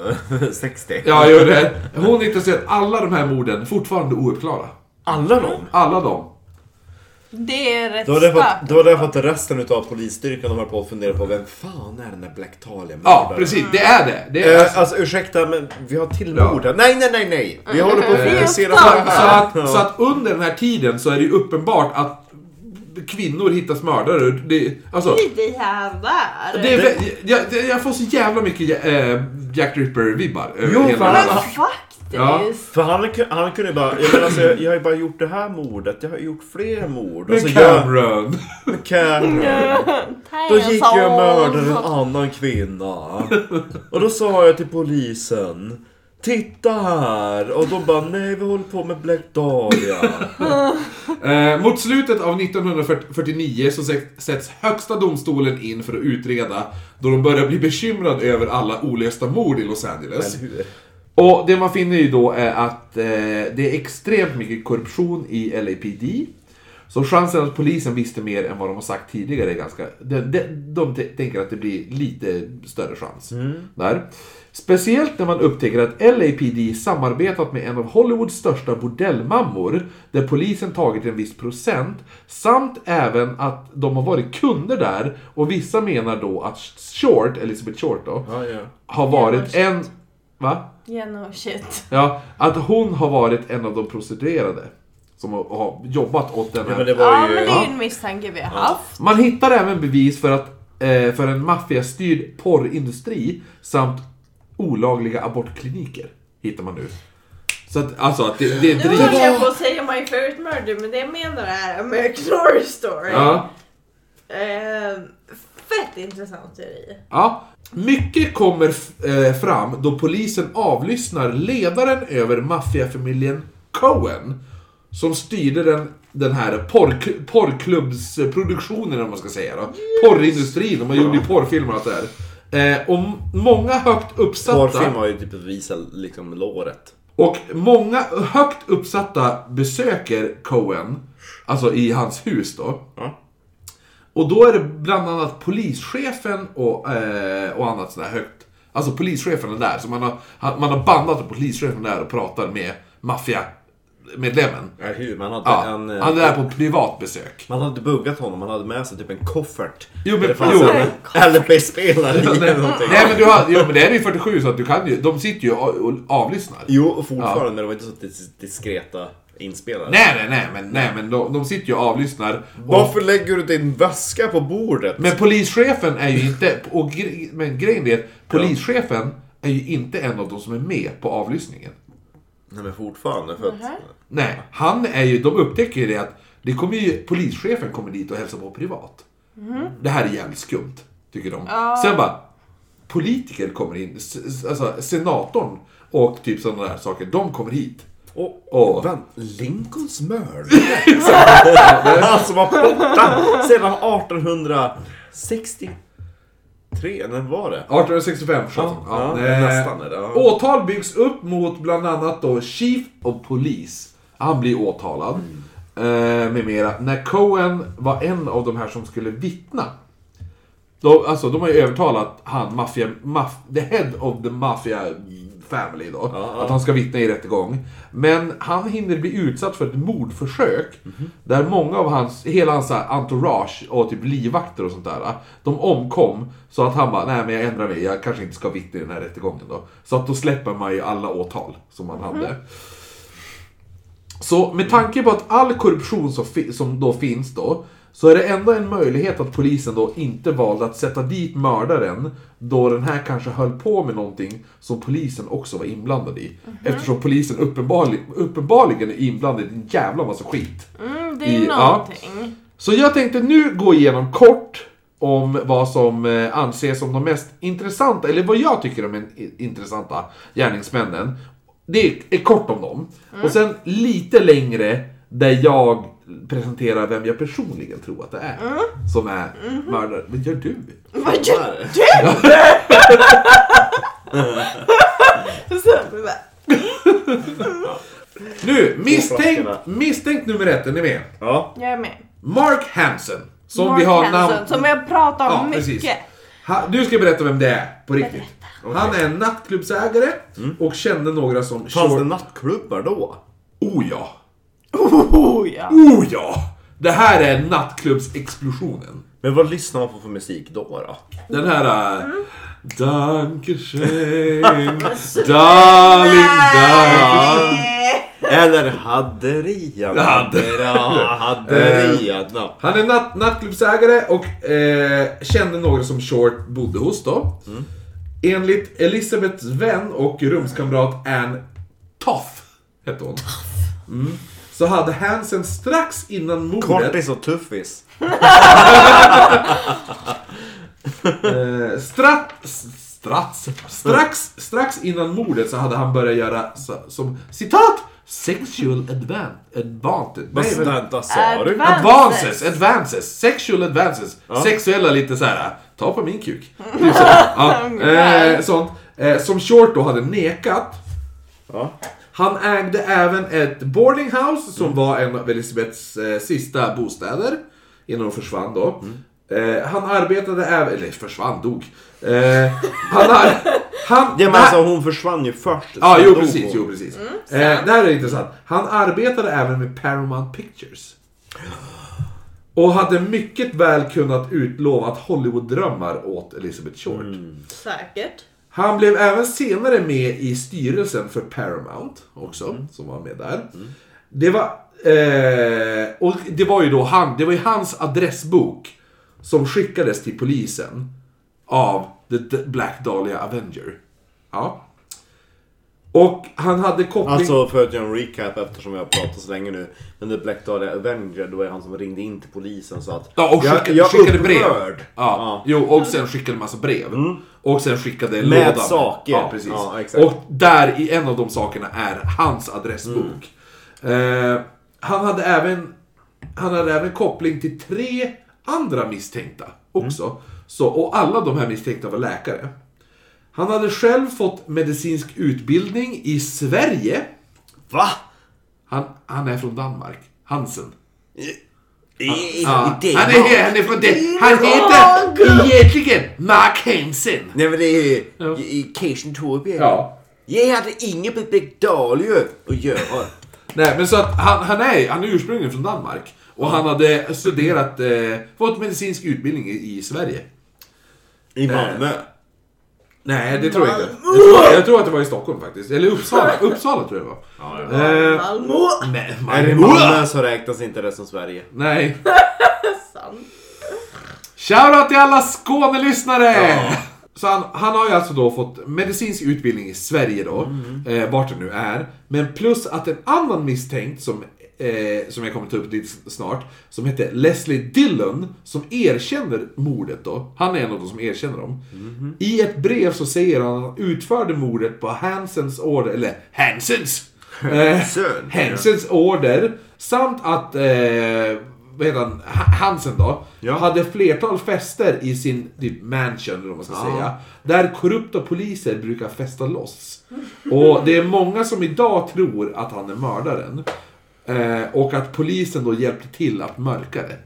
Speaker 5: [LAUGHS] 60?
Speaker 2: Ja, gör det. Hon hittas död. Alla de här morden fortfarande ouppklarade.
Speaker 5: Alla dem?
Speaker 2: Alla dem.
Speaker 1: Det är rätt
Speaker 3: Det var därför
Speaker 1: starkt.
Speaker 3: att, det var därför att resten utav polisstyrkan de höll på att fundera på vem fan är den där Black Talia
Speaker 2: Ja, precis. Det är det. Det är
Speaker 5: Eh, alltså ursäkta, men vi har till
Speaker 2: Ja.
Speaker 5: mord här. Nej, nej, nej, nej!
Speaker 3: Vi håller på att
Speaker 1: Mm.
Speaker 3: fokusera
Speaker 1: Eh,
Speaker 3: på
Speaker 2: så,
Speaker 3: det
Speaker 2: så,
Speaker 3: här.
Speaker 2: att, så att under den här tiden så är det ju uppenbart att kvinnor hittas mördare. Det, alltså,
Speaker 1: Det här där.
Speaker 2: det är, vä- jag, jag- jag får så jävla mycket eh, Jack Ripper-vibbar. över
Speaker 5: Jo,
Speaker 2: hela
Speaker 5: fan.
Speaker 2: den
Speaker 1: Men
Speaker 2: här.
Speaker 1: faktiskt.
Speaker 2: Ja.
Speaker 5: För han, ku- han kunde ju bara, jag menar alltså, jag, jag har ju bara gjort det här mordet, jag har ju gjort fler mord.
Speaker 2: Med
Speaker 5: Alltså, jag,
Speaker 2: Cameron.
Speaker 5: med Cameron. Då gick jag och mördade en annan kvinna. Och då sa jag till polisen. Titta här! Och de bara nej vi håller på med Black [LAUGHS] Dahlia.
Speaker 2: Eh, mot slutet av 1949 så sä- sätts högsta domstolen in för att utreda då de börjar bli bekymrade över alla olösta mord i Los Angeles. Och det man finner ju då är att eh, det är extremt mycket korruption i LAPD. Så chansen att polisen visste mer än vad de har sagt tidigare är ganska... De, de, de t- tänker att det blir lite större chans. Där. Speciellt när man upptäcker att LAPD samarbetat med en av Hollywoods största bordellmammor där polisen tagit en viss procent samt även att de har varit kunder där och vissa menar då att Short, Elizabeth Short då, har varit
Speaker 1: Jävlar,
Speaker 2: en... Va?
Speaker 1: Genomshit.
Speaker 2: Ja, att hon har varit en av de prostituerade som har- har jobbat åt den här.
Speaker 5: Men det
Speaker 1: Ja,
Speaker 5: var
Speaker 1: men det
Speaker 5: ju...
Speaker 1: är ju en misstanke vi har haft.
Speaker 2: Man hittar även bevis för, att, eh, för en maffiastyrd porrindustri samt olagliga abortkliniker. Hittar man nu. Så att, alltså att det, det
Speaker 1: Nu
Speaker 2: drivs...
Speaker 1: höll jag på att säga My Favorite Murder, men det jag menar är American [LAUGHS] Horror Story.
Speaker 2: Ja,
Speaker 1: Eh, fett intressant teori.
Speaker 2: ja. Mycket kommer f- eh, fram då polisen avlyssnar ledaren över maffiafamiljen Cohen. Som styrde den, den här porr, porrklubbsproduktionen, om man ska säga då. Porrindustrin, de gjorde ju porrfilmer och allt det där. Eh, och m- många högt uppsatta...
Speaker 5: Porrfilm har ju typ att visa liksom låret.
Speaker 2: Och många högt uppsatta besöker Cohen, alltså i hans hus då.
Speaker 5: Ja.
Speaker 2: Och då är det bland annat polischefen och, eh, och annat sådär högt. Alltså polischefen är där, så man har, han- man har bandat polischefen där och pratar med maffia medlemmen.
Speaker 5: Ja, hur? Man hade
Speaker 2: Ja,
Speaker 5: en... eh,
Speaker 2: han är där på privat besök.
Speaker 5: Man hade buggat honom, man hade med sig typ en koffert.
Speaker 2: Jo, men-
Speaker 5: Där det fanns
Speaker 2: jo.
Speaker 5: en [LAUGHS] LP-spelare i eller någonting.
Speaker 2: [LAUGHS] Nej men, du har, jo, men det är ju 47 så att du kan ju, de sitter ju och, och avlyssnar.
Speaker 5: Jo, och fortfarande, de var inte så dis- diskreta inspelare.
Speaker 2: Nej nej nej men, nej, men de, de sitter ju och avlyssnar. Och,
Speaker 3: Varför lägger du din väska på bordet?
Speaker 2: men polischefen är ju inte, och gre, men grejen är att polischefen är ju inte en av de som är med på avlyssningen.
Speaker 5: Nej, men fortfarande. För att...
Speaker 2: Nej, han är ju, de upptäcker ju det att det kommer ju, polischefen kommer dit och hälsar på privat. Det här är jävligt skumt, tycker de. Sen bara, politiker kommer in, s- s- alltså senatorn och typ sådana där saker, de kommer hit.
Speaker 5: Och,
Speaker 2: Och,
Speaker 5: vem? Lincolns
Speaker 2: [LAUGHS]
Speaker 5: mördare? han som var borta sedan 1863, när var det?
Speaker 2: 1865 ja,
Speaker 5: ja,
Speaker 2: eh,
Speaker 5: nästan är det, ja.
Speaker 2: Åtal byggs upp mot bland annat då Chief of Police. Han blir åtalad. Eh, med mera. När Cohen var en av de här som skulle vittna. De, alltså, de har ju övertalat han, mafia, maf, the head of the mafia family då. Att han ska vittna i rättegång. Men han hinner bli utsatt för ett mordförsök. Där många av hans, hela hans så här entourage och typ livvakter och sånt där. De omkom. Så att han bara, nej men jag ändrar mig, jag kanske inte ska vittna i den här rättegången då. Så att då släpper man ju alla åtal som han hade. Så med tanke på att all korruption som, fi- som då finns då, så är det ändå en möjlighet att polisen då inte valde att sätta dit mördaren, då den här kanske höll på med någonting som polisen också var inblandad i. Eftersom polisen uppenbarligen, uppenbarligen är inblandad i en jävla massa skit.
Speaker 1: Mm, det är
Speaker 2: I-
Speaker 1: ju
Speaker 2: ja.
Speaker 1: någonting.
Speaker 2: Så jag tänkte nu gå igenom kort om vad som eh, anses som de mest intressanta, eller vad jag tycker om intressanta gärningsmännen. Det är, är kort om dem.
Speaker 1: Mm.
Speaker 2: Och sen lite längre där jag presenterar vem jag personligen tror att det är
Speaker 1: Mm.
Speaker 2: som är
Speaker 1: Mm-hmm.
Speaker 2: mördare. Vad gör du?
Speaker 1: Vad gör du? Så-
Speaker 2: Nu, misstänkt, misstänkt nummer ett, är ni med?
Speaker 1: Jag är med.
Speaker 2: Mark Hansen. Som
Speaker 1: Mark
Speaker 2: vi har
Speaker 1: Hansen,
Speaker 2: namn...
Speaker 1: Som jag pratar om
Speaker 2: Ja,
Speaker 1: mycket.
Speaker 2: precis. Ha, du ska berätta vem det är, på riktigt. Han är nattklubbsägare och kände några som...
Speaker 5: Fanns det
Speaker 2: Shore-
Speaker 5: nattklubbar då?
Speaker 2: Oh ja!
Speaker 1: Oh, ja.
Speaker 2: Oh ja! Det här är nattklubbsexplosionen.
Speaker 5: Men vad lyssnar man på för musik då? då?
Speaker 2: Den här... äh, Dankeschön, darling, dankeschön.
Speaker 1: Eh,
Speaker 5: Eller hadderian? Haddera,
Speaker 2: Eh.
Speaker 5: hadderian. no.
Speaker 2: Han är natt, nattklubbsägare och eh, kände några som Short bodde hos då. Enligt Elisabeths vän och rumskamrat Ann Toff, hette hon. Mm. Så hade Hansen strax innan mordet...
Speaker 5: Kortis och tuffis.
Speaker 2: Eh, Strats, strats, strax, strax innan mordet så hade han börjat göra så, som citat sexual advan, advantage. Nej, men-
Speaker 5: Vänta, sa du?
Speaker 2: advances, advances, sexual advances. Sexuella lite så här. äh, ta på min [LAUGHS] kuk. Typ så. Ja, eh, sånt. Eh, som Short då hade nekat. Han ägde även ett boarding house som
Speaker 5: Mm.
Speaker 2: var en av Elisabeths eh, sista bostäder innan hon försvann då.
Speaker 5: Mm.
Speaker 2: Eh, han arbetade även, eller försvann, dog. Eh, han har, han,
Speaker 5: Ja, men alltså hon försvann ju först.
Speaker 2: Ja,
Speaker 5: sen
Speaker 2: jo
Speaker 5: dog
Speaker 2: precis,
Speaker 5: hon.
Speaker 2: jo precis. eh, det här är intressant. Han arbetade även med Paramount Pictures. Och hade mycket väl kunnat utlova att Hollywood-drömmar åt Elizabeth Short.
Speaker 1: Säkert.
Speaker 2: Han blev även senare med i styrelsen för Paramount också, som var med där. Det var, eh, och det var ju då han, det var ju hans adressbok som skickades till polisen av The D- Black Dahlia Avenger. Ja. Och han hade koppling...
Speaker 5: Alltså för att göra en recap eftersom jag har pratat så länge nu. Men The Black Dahlia Avenger, då är han som ringde in till polisen så att...
Speaker 2: ja, och
Speaker 5: Jag-
Speaker 2: skickade,
Speaker 5: jag är
Speaker 2: skickade brev. Ja,
Speaker 5: upprörd. Mm.
Speaker 2: Jo, och sen skickade massa brev. Och sen skickade en
Speaker 5: Med
Speaker 2: låda.
Speaker 5: saker.
Speaker 2: Ja, precis.
Speaker 5: Ja, exakt.
Speaker 2: Och där i en av de sakerna är hans adressbok.
Speaker 5: Mm.
Speaker 2: Eh, han, hade även, han hade även koppling till tre andra misstänkta också.
Speaker 5: Mm.
Speaker 2: Så, och alla de här misstänkta var läkare. Han hade själv fått medicinsk utbildning i Sverige.
Speaker 5: Va?
Speaker 2: Han, han är från Danmark. Hansen.
Speaker 5: I, i,
Speaker 2: Ja.
Speaker 5: i
Speaker 2: han,
Speaker 5: Danmark?
Speaker 2: är, han är från det. Han heter egentligen Mark Hansen.
Speaker 5: Nej men det är i Kirsten Torbjörn.
Speaker 2: Ja.
Speaker 5: Jag hade inget med Black Dahlia att göra.
Speaker 2: Nej, men så att han, han, är, han är ursprungligen från Danmark. Och han hade studerat, eh, fått medicinsk utbildning i, i Sverige.
Speaker 3: I
Speaker 5: Äh.
Speaker 3: Malmö.
Speaker 2: Nej, det tror jag inte. Mm. Jag tror, jag tror att det var i Stockholm faktiskt. Eller [LAUGHS] Uppsala, Uppsala tror jag det
Speaker 3: Ja, ja.
Speaker 2: var. Eh,
Speaker 1: Malmö!
Speaker 2: nej,
Speaker 3: Är det
Speaker 2: Malmö?
Speaker 3: Malmö så räknas inte det som Sverige.
Speaker 2: Nej.
Speaker 1: Sant.
Speaker 2: Shoutout till alla Skånelyssnare! Så han, han har ju alltså då fått medicinsk utbildning i Sverige då, eh, vart det nu är. Men plus att en annan misstänkt som, eh, som jag kommer ta upp lite s- snart, som heter Leslie Dillon, som erkänner mordet då. Han är en av de som erkänner dem. I ett brev så säger han att han utförde mordet på Hansens order, eller Hansens! Eh,
Speaker 3: Sön.
Speaker 2: Hansens order samt att eh, vad heter han, Ha- Hansen då, hade flertal fester i sin typ, mansion, eller vad man ska säga. Där korrupta poliser brukar festa loss. Och det är många som idag tror att han är mördaren. Eh, och att polisen då hjälpte till att mörka det.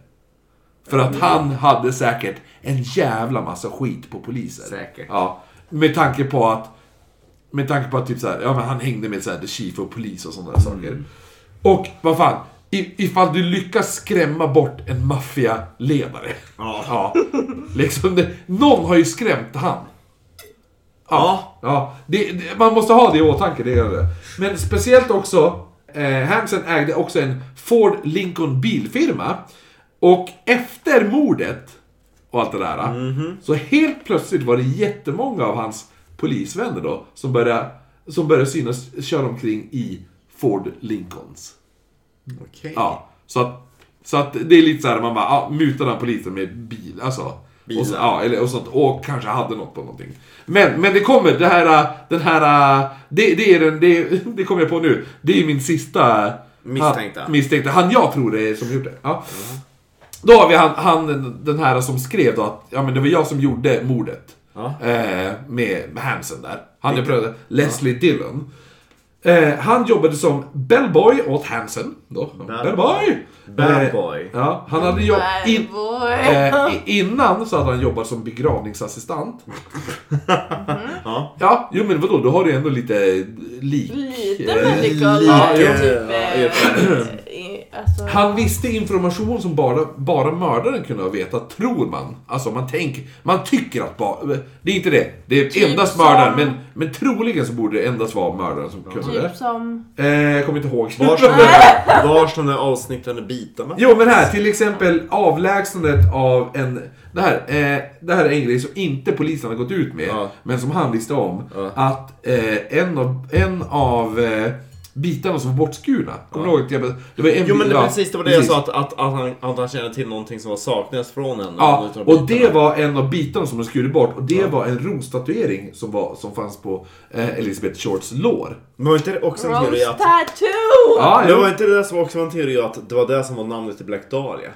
Speaker 2: För att han hade säkert en jävla massa skit på poliser.
Speaker 3: Säkert.
Speaker 2: Ja, med tanke på att med tanke på att typ så här, ja, men han hängde med så här, the chief och polis och sådana där saker. Och vad fan, i- ifall du lyckas skrämma bort en maffialedare. Ja. Liksom det, någon har ju skrämt han. Ja. ja det, det, man måste ha det i åtanke, det gör det. Men speciellt också, eh, Hansen ägde också en Ford Lincoln bilfirma. Och efter mordet och allt det där. Så helt plötsligt var det jättemånga av hans polisvänner då som började, som började synas köra omkring i Ford Lincolns.
Speaker 3: Okej.
Speaker 2: Ja, så att, så att det är lite så här man bara, ja, mutar den här polisen med bil, alltså. Och, så, ja, eller, och, sånt, och kanske hade något på någonting. Men, men det kommer, det här, äh, den här, äh, det, det är den, det, [LAUGHS] det kommer jag på nu. Det är min sista... äh,
Speaker 3: Misstänkta.
Speaker 2: Han, misstänkta. Han jag tror det är som gjort det. Ja. Då har vi han, han, den här som skrev då att, ja men det var jag som gjorde mordet. Eh, med Hansen där. Han är bröder, Leslie Dillon. Eh, han jobbade som bellboy åt Hansen. Då. Bellboy! Eh,
Speaker 3: Bad boy.
Speaker 2: Ja, han hade jobb...
Speaker 1: Bad
Speaker 2: In,
Speaker 1: boy.
Speaker 2: eh, i- innan så hade han jobbat som begravningsassistent.
Speaker 3: Ja.
Speaker 2: [LAUGHS] Ja, jo men vadå, då har du ändå lite lik...
Speaker 1: Lite
Speaker 2: eh,
Speaker 1: medical
Speaker 2: Ja,
Speaker 1: eh,
Speaker 2: jo.
Speaker 1: typ... eh, i- alltså,
Speaker 2: Han visste information som bara, bara mördaren kunde ha vetat, tror man. Alltså man tänker, man tycker att bara... Det är inte det, det är
Speaker 1: Typ
Speaker 2: endast
Speaker 1: som-
Speaker 2: mördaren. Men, men troligen så borde det endast vara mördaren som kunde det.
Speaker 1: typ som...
Speaker 2: Eh, jag kommer inte ihåg.
Speaker 3: Vars de där, vars de där avsnittande bitarna?
Speaker 2: Jo men här, till exempel avlägsnandet av en... Det här, eh, det här är en grej som inte polisen har gått ut med,
Speaker 3: Ja.
Speaker 2: men som han visste om. Att eh, en av, en av eh, bitarna som var bortskurna, kommer du ihåg? att jag- Det var en
Speaker 3: Jo men
Speaker 2: bit-
Speaker 3: det,
Speaker 2: ja,
Speaker 3: precis, det var det jag sa att, att, att, han, att han kände till någonting som var saknades från henne.
Speaker 2: Ja,
Speaker 3: Utan
Speaker 2: och
Speaker 3: bitarna.
Speaker 2: det var en av bitarna som de skurit bort och det var en rostatuering som, var, som fanns på eh, Elizabeth Shorts lår.
Speaker 3: Men var inte det också en teori
Speaker 1: Rose
Speaker 3: att...
Speaker 1: tattoo!
Speaker 2: Ja,
Speaker 3: Det
Speaker 2: jo.
Speaker 3: var inte det där som också var en teori att det var det som var namnet till Black Dahlia?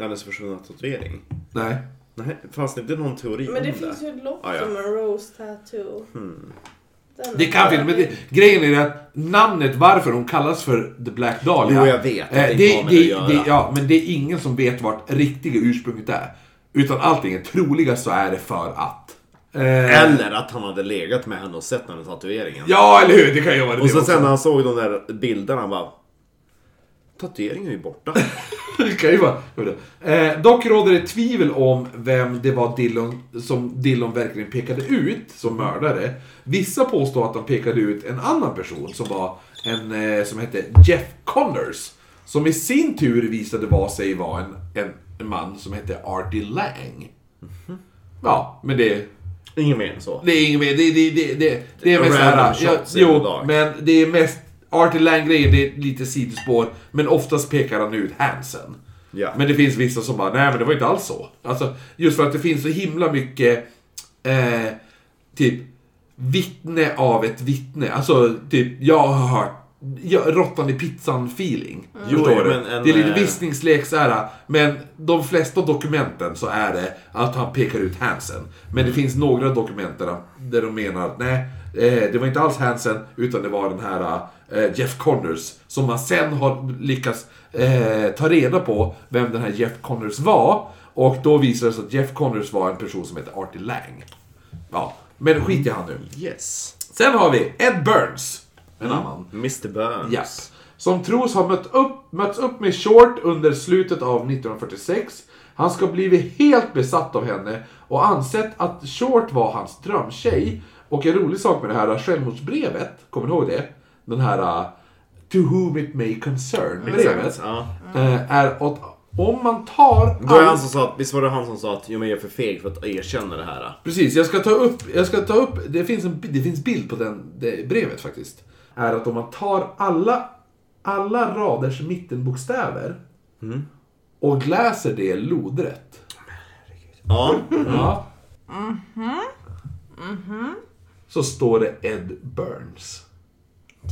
Speaker 3: Hennes försvunna tatuering?
Speaker 2: Nej.
Speaker 3: Nej, fanns det inte någon teori
Speaker 1: Men det
Speaker 3: om
Speaker 1: finns ju ett lopp
Speaker 3: Ja, ja.
Speaker 1: som en rose tattoo. Den
Speaker 2: Hmm. Det kan finnas, men det, grejen är att namnet varför hon kallas för The Black Dahlia.
Speaker 3: Jo, jag vet att det
Speaker 2: eh,
Speaker 3: inte
Speaker 2: det, det,
Speaker 3: har med det att
Speaker 2: det,
Speaker 3: göra.
Speaker 2: ja, men det är ingen som vet vart riktiga ursprunget är. Utan allting är troligast så är det för att. Eh,
Speaker 3: Eller att han hade legat med henne och sett den här tatueringen.
Speaker 2: Ja, eller hur? Det kan ju vara det
Speaker 3: och så
Speaker 2: också.
Speaker 3: sen när han såg de där bilderna han bara... Tatueringen är ju borta.
Speaker 2: Det kan ju vara. Eh, dock råder det tvivel om vem det var Dillon, som Dillon verkligen pekade ut som mördare. Vissa påstår att han pekade ut en annan person som var en eh, som hette Jeff Connors. Som i sin tur visade vad sig vara en, en, en man som hette Artie Lang. Ja, men det...
Speaker 3: [LAUGHS] Ingen mer än så.
Speaker 2: Det är inget mer. Det, det, det, det, det är mest
Speaker 3: Random
Speaker 2: såhär... Ja,
Speaker 3: shots in the
Speaker 2: jo,
Speaker 3: dark.
Speaker 2: men det är mest... Artie Lang-grejen, det är lite sidospår. Men oftast pekar han ut Hansen.
Speaker 3: Ja.
Speaker 2: Men det finns vissa som bara, nej men det var inte alls så. Alltså, just för att det finns så himla mycket, eh, typ, vittne av ett vittne. Alltså, typ, jag har hört ja, råttan i pizzan-feeling.
Speaker 3: Jo,
Speaker 2: Mm. Förstår du?
Speaker 3: men en,
Speaker 2: det är lite
Speaker 3: eh,
Speaker 2: visningslek så här. Men de flesta dokumenten så är det att han pekar ut Hansen. Men
Speaker 3: Mm.
Speaker 2: det finns några dokument där, där de menar att nej, eh, det var inte alls Hansen utan det var den här eh, Jeff Connors. Som man sen har lyckats eh, ta reda på vem den här Jeff Connors var. Och då visar det sig att Jeff Connors var en person som heter Artie Lang. Ja, men skit i han nu.
Speaker 3: Yes. Mm.
Speaker 2: Sen har vi Ed Burns. En annan.
Speaker 3: Mr Burns.
Speaker 2: Japp. som tros ha mött upp, mötts upp med Short under slutet av 1946. Han ska blivit helt besatt av henne och ansett att Short var hans drömtjej. Och en rolig sak med det här självmordsbrevet, kommer ni ihåg det? Den här uh, To whom it may concern brevet.
Speaker 3: Ja.
Speaker 2: eh, Är att om man tar...
Speaker 3: Då är
Speaker 2: all-
Speaker 3: han som sa att, visst var det han som sa att jo, men jag är för feg för att erkänna det här?
Speaker 2: Precis, jag ska ta upp, jag ska ta upp det, finns en, det finns bild på den, det brevet faktiskt. Är att om man tar alla, alla raders mittenbokstäver och läser det lodrätt.
Speaker 3: Ja.
Speaker 2: Ja. Så står det Ed Burns.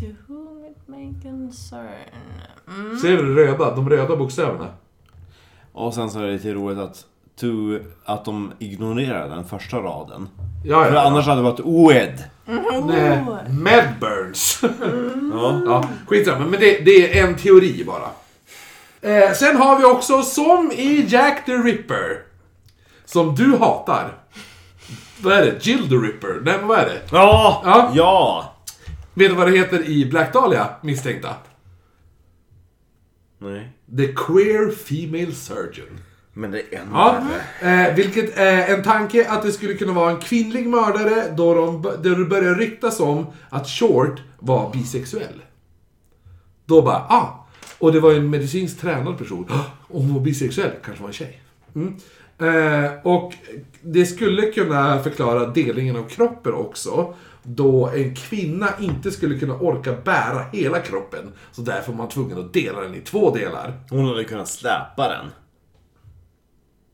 Speaker 1: To whom it may concern.
Speaker 2: Ser du det röda? De röda bokstäverna?
Speaker 3: [LAUGHS] Och sen så är det lite roligt att, to, att de ignorerar den första raden.
Speaker 2: Ja,
Speaker 3: För
Speaker 2: ja.
Speaker 3: annars hade det varit oed.
Speaker 2: Nej, Med [LAUGHS] Burns.
Speaker 3: Ja.
Speaker 2: Eh, Ja, skitsamma, men det, det är en teori bara. Eh, sen har vi också som i Jack the Ripper. Som du hatar. Vad är det? Jill the Ripper? Nej, men vad är det?
Speaker 3: Ja!
Speaker 2: Ja.
Speaker 3: Ja!
Speaker 2: Vet du vad det heter i Black Dahlia, misstänkta?
Speaker 3: Nej.
Speaker 2: The Queer Female Surgeon.
Speaker 3: Men det är en
Speaker 2: Ja, eh, vilket är en tanke att det skulle kunna vara en kvinnlig mördare då de, då det börjar ryktas om att Short var bisexuell. Då bara, ah! Och det var ju en medicinskt tränad person. Ah, Om hon var bisexuell, kanske var en tjej. Mm. Eh, och det skulle kunna förklara delningen av kroppen också. Då en kvinna inte skulle kunna orka bära hela kroppen. Så därför var man tvungen att dela den i två delar.
Speaker 3: Hon hade kunnat släpa den.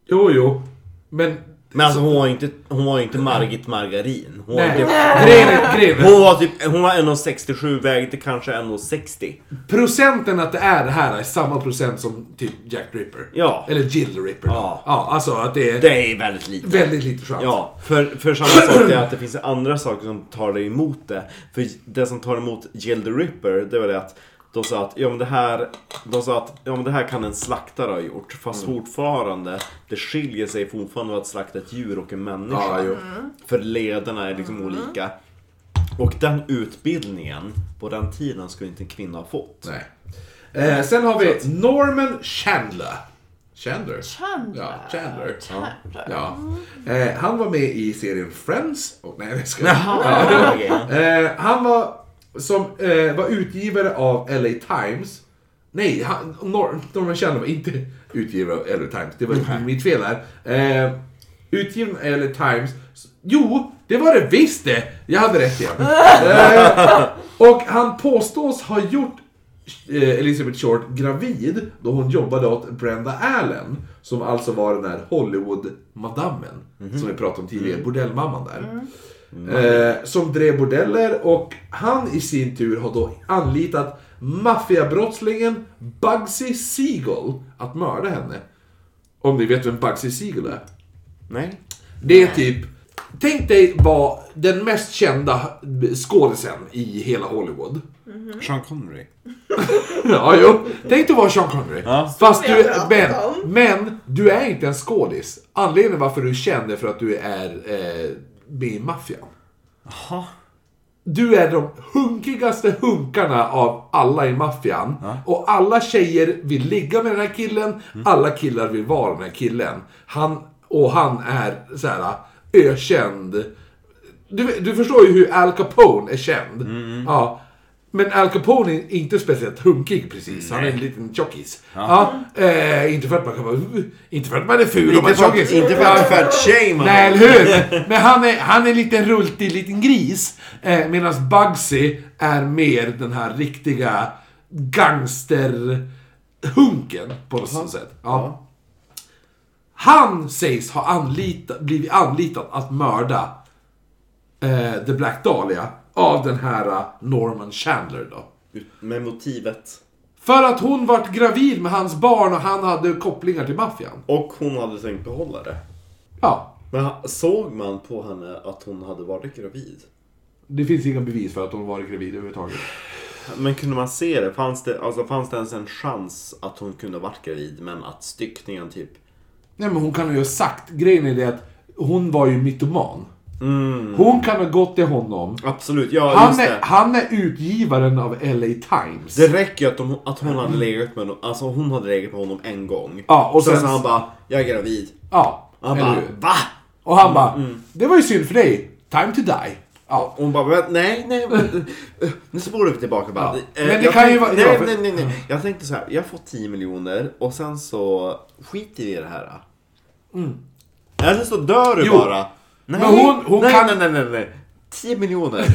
Speaker 2: Jo, jo. Men
Speaker 3: Men alltså hon var inte, hon var inte Margit Margarin. Hon var,
Speaker 2: Nej,
Speaker 3: inte,
Speaker 2: grejen är, grejen är,
Speaker 3: hon var typ, hon var 1,67 vägde kanske 1,60.
Speaker 2: procenten att det är det här är samma procent som typ Jack the Ripper.
Speaker 3: Ja.
Speaker 2: Eller Jill the Ripper. då.
Speaker 3: Ja.
Speaker 2: ja alltså att det är
Speaker 3: Det är väldigt lite.
Speaker 2: väldigt lite chans.
Speaker 3: Ja, för, för samma sak är att det finns andra saker som tar dig emot det. För det som tar emot Jill the Ripper, det var det att de sa att, ja, men det här, de sa att ja, men det här kan en slaktare ha gjort. Fast
Speaker 2: Mm.
Speaker 3: fortfarande, det skiljer sig fortfarande att slakta ett djur och en människa.
Speaker 2: Ja, jo. Mm.
Speaker 3: För lederna är liksom olika. Och den utbildningen på den tiden skulle inte en kvinna ha fått.
Speaker 2: Nej. Eh, sen har vi Norman Chandler. Chandler?
Speaker 1: Chandler.
Speaker 2: Ja, Chandler.
Speaker 1: Chandler.
Speaker 2: Ja. Eh, han var med i serien Friends. Oh, nej, jag ska
Speaker 3: Ja, okej.
Speaker 2: Eh, han var, som, eh, var utgivare av LA Times. Nej, han, Nor- Norman Chandler var inte [LAUGHS] utgivare av LA Times. Det var mitt fel här. Eh, utgiven av LA Times. Jo, det var det visst det! Jag hade rätt igen. Eh, och han påstås ha gjort eh, Elizabeth Short gravid då hon jobbade åt Brenda Allen. Som alltså var den här Hollywood-madammen. Som vi pratade om tidigare, bordellmamman där. Eh, som drev bordeller och han i sin tur har då anlitat maffiabrottslingen Bugsy Siegel att mörda henne. Om ni vet vem Bugsy Siegel är?
Speaker 3: Nej.
Speaker 2: Det är typ... Tänk dig vara den mest kända skådisen i hela Hollywood. Mm.
Speaker 3: Sean Connery.
Speaker 2: Ja, jo. Tänk dig vara Sean Connery.
Speaker 3: Ja.
Speaker 2: Fast
Speaker 1: Som
Speaker 2: du,
Speaker 1: jag pratade
Speaker 2: men,
Speaker 1: om.
Speaker 2: men du är inte en skådis. Anledningen varför du känner för att du är eh, med i maffian. Du är de hunkigaste hunkarna av alla i maffian. Och alla tjejer vill ligga med den här killen. Alla killar vill vara den här killen. Han, och han är så här äh, ökänd. Du, du förstår ju hur Al Capone är känd. Ja. Men Al Capone är inte speciellt hunkig precis. Han är en liten tjockis. Ja. Eh, inte för att man kan vara... Inte för att man är ful om man är tjockis.
Speaker 3: Inte för
Speaker 2: Ja.
Speaker 3: att fat shame
Speaker 2: Nej, eller hur? Men han är, han är en liten rultig liten gris. Eh, Medan Bugsy är mer den här riktiga gangsterhunken på något sätt. Ja. Han sägs ha anlitat, blivit anlitad att mörda eh, The Black Dahlia av den här eh, Norman Chandler då.
Speaker 3: Med motivet.
Speaker 2: För att hon vart gravid med hans barn och han hade kopplingar till maffian.
Speaker 3: Och hon hade tänkt behålla det.
Speaker 2: Ja,
Speaker 3: Men ha- såg man på henne att hon hade varit gravid?
Speaker 2: det finns inga bevis för att hon varit gravid överhuvudtaget.
Speaker 3: Men kunde man se det? Fanns det, alltså, fanns det ens en chans att hon kunde ha varit gravid men att styckningen typ...
Speaker 2: Nej men hon kan ju ha sagt, grejen är det att hon var ju mytoman. Hon kan ha gått till honom.
Speaker 3: Absolut, ja
Speaker 2: Han
Speaker 3: just
Speaker 2: är,
Speaker 3: det.
Speaker 2: han är utgivaren av LA Times.
Speaker 3: Det räcker ju att, de, att hon hade legat med honom, alltså hon hade legat med honom en gång.
Speaker 2: Ja, och
Speaker 3: sen
Speaker 2: sen-
Speaker 3: så han bara, jag är gravid.
Speaker 2: Ja.
Speaker 3: Han
Speaker 2: eller
Speaker 3: bara, Mm.
Speaker 2: hur?
Speaker 3: va?
Speaker 2: och han bara, det var ju synd för dig. Time to die. Ja.
Speaker 3: Och hon bara, "Men nej, nej, men, eh, nu spolar vi tillbaka bara.
Speaker 2: Mm. Ja.
Speaker 3: Eh,
Speaker 2: Men det
Speaker 3: jag
Speaker 2: kan Mm. ju
Speaker 3: tänkte-
Speaker 2: vara- ja,
Speaker 3: Nej,
Speaker 2: för-
Speaker 3: nej, nej, nej. Jag tänkte så här, jag får 10 miljoner och sen så skiter vi i det här. Eller så dör du
Speaker 2: Mm. Jo.
Speaker 3: bara. Nej,
Speaker 2: Men hon- hon
Speaker 3: nej,
Speaker 2: kan-
Speaker 3: nej, nej, nej, nej. 10 miljoner.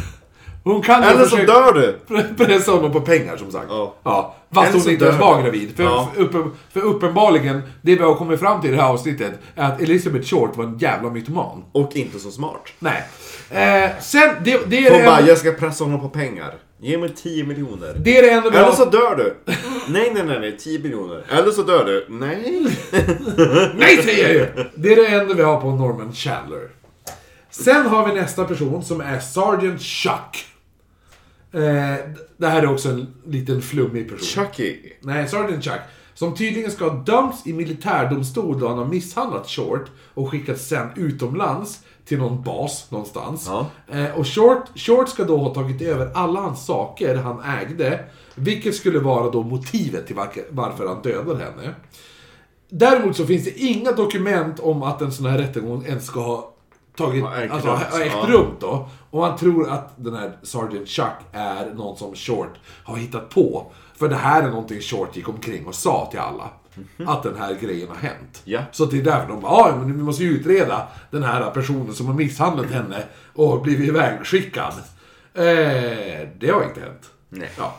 Speaker 2: Hon kan ju
Speaker 3: Eller så
Speaker 2: försöka-
Speaker 3: dör du.
Speaker 2: pressa honom på pengar som sagt.
Speaker 3: Ja.
Speaker 2: Fast
Speaker 3: Eller så
Speaker 2: hon inte ens
Speaker 3: dör
Speaker 2: var
Speaker 3: hon.
Speaker 2: gravid. För,
Speaker 3: Ja.
Speaker 2: för, uppen, för uppenbarligen, det vi har kommit fram till i det här avsnittet, är att Elizabeth Short var en jävla mytoman.
Speaker 3: Och inte så smart.
Speaker 2: Nej. Eh, sen, det, det, är
Speaker 3: Hon
Speaker 2: det,
Speaker 3: bara,
Speaker 2: enda,
Speaker 3: jag ska pressa honom på pengar. Ge mig 10 miljoner.
Speaker 2: det är det enda vi
Speaker 3: Eller
Speaker 2: har...
Speaker 3: så dör du. Nej, nej, nej, nej, 10 miljoner. Eller så dör du. Nej.
Speaker 2: [LAUGHS] Nej säger jag ju! Det är det enda vi har på Norman Chandler. Sen har vi nästa person som är Sergeant Chuck. Eh, det här är också en liten flummig person.
Speaker 3: Chucky.
Speaker 2: Nej, Sergeant Chuck. Som tydligen ska ha dömts i militärdomstol då han har misshandlat Short och skickats sen utomlands till någon bas någonstans.
Speaker 3: Ja.
Speaker 2: Eh, och Short, Short ska då ha tagit över alla hans saker han ägde. Vilket skulle vara då motivet till varke- varför han dödade henne. Däremot så finns det inga dokument om att en sån här rättegång ens ska ha tagit,
Speaker 3: Ha ägt
Speaker 2: alltså,
Speaker 3: rum,
Speaker 2: ha ägt
Speaker 3: ja.
Speaker 2: rum då. Och man tror att den här Sergeant Chuck är någon som Short har hittat på. För det här är någonting Short gick omkring och sa till alla. Att den här grejen har hänt.
Speaker 3: Mhm. Ja.
Speaker 2: Så det är därför de bara, "Ah, men vi måste ju utreda den här personen som har misshandlat henne och blivit ivägskickad. Eh, det har inte hänt.
Speaker 3: Nej.
Speaker 2: Ja.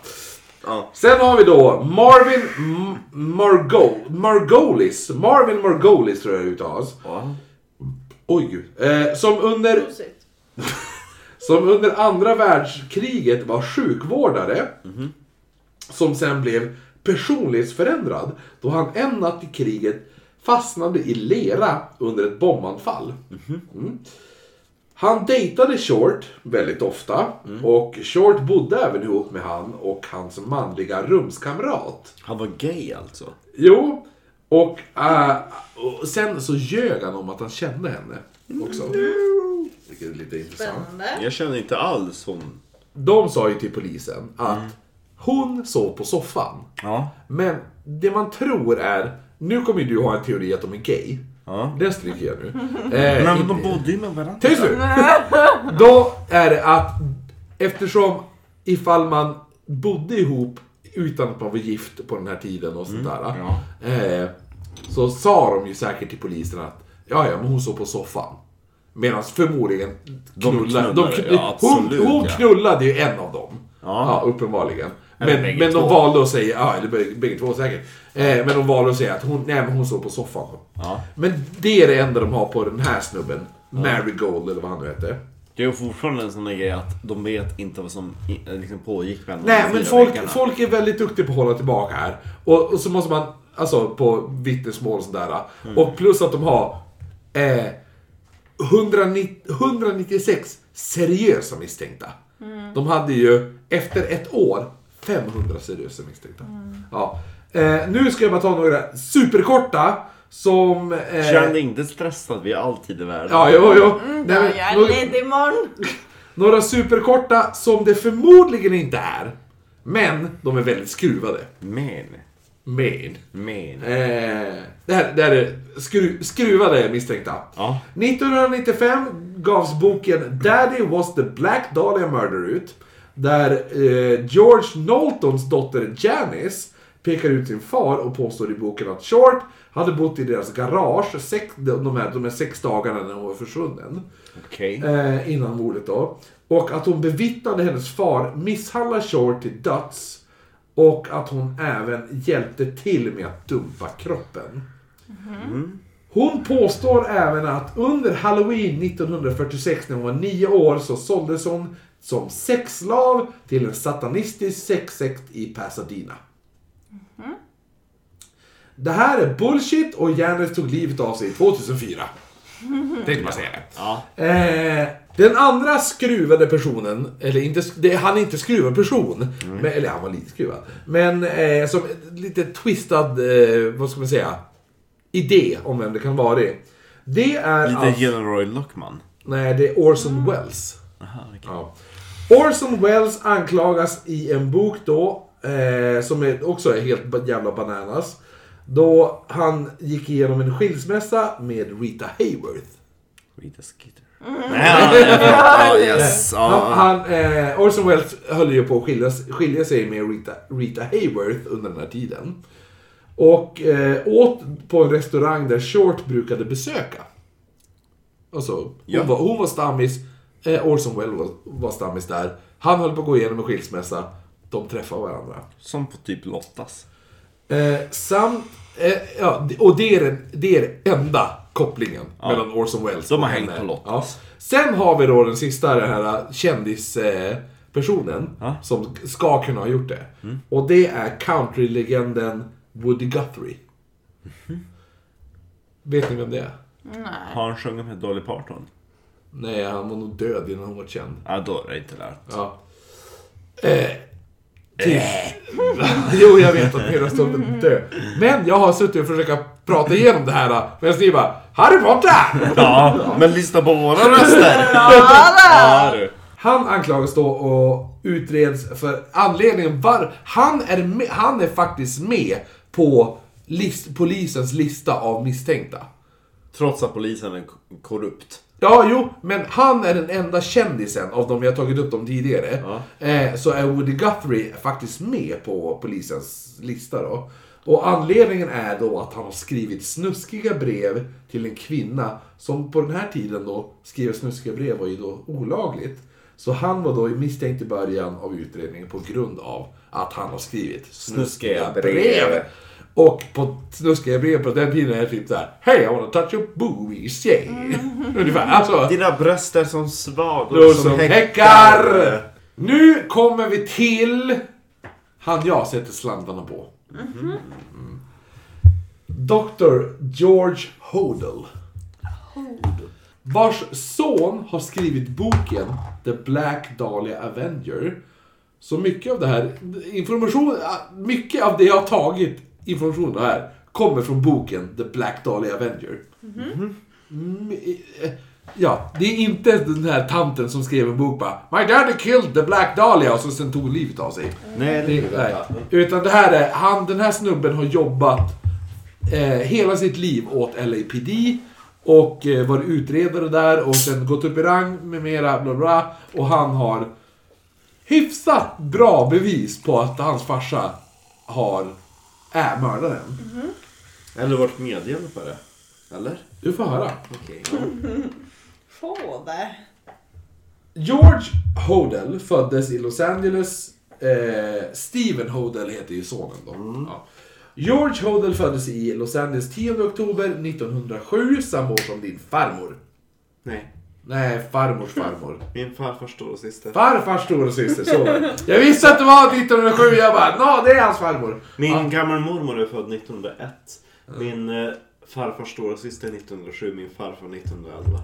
Speaker 3: Ja.
Speaker 2: Sen har vi då Marvin M- Margo- Margolis. Marvin Margolis tror jag det uttalas. Oj. Eh, som, under,
Speaker 1: Prosit.
Speaker 2: som under andra världskriget var sjukvårdare. Som sen blev personlighetsförändrad då han en natt i kriget fastnade i lera under ett bombanfall. Mm. Han dejtade Short väldigt ofta och Short bodde även ihop med han och hans manliga rumskamrat.
Speaker 3: Han var gay alltså.
Speaker 2: Jo, och, äh, och sen så ljög han om att han kände henne också. Vilket är lite intressant.
Speaker 1: Spännande.
Speaker 3: Jag känner inte alls hon.
Speaker 2: De sa ju till polisen att
Speaker 3: Mm.
Speaker 2: hon sov på soffan.
Speaker 3: Ja.
Speaker 2: Men det man tror är, nu kommer ju du ha en teori att de är gay.
Speaker 3: Ja.
Speaker 2: Den stryker jag
Speaker 3: [LAUGHS]
Speaker 2: nu. Eh,
Speaker 3: Men de
Speaker 2: inte-
Speaker 3: bodde ju med varandra.
Speaker 2: Tyst nu! Då är det att eftersom ifall man bodde ihop utan att man var gift på den här tiden och
Speaker 3: Mm,
Speaker 2: sånt där. Eh, så sa de ju säkert till polisen att ja, ja, men hon såg på soffan. Medan förmodligen knullade, de
Speaker 3: knullade,
Speaker 2: knullade,
Speaker 3: ja, absolut,
Speaker 2: hon, hon
Speaker 3: ja.
Speaker 2: knullade ju en av dem. Ja, uppenbarligen. Men,
Speaker 3: bägge
Speaker 2: men
Speaker 3: två.
Speaker 2: de valde att säga, ja, eller bägge- bägge två säkert. Eh, men de valde att säga att hon, nej, men hon såg på soffan.
Speaker 3: Ja.
Speaker 2: Men det är det enda de har på den här snubben. Marigold eller vad han nu heter.
Speaker 3: Det är ju fortfarande en sån där grej att de vet inte vad som i- liksom pågick mellan de
Speaker 2: Nej,
Speaker 3: fyra
Speaker 2: men folk,
Speaker 3: väggarna.
Speaker 2: folk är väldigt duktiga på att hålla tillbaka här. Och, och så måste man, alltså på vittnesmål och sådär.
Speaker 3: Mm.
Speaker 2: Och plus att de har eh, 190, 196 seriösa misstänkta.
Speaker 1: Mm.
Speaker 2: De hade ju, efter ett år, 500 seriösa misstänkta.
Speaker 1: Mm.
Speaker 2: Ja. Eh, nu ska jag bara ta några superkorta som... eh,
Speaker 3: Känn dig inte stressad, vi är alltid i världen.
Speaker 2: Ja, jo, jo.
Speaker 1: Mm, Ja,
Speaker 2: men
Speaker 1: jag är
Speaker 2: några-
Speaker 1: ledig imorgon.
Speaker 2: Några superkorta som det förmodligen inte är. Men de är väldigt skruvade.
Speaker 3: Men,
Speaker 2: Men.
Speaker 3: men.
Speaker 2: Eh, det, här, det här är skru, skruvade misstänkta.
Speaker 3: Ja.
Speaker 2: 1995 gavs boken Daddy was the Black Dahlia Murder ut. Där eh, George Knowltons dotter Janice pekar ut sin far och påstår i boken att Short hade bott i deras garage sex, de, de, här, de här sex dagarna när hon var försvunnen.
Speaker 3: Okej.
Speaker 2: Eh, innan mordet då. Och att hon bevittnade hennes far misshandla Shore till döds. Och att hon även hjälpte till med att dumpa kroppen. Hon påstår även att under Halloween 1946 när hon var nio år så såldes hon som sexslav till en satanistisk sexsekt i Pasadena. Det här är bullshit och Janet tog livet av sig 2004. Tänkte bara säga det.
Speaker 3: Ja.
Speaker 2: Eh, den andra skruvade personen, eller inte, sk- det, han är inte skruvad person, men, eller han var lite skruvad. Men eh, som ett lite twistad, eh, vad ska man säga, idé om vem det kan vara det. Det är
Speaker 3: Lite
Speaker 2: alltså-
Speaker 3: Gilroy Lockman.
Speaker 2: Nej, det är Orson Welles.
Speaker 6: Ja.
Speaker 2: Orson Welles anklagas i en bok då, eh, som är, också är helt ba- jävla bananas. Då han gick igenom en skilsmässa med Rita Hayworth.
Speaker 7: Rita Skeeter.
Speaker 3: Mm. [LAUGHS]
Speaker 1: Ja,
Speaker 7: Yes,
Speaker 2: Han,
Speaker 7: ja.
Speaker 2: han, eh, Orson Welles höll ju på att skilja, skilja sig med Rita, Rita Hayworth under den här tiden. Och eh, åt på en restaurang där Short brukade besöka. Alltså, hon,
Speaker 3: Ja.
Speaker 2: var, hon var stammis, eh, Orson Welles var, var stammis där. Han höll på att gå igenom en skilsmässa. De träffade varandra.
Speaker 3: Som på typ Lottas.
Speaker 2: Eh, samt, eh, ja, och det är den, det är den enda kopplingen mellan Orson Welles
Speaker 3: De har
Speaker 2: och
Speaker 3: hängt
Speaker 2: henne.
Speaker 3: på Lottas.
Speaker 2: Ja. Sen har vi då den sista, den här kändispersonen eh, personen som ska kunna ha gjort det. Och det är countrylegenden Woody Guthrie.
Speaker 3: Mhm.
Speaker 2: Vet ni vem det är?
Speaker 3: Har han sjungit med Dolly Parton?
Speaker 2: Nej, han var nog död innan han var känd.
Speaker 3: Ja, då är det inte lärt.
Speaker 2: Ja. Eh, typ. [LAUGHS] jo, jag vet att ni röstar om dö. Men jag har suttit och försökt prata igenom det här medan ni bara Harry Potter!
Speaker 3: Ja, men lyssna på våra röster!
Speaker 1: då!
Speaker 2: Han anklagas då och utreds för anledningen var han är, med, han är faktiskt med på list, polisens lista av misstänkta.
Speaker 3: Trots att polisen är k- korrupt.
Speaker 2: Ja, jo, men han är den enda kändisen av de vi har tagit upp dem tidigare. Eh, så är Woody Guthrie faktiskt med på polisens lista då. Och anledningen är då att han har skrivit snuskiga brev till en kvinna som på den här tiden då, skriva snuskiga brev var ju då olagligt. Så han var då misstänkt i början av utredningen på grund av att han har skrivit snuskiga
Speaker 3: brev.
Speaker 2: brev. Och på snuskiga brev på den tiden är det typ såhär Hey I wanna touch your boobies, yeah. [LAUGHS] Ungefär. Alltså,
Speaker 3: Dina bröst är som svagor
Speaker 2: då som häckar! Nu kommer vi till han jag sätter slantarna på. Mm. Dr. George Hodel. Vars son har skrivit boken The Black Dahlia Avenger. Så mycket av det här, information, mycket av det jag har tagit information av här kommer från boken The Black Dahlia Avenger. Mm, eh, Ja, det är inte den här tanten som skrev en bok bara My daddy killed the black dahlia och så sen tog livet av sig.
Speaker 3: Nej, det
Speaker 2: Det, nej. Utan det här är, han, den här snubben har jobbat eh, hela sitt liv åt LAPD och eh, varit utredare där och sen gått upp i rang med mera, bla bla. Och han har hyfsat bra bevis på att hans farsa har, är mördaren.
Speaker 3: Eller varit medhjälpare på det. Eller?
Speaker 2: Du får höra.
Speaker 3: Okej.
Speaker 1: Fader.
Speaker 2: George Hodel föddes i Los Angeles. Eh, Steven Hodel heter ju sonen då.
Speaker 3: Mm.
Speaker 2: Ja. George Hodel föddes i Los Angeles 10 oktober 1907, samma år som din farmor.
Speaker 3: Nej.
Speaker 2: Nej, farmors
Speaker 3: [LAUGHS]
Speaker 2: farmor.
Speaker 3: Min farfars storasyster.
Speaker 2: Farfars storasyster, så var det. Jag visste att det var 1907, jag bara nå, det är hans farmor.
Speaker 3: Min
Speaker 2: Ja.
Speaker 3: gammelmormor är född 1901. Min eh, farfars storasyster 1907, min farfar 1911.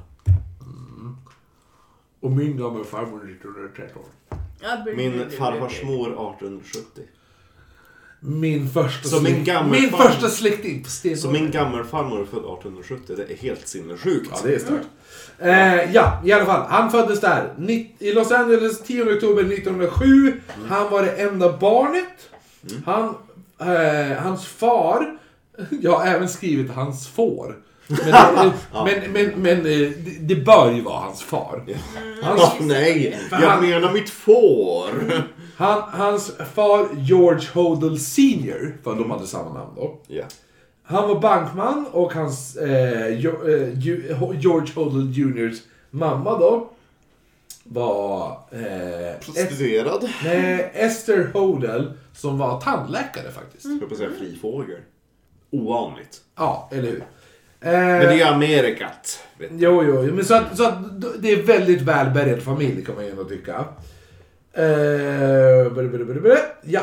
Speaker 2: Och min gamla farmor 1913.
Speaker 3: Min farfars mor 1870.
Speaker 2: Min första,
Speaker 3: Så min
Speaker 2: släkt-
Speaker 3: gammal
Speaker 2: min
Speaker 3: farmor.
Speaker 2: första släkting på Stenholm.
Speaker 3: Så min gammelfarmor är född 1870. Det är helt sinnessjukt.
Speaker 2: Ja, det är stört. Eh, ja, i alla fall. Han föddes där. Ni- I Los Angeles 10 oktober 1907. Han var det enda barnet. Han, eh, hans far, jag har även skrivit hans får. Men, eh, men, men, men eh, det- det bör ju vara hans far.
Speaker 3: [LAUGHS]
Speaker 2: Hans
Speaker 3: Åh, nej! Jag
Speaker 2: Fan.
Speaker 3: menar mitt får!
Speaker 2: Mm. han, hans far George Hodel Senior, för de hade samma namn då.
Speaker 3: [LAUGHS] Ja.
Speaker 2: Han var bankman och hans eh, Jo- eh, Ju- Ho- George Hodel Juniors mamma då var eh, es,
Speaker 3: Prostituerad.
Speaker 2: nej, Esther Hodel som var tandläkare faktiskt.
Speaker 3: Jag höll på att säga fri fågel. Ovanligt.
Speaker 2: Ja, eller hur? Eh,
Speaker 3: Men det är Amerikat. Vet ni.
Speaker 2: Jo, jo, jo, men så att, så att det är väldigt välbärgad familj kan man ju ändå tycka. Eh, br- br- br- br- ja.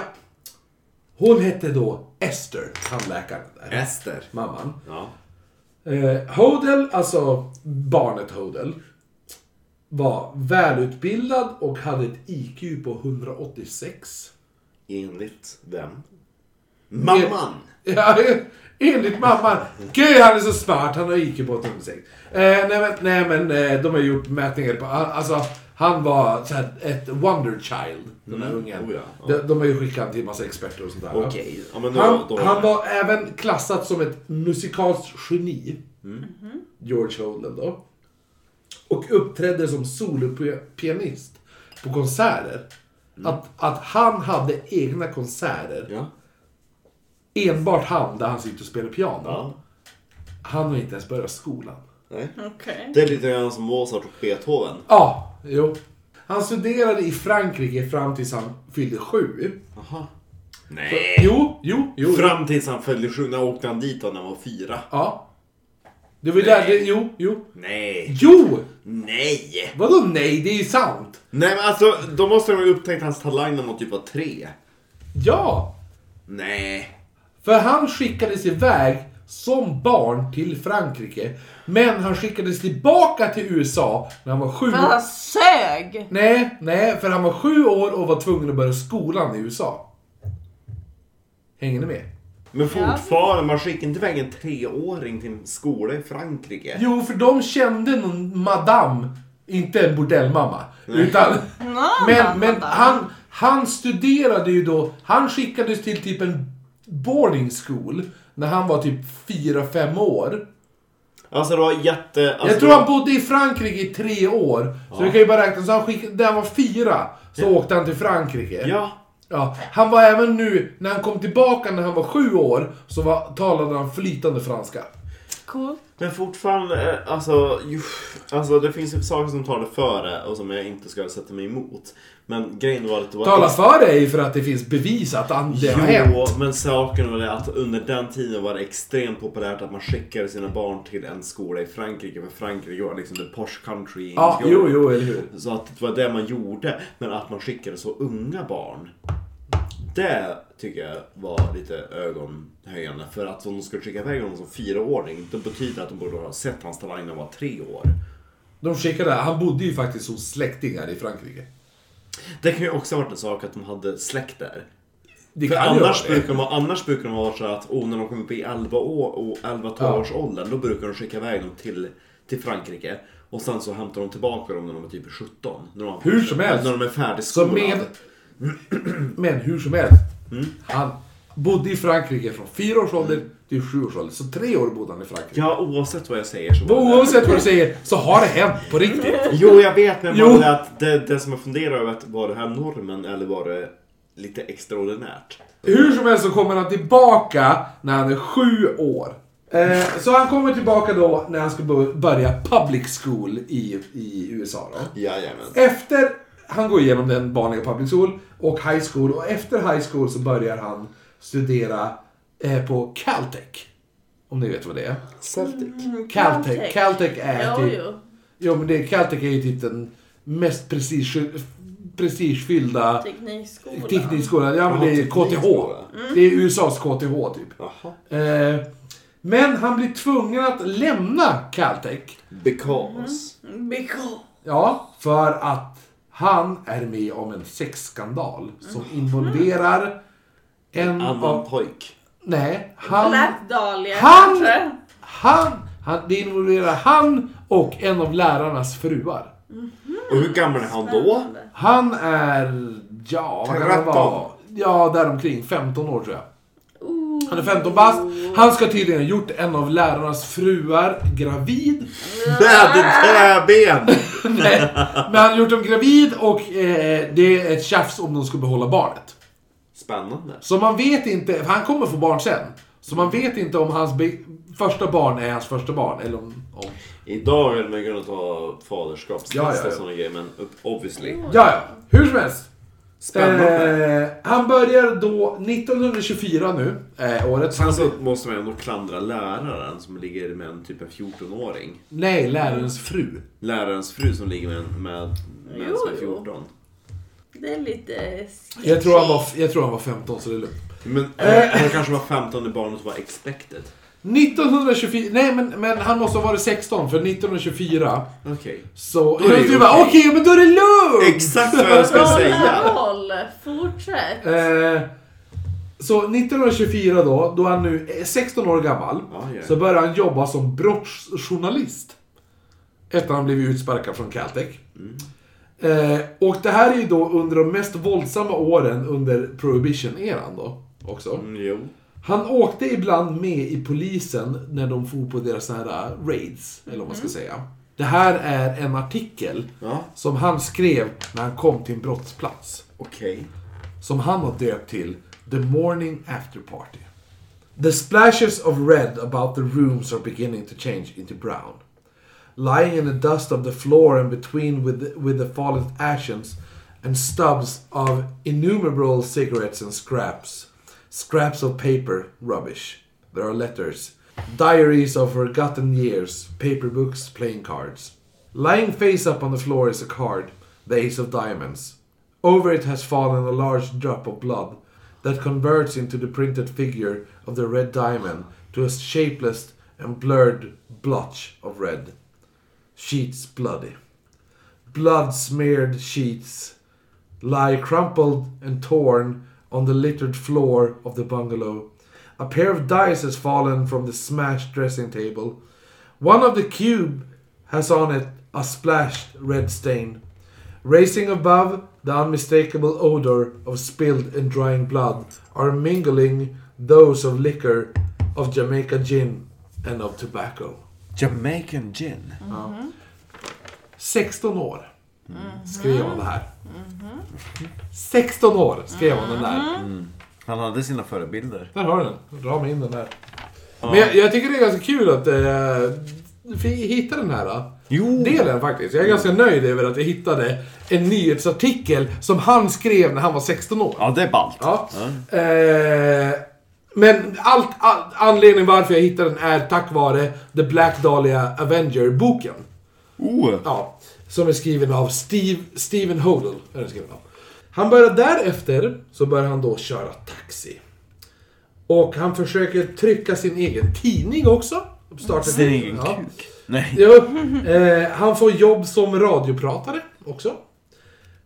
Speaker 2: Hon hette då Esther, tandläkaren
Speaker 3: Eh.
Speaker 2: där.
Speaker 3: Ester.
Speaker 2: Mamman.
Speaker 3: Ja.
Speaker 2: Eh, Hodel, alltså barnet Hodel, var välutbildad och hade ett IQ på 186. Mm.
Speaker 3: Enligt vem? Mamman!
Speaker 2: [LAUGHS] Ja, enligt mamman. Gud, han är så smart. Han har IQ på 106. Eh, nej, men, nej, men eh, de har gjort mätningar på... Alltså, han var så här, ett wonder child, den där ungen.
Speaker 3: Oh ja, ja.
Speaker 2: De, de har ju skickat han till massa experter och sånt där. va?
Speaker 3: Okej, ja, men då,
Speaker 2: Han,
Speaker 3: då
Speaker 2: han var även klassad som ett musikalskt geni. George Holden då. Och uppträdde som solopianist på konserter. Att, att han hade egna konserter.
Speaker 3: Ja.
Speaker 2: Enbart han, där han sitter och spelar piano. Han har inte ens börjat skolan.
Speaker 1: Okej.
Speaker 3: Det är lite grann som Mozart och Beethoven.
Speaker 2: Ja, jo. Han studerade i Frankrike fram tills han fyllde sju.
Speaker 3: Nej!
Speaker 2: Jo, jo, jo.
Speaker 3: Fram tills han följde sju, när åkte han dit då när han var fyra?
Speaker 2: Ja. Det var ju där, det, jo, jo.
Speaker 3: Nej!
Speaker 2: Jo!
Speaker 3: Nej!
Speaker 2: Vadå nej? Det är ju sant.
Speaker 3: Nej men alltså, då måste de ha upptäckt hans talang när han typ var tre.
Speaker 2: Ja,
Speaker 3: Nej.
Speaker 2: för han skickades iväg som barn till Frankrike. Men han skickades tillbaka till USA när han var sju
Speaker 1: Men
Speaker 2: år.
Speaker 1: han sög!
Speaker 2: Nej, nej, för han var sju år och var tvungen att börja skolan i USA. Hänger ni med?
Speaker 3: Men fortfarande, man skickar inte iväg en treåring till en skola i Frankrike.
Speaker 2: Jo, för de kände någon madame, inte en bordellmamma. Utan,
Speaker 1: Nå,
Speaker 2: men men
Speaker 1: mamma.
Speaker 2: han, han studerade ju då, han skickades till typ en boarding school när han var typ fyra fem år.
Speaker 3: Alltså det var jätte... Alltså,
Speaker 2: jag tror han bodde i Frankrike i tre år. Så vi kan ju bara räkna. Så han skickade, när han var fyra så åkte han till Frankrike.
Speaker 3: Ja.
Speaker 2: Ja, han var även nu, när han kom tillbaka när han var sju år, så var, talade han flytande franska.
Speaker 1: Cool.
Speaker 3: Men fortfarande, eh, alltså, ju, alltså det finns ju saker som talar för det och som jag inte ska sätta mig emot. Men grejen var att det var...
Speaker 2: Tala för dig för att det finns bevis att han, det har hänt.
Speaker 3: Jo, men saken var det att under den tiden var det extremt populärt att man skickade sina barn till en skola i Frankrike. För Frankrike var liksom the posh country in
Speaker 2: Ja,
Speaker 3: Europe.
Speaker 2: jo, jo, eller hur.
Speaker 3: Så att det var det man gjorde. Men att man skickade så unga barn. Det tycker jag var lite ögonhöjande. För att om de skulle skicka iväg honom som fyraåring. Det betyder att de borde ha sett hans talang när han var tre år.
Speaker 2: De skickade, han bodde ju faktiskt hos släktingar i Frankrike.
Speaker 3: Det kan ju också ha varit en sak att de hade släkt där.
Speaker 2: Det
Speaker 3: För
Speaker 2: kan ju
Speaker 3: annars,
Speaker 2: vara det.
Speaker 3: brukar de, annars brukar de vara så att oh, när de kommer upp i 11 år och 11
Speaker 2: Ja.
Speaker 3: års åldern då brukar de skicka iväg dem till, till Frankrike. Och sen så hämtar de tillbaka dem när de är typ 17. När de,
Speaker 2: Hur som helst.
Speaker 3: När de är färdigskolade.
Speaker 2: Så med, [CLEARS THROAT] men hur som helst.
Speaker 3: Mm.
Speaker 2: Han bodde i Frankrike från fyra års ålder till sju års ålder. Så tre år bodde han i Frankrike.
Speaker 3: Ja, oavsett vad jag säger så...
Speaker 2: Och Oavsett vad du säger så har det hänt på riktigt.
Speaker 3: Jo, jag vet men
Speaker 2: Jo.
Speaker 3: bara det att det, det som jag funderar över att var det här normen eller var det lite extraordinärt?
Speaker 2: Hur som helst så kommer han tillbaka när han är sju år. Eh, så han kommer tillbaka då när han ska bo- börja public school i, i USA då.
Speaker 3: Jajamän.
Speaker 2: Efter han går igenom den vanliga public school och high school och efter high school så börjar han studera eh, på Caltech. Om ni vet vad det är.
Speaker 3: Celtic.
Speaker 2: Mm. Caltech, Caltech är
Speaker 1: Jo,
Speaker 2: typ...
Speaker 1: jo.
Speaker 2: Jo men det, Caltech är ju typ den mest prestige, prestigefyllda
Speaker 1: Teknikskolan.
Speaker 2: teknikskolan. Ja men det är KTH. Mm. Det är USAs KTH typ.
Speaker 3: Jaha.
Speaker 2: Eh, men han blir tvungen att lämna Caltech.
Speaker 3: Because.
Speaker 2: Mm.
Speaker 1: Because.
Speaker 2: Ja, för att han är med om en sexskandal som involverar en
Speaker 3: Annan
Speaker 2: av...
Speaker 3: pojk.
Speaker 2: Nej, han...
Speaker 1: Black Dahlia
Speaker 2: Han-
Speaker 1: kanske?
Speaker 2: Han! han det involverar han och en av lärarnas fruar.
Speaker 3: Och hur gammal är han då?
Speaker 2: Han är... Ja, vad kan han
Speaker 3: 13?
Speaker 2: vara? Ja, däromkring. 15 år tror jag.
Speaker 1: Oh,
Speaker 2: Han är 15 bast. Han ska tydligen ha gjort en av lärarnas fruar gravid.
Speaker 3: Med träben!
Speaker 2: Nej, men han har gjort dem gravid och eh, det är ett tjafs om de ska behålla barnet.
Speaker 3: Spännande.
Speaker 2: Så man vet inte, för han kommer få barn sen. Så man vet inte om hans be- första barn är hans första barn. Eller om, om.
Speaker 3: Idag hade man kunnat ta faderskapstest
Speaker 2: Ja, ja, ja.
Speaker 3: och sådana grejer, men obviously.
Speaker 2: Ja, ja. Hur som helst.
Speaker 3: Spännande.
Speaker 2: Eh, han börjar då 1924 nu, eh, året.
Speaker 3: Sen så måste man ändå klandra läraren som ligger med en typ av 14-åring.
Speaker 2: Nej, lärarens fru.
Speaker 3: Lärarens fru som ligger med en med, med en
Speaker 1: Jo,
Speaker 3: som är
Speaker 1: jo.
Speaker 3: 14.
Speaker 1: Det är lite sketchy.
Speaker 2: Jag tror han var, jag tror han var 15, så det är lugnt.
Speaker 3: Men eh, han kanske var 15 när barnet var expected.
Speaker 2: 1924, nej men, men han måste ha varit 16 för 1924
Speaker 3: Okej.
Speaker 2: så...
Speaker 3: Då är det
Speaker 2: Du bara okej, men då är det lugnt!
Speaker 3: Exakt vad jag skulle
Speaker 1: Roll,
Speaker 3: säga!
Speaker 1: roll. Fortsätt.
Speaker 2: [LAUGHS] Eh, Så 1924 då, då är han nu eh, 16 år gammal,
Speaker 8: Ah, ja.
Speaker 2: så börjar han jobba som brottsjournalist. Efter att han blivit utsparkad från Caltech.
Speaker 3: Mm.
Speaker 2: Eh, och det här är ju då under de mest våldsamma åren under prohibition-eran då. Också.
Speaker 3: Mm,
Speaker 8: Jo.
Speaker 2: Han åkte ibland med i polisen när de for på deras såna här äh, raids, eller vad man ska säga. Det här är en artikel
Speaker 8: Ja.
Speaker 2: som han skrev när han kom till en brottsplats.
Speaker 8: Okej.
Speaker 2: Som han har döpt till The Morning After Party. The splashes of red about the rooms are beginning to change into brown. Lying in the dust of the floor and between with the, with the fallen ashes and stubs of innumerable cigarettes and scraps. Scraps of paper, rubbish. There are letters. Diaries of forgotten years, paper books, playing cards. Lying face up on the floor is a card, the ace of diamonds. Over it has fallen a large drop of blood that converts into the printed figure of the red diamond to a shapeless and blurred blotch of red. Sheets bloody. Blood smeared sheets lie crumpled and torn on the littered floor of the bungalow. A pair of dice has fallen from the smashed dressing table. One of the cube has on it a splashed red stain. Racing above, the unmistakable odor of spilled and drying blood are mingling those of liquor, of Jamaica gin, and of tobacco.
Speaker 3: Jamaican gin.
Speaker 2: 16 år skrev han det här. 16 år skrev han den där.
Speaker 3: Han hade sina förebilder.
Speaker 2: Där har du den. Dra mig in den här. Men jag, jag tycker det är ganska kul att eh, vi hittade den här eh,
Speaker 3: Jo!
Speaker 2: delen faktiskt. Jag är ganska nöjd över att jag hittade en nyhetsartikel som han skrev när han var 16 år.
Speaker 3: Ja, det är ballt.
Speaker 2: Ja. Eh, men allt, all, anledningen varför jag hittade den är tack vare The Black Dahlia Avenger-boken.
Speaker 3: Oh.
Speaker 2: Ja, som är skriven av Steve, Steven Hodel. Är den skriven av. Han börjar därefter, så börjar han då köra taxi. Och han försöker trycka sin egen tidning också. Starta
Speaker 3: Sin egen
Speaker 2: ja.
Speaker 3: kuk. Nej.
Speaker 2: Jo, eh, han får jobb som radiopratare också.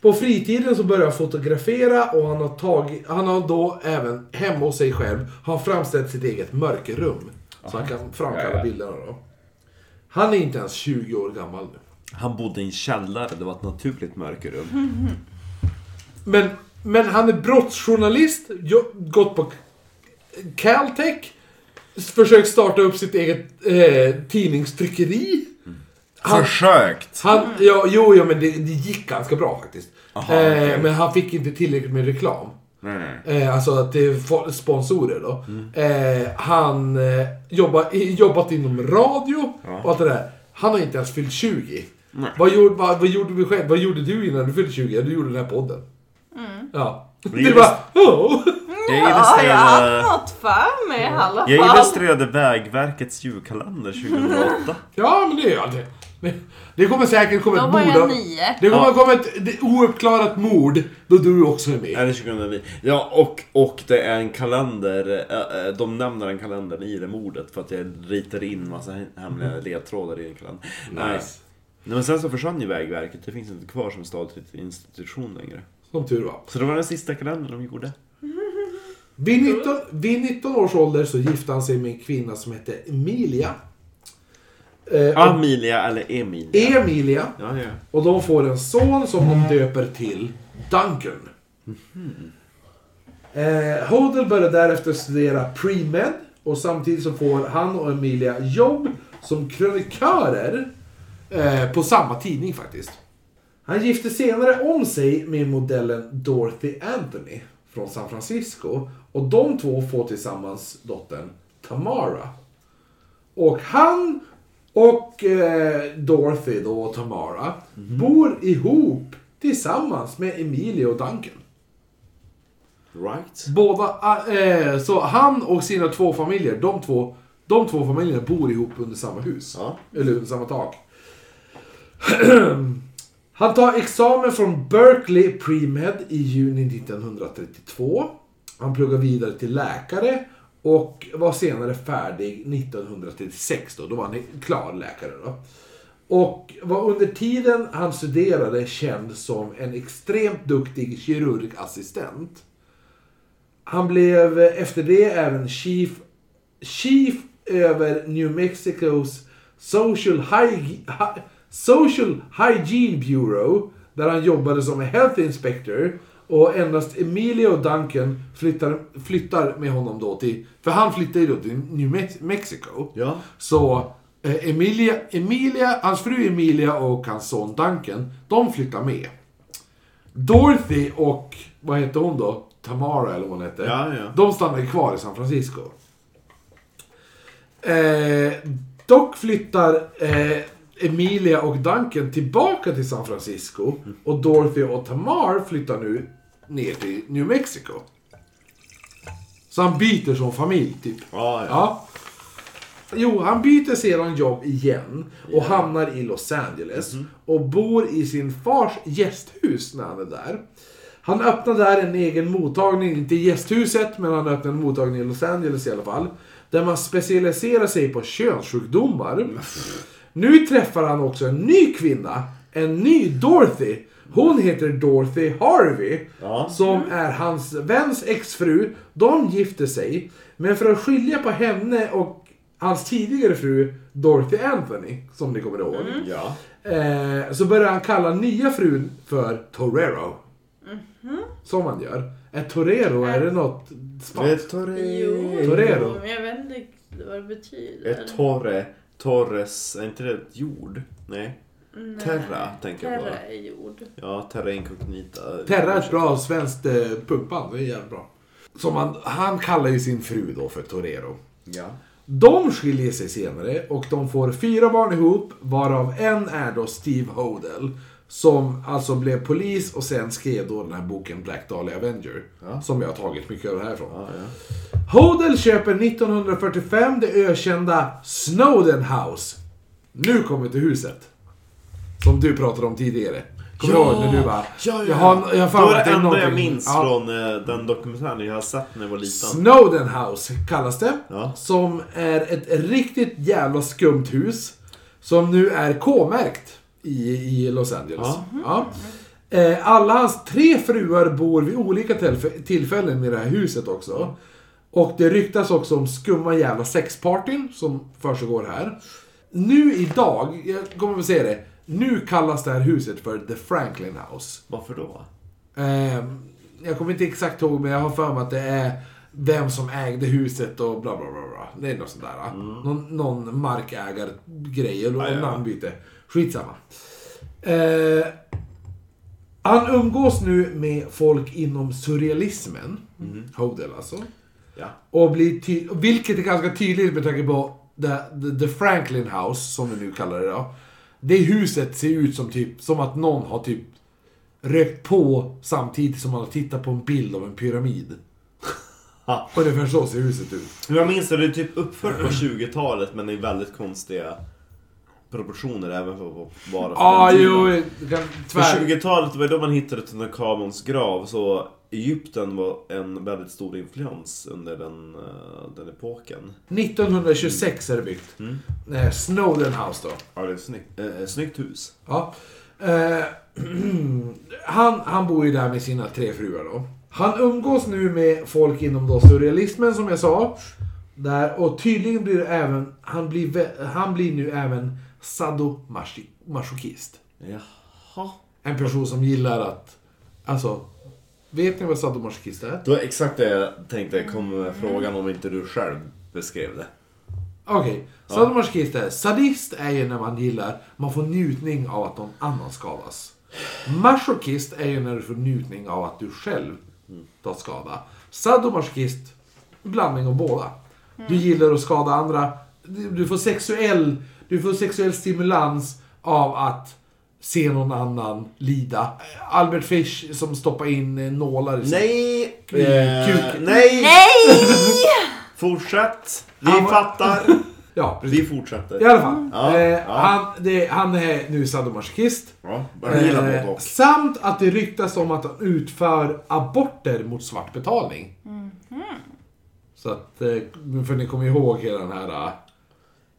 Speaker 2: På fritiden så börjar han fotografera och han har, tagit, han har då även hemma hos sig själv har framställt sitt eget mörkerrum. Så han kan framkalla
Speaker 8: Ja, ja.
Speaker 2: bilderna då. Han är inte ens 20 år gammal nu.
Speaker 3: Han bodde i en källare, det var ett naturligt mörkerrum.
Speaker 2: Men, men han är brottsjournalist, jo- gått på Caltech, försökt starta upp sitt eget eh, tidningstryckeri. Han-
Speaker 3: Försökt!
Speaker 2: Han, ja, jo, ja, men det, det gick ganska bra faktiskt. eh, Men han fick inte tillräckligt med reklam. Eh, alltså att det är fo- sponsorer då. Eh, han eh, jobba, i- jobbat inom radio och allt det där. Han har inte ens fyllt 20. Vad gjorde, vad, vad, gjorde vi själv? vad gjorde du innan du fyllde 20? Ja, Du gjorde den här podden.
Speaker 1: Mm.
Speaker 2: Ja. Det
Speaker 3: just-
Speaker 2: var oh.
Speaker 3: Jag
Speaker 1: Ja, jag har haft
Speaker 2: eh,
Speaker 3: illustrerade,
Speaker 1: något för mig i alla
Speaker 3: jag
Speaker 1: fall.
Speaker 3: illustrerade Vägverkets julkalender 2008.
Speaker 2: Ja, men det gör jag det. Det- Det kommer säkert komma
Speaker 1: Då
Speaker 2: ett
Speaker 1: var
Speaker 2: mord.
Speaker 1: jag
Speaker 2: av-
Speaker 1: nio.
Speaker 2: Det kommer komma ett det- ouppklarat mord då du också är med.
Speaker 3: Är det 2009? Ja, och, och det är en kalender. eh, eh, De nämner en kalender i det mordet för att jag ritar in massa
Speaker 2: Mm.
Speaker 3: hemliga ledtrådar i en kalender. Nej. Nej, men sen så försvann ju Vägverket. Det finns inte kvar som statlig institution längre.
Speaker 2: Som tur var.
Speaker 3: Så det var den sista kalendern de gjorde.
Speaker 2: Vid 19, vid 19 års ålder så gifte han sig med en kvinna som hette Emilia. Eh, och
Speaker 3: Amelia eller Emilia.
Speaker 2: E- Emilia.
Speaker 3: Ja, ja.
Speaker 2: Och de får en son som de döper till Duncan. Eh, Hodel börjar därefter studera pre-med och samtidigt så får han och Emilia jobb som krönikörer eh, på samma tidning faktiskt. Han gifte senare om sig med modellen Dorothy Anthony från San Francisco och de två får tillsammans dottern Tamara. Och han och eh, Dorothy då och Tamara bor ihop tillsammans med Emilio och Duncan.
Speaker 3: Right.
Speaker 2: Båda, eh, så han och sina två familjer, de två, de två familjerna bor ihop under samma hus.
Speaker 3: Ja.
Speaker 2: Eller under samma tak. [CLEARS THROAT] Han tar examen från Berkeley Pre-Med i juni 1932. Han pluggar vidare till läkare och var senare färdig 1936 då, då var han klar läkare då. Och var under tiden han studerade känd som en extremt duktig kirurgassistent. Han blev eh, efter det även chief, chief över New Mexicos Social, Hyg- Hy- Social Hygiene Bureau där han jobbade som health inspector och endast Emilio Duncan flyttar, flyttar med honom då till, för han flyttar ju då till New Mex- Mexico.
Speaker 3: Ja.
Speaker 2: Så eh, Emilia, Emilia, hans fru Emilia och hans son Duncan, de flyttar med. Dorothy och, vad hette hon då? Tamara eller vad hon hette.
Speaker 3: Ja, ja.
Speaker 2: De stannade kvar i San Francisco. Eh, dock flyttar eh, Emilia och Duncan tillbaka till San Francisco. Och Dorothy och Tamar flyttar nu ner till New Mexico. Så han byter som familj, typ.
Speaker 3: Ja, ja.
Speaker 2: Ja. Jo, han byter sedan jobb igen och hamnar i Los Angeles. Och bor i sin fars gästhus när han är där. Han öppnar där en egen mottagning, inte i gästhuset, men han öppnar en mottagning i Los Angeles i alla fall. Där man specialiserar sig på könssjukdomar. Nu träffar han också en ny kvinna, en ny Dorothy. Hon heter Dorothy Harvey, som är hans väns exfru. De gifter sig, men för att skilja på henne och hans tidigare fru Dorothy Anthony, som ni kommer ihåg,
Speaker 3: ja.
Speaker 2: eh, så börjar han kalla nya frun för Torero. Som han gör. Är Torero, är det något spanskt?
Speaker 3: Ett torre...
Speaker 1: Jo,
Speaker 2: Torero.
Speaker 1: men jag vet inte riktigt vad det betyder.
Speaker 3: Ett torre... Torres... Är inte det ett jord? Nej.
Speaker 1: Nej.
Speaker 3: Terra, tänker jag på.
Speaker 1: Terra är jord.
Speaker 3: Ja, Terra Incognita.
Speaker 2: Terra är ett bra svenskt eh, punkband, det är jävligt bra. Som han, han kallar ju sin fru då för Torero.
Speaker 3: Ja.
Speaker 2: De skiljer sig senare och de får fyra barn ihop, varav en är då Steve Hodel. Som alltså blev polis och sen skrev då den här boken Black Dahlia Avenger. Som jag har tagit mycket av härifrån. Hodel köper 1945 det ökända Snowden House. Nu kommer vi till huset. Som du pratade om tidigare. Kommer du
Speaker 3: Ja,
Speaker 2: ihåg när du bara...
Speaker 3: Ja, ja.
Speaker 2: Jag har, jag har
Speaker 3: det
Speaker 2: för mig
Speaker 3: var
Speaker 2: att
Speaker 3: det
Speaker 2: är
Speaker 3: enda jag
Speaker 2: någonting-
Speaker 3: minns
Speaker 2: Ja.
Speaker 3: från eh, den dokumentären jag har sett när jag var liten.
Speaker 2: Snowden House kallas det.
Speaker 3: Ja.
Speaker 2: Som är ett riktigt jävla skumt hus. Som nu är K-märkt i, i Los Angeles.
Speaker 3: Ja.
Speaker 2: Ja. Eh, Alla hans tre fruar bor vid olika tillf- tillfällen i det här huset också. Och det ryktas också om skumma jävla sexpartyn som försiggår här. Nu idag, jag kommer väl säga det, nu kallas det här huset för The Franklin House.
Speaker 3: Varför då?
Speaker 2: Eh, jag kommer inte exakt ihåg, men jag har för mig att det är vem som ägde huset och bla bla bla. bla. Det är något sånt där. Någon, någon markägargrej eller
Speaker 3: Mm. Ja, ja.
Speaker 2: namnbyte. Skitsamma. Eh, han umgås nu med folk inom surrealismen.
Speaker 3: Mm.
Speaker 2: Hodel alltså.
Speaker 3: Ja.
Speaker 2: Och blir ty- vilket är ganska tydligt med tanke på the, the, the Franklin House, som vi nu kallar det då. Det huset ser ut som typ, som att någon har typ rökt på samtidigt som man har tittat på en bild av en pyramid. Ungefär så ser huset ut.
Speaker 3: Jag minns det, det är typ uppfört på 20-talet men det är väldigt konstiga proportioner även för att
Speaker 2: Ja,
Speaker 3: vara för
Speaker 2: ah,
Speaker 3: den
Speaker 2: jo,
Speaker 3: tiden.
Speaker 2: det kan,
Speaker 3: På
Speaker 2: tvär.
Speaker 3: 20-talet var det då man hittade Tutankhamons grav så Egypten var en väldigt stor influens under den, eh, den epoken.
Speaker 2: 1926 är det byggt. Eh, Snowden House då.
Speaker 3: Ja, det är ett snyggt, eh, snyggt hus.
Speaker 2: Ja. Eh, [CLEARS THROAT] han, han bor ju där med sina tre fruar då. Han umgås nu med folk inom då surrealismen som jag sa. Där, och tydligen blir det även, han blir, vä- han blir nu även sadomasochist.
Speaker 3: Jaha.
Speaker 2: En person som gillar att, alltså, vet ni vad sadomasochist är?
Speaker 3: Det var exakt det jag tänkte komma med frågan om inte du själv beskrev det.
Speaker 2: Okej, sadomasochist är, sadist är ju när man gillar, man får njutning av att någon annan skadas. Masochist är ju när du får njutning av att du själv
Speaker 3: Mm.
Speaker 2: tar skada. Sadomasochist, blandning av båda.
Speaker 3: Mm.
Speaker 2: Du gillar att skada andra, du du får sexuell, du får sexuell stimulans av att se någon annan lida. Albert Fish som stoppar in eh, nålar i sin-
Speaker 3: Nej!
Speaker 2: Eh,
Speaker 3: Eh,
Speaker 2: kuk.
Speaker 3: nej!
Speaker 9: Nej!
Speaker 3: Fortsätt! Vi
Speaker 2: Han var- [LAUGHS]
Speaker 3: fattar!
Speaker 2: Ja, precis.
Speaker 3: Vi fortsätter.
Speaker 2: I alla fall.
Speaker 3: Mm. Ja,
Speaker 2: eh,
Speaker 3: ja.
Speaker 2: Han, det, han är nu sadomasochist.
Speaker 3: Ja, jag gillar både
Speaker 2: Eh,
Speaker 3: och.
Speaker 2: samt att det ryktas om att han utför aborter mot svart betalning. Så att, eh, för ni kommer ihåg hela den här eh,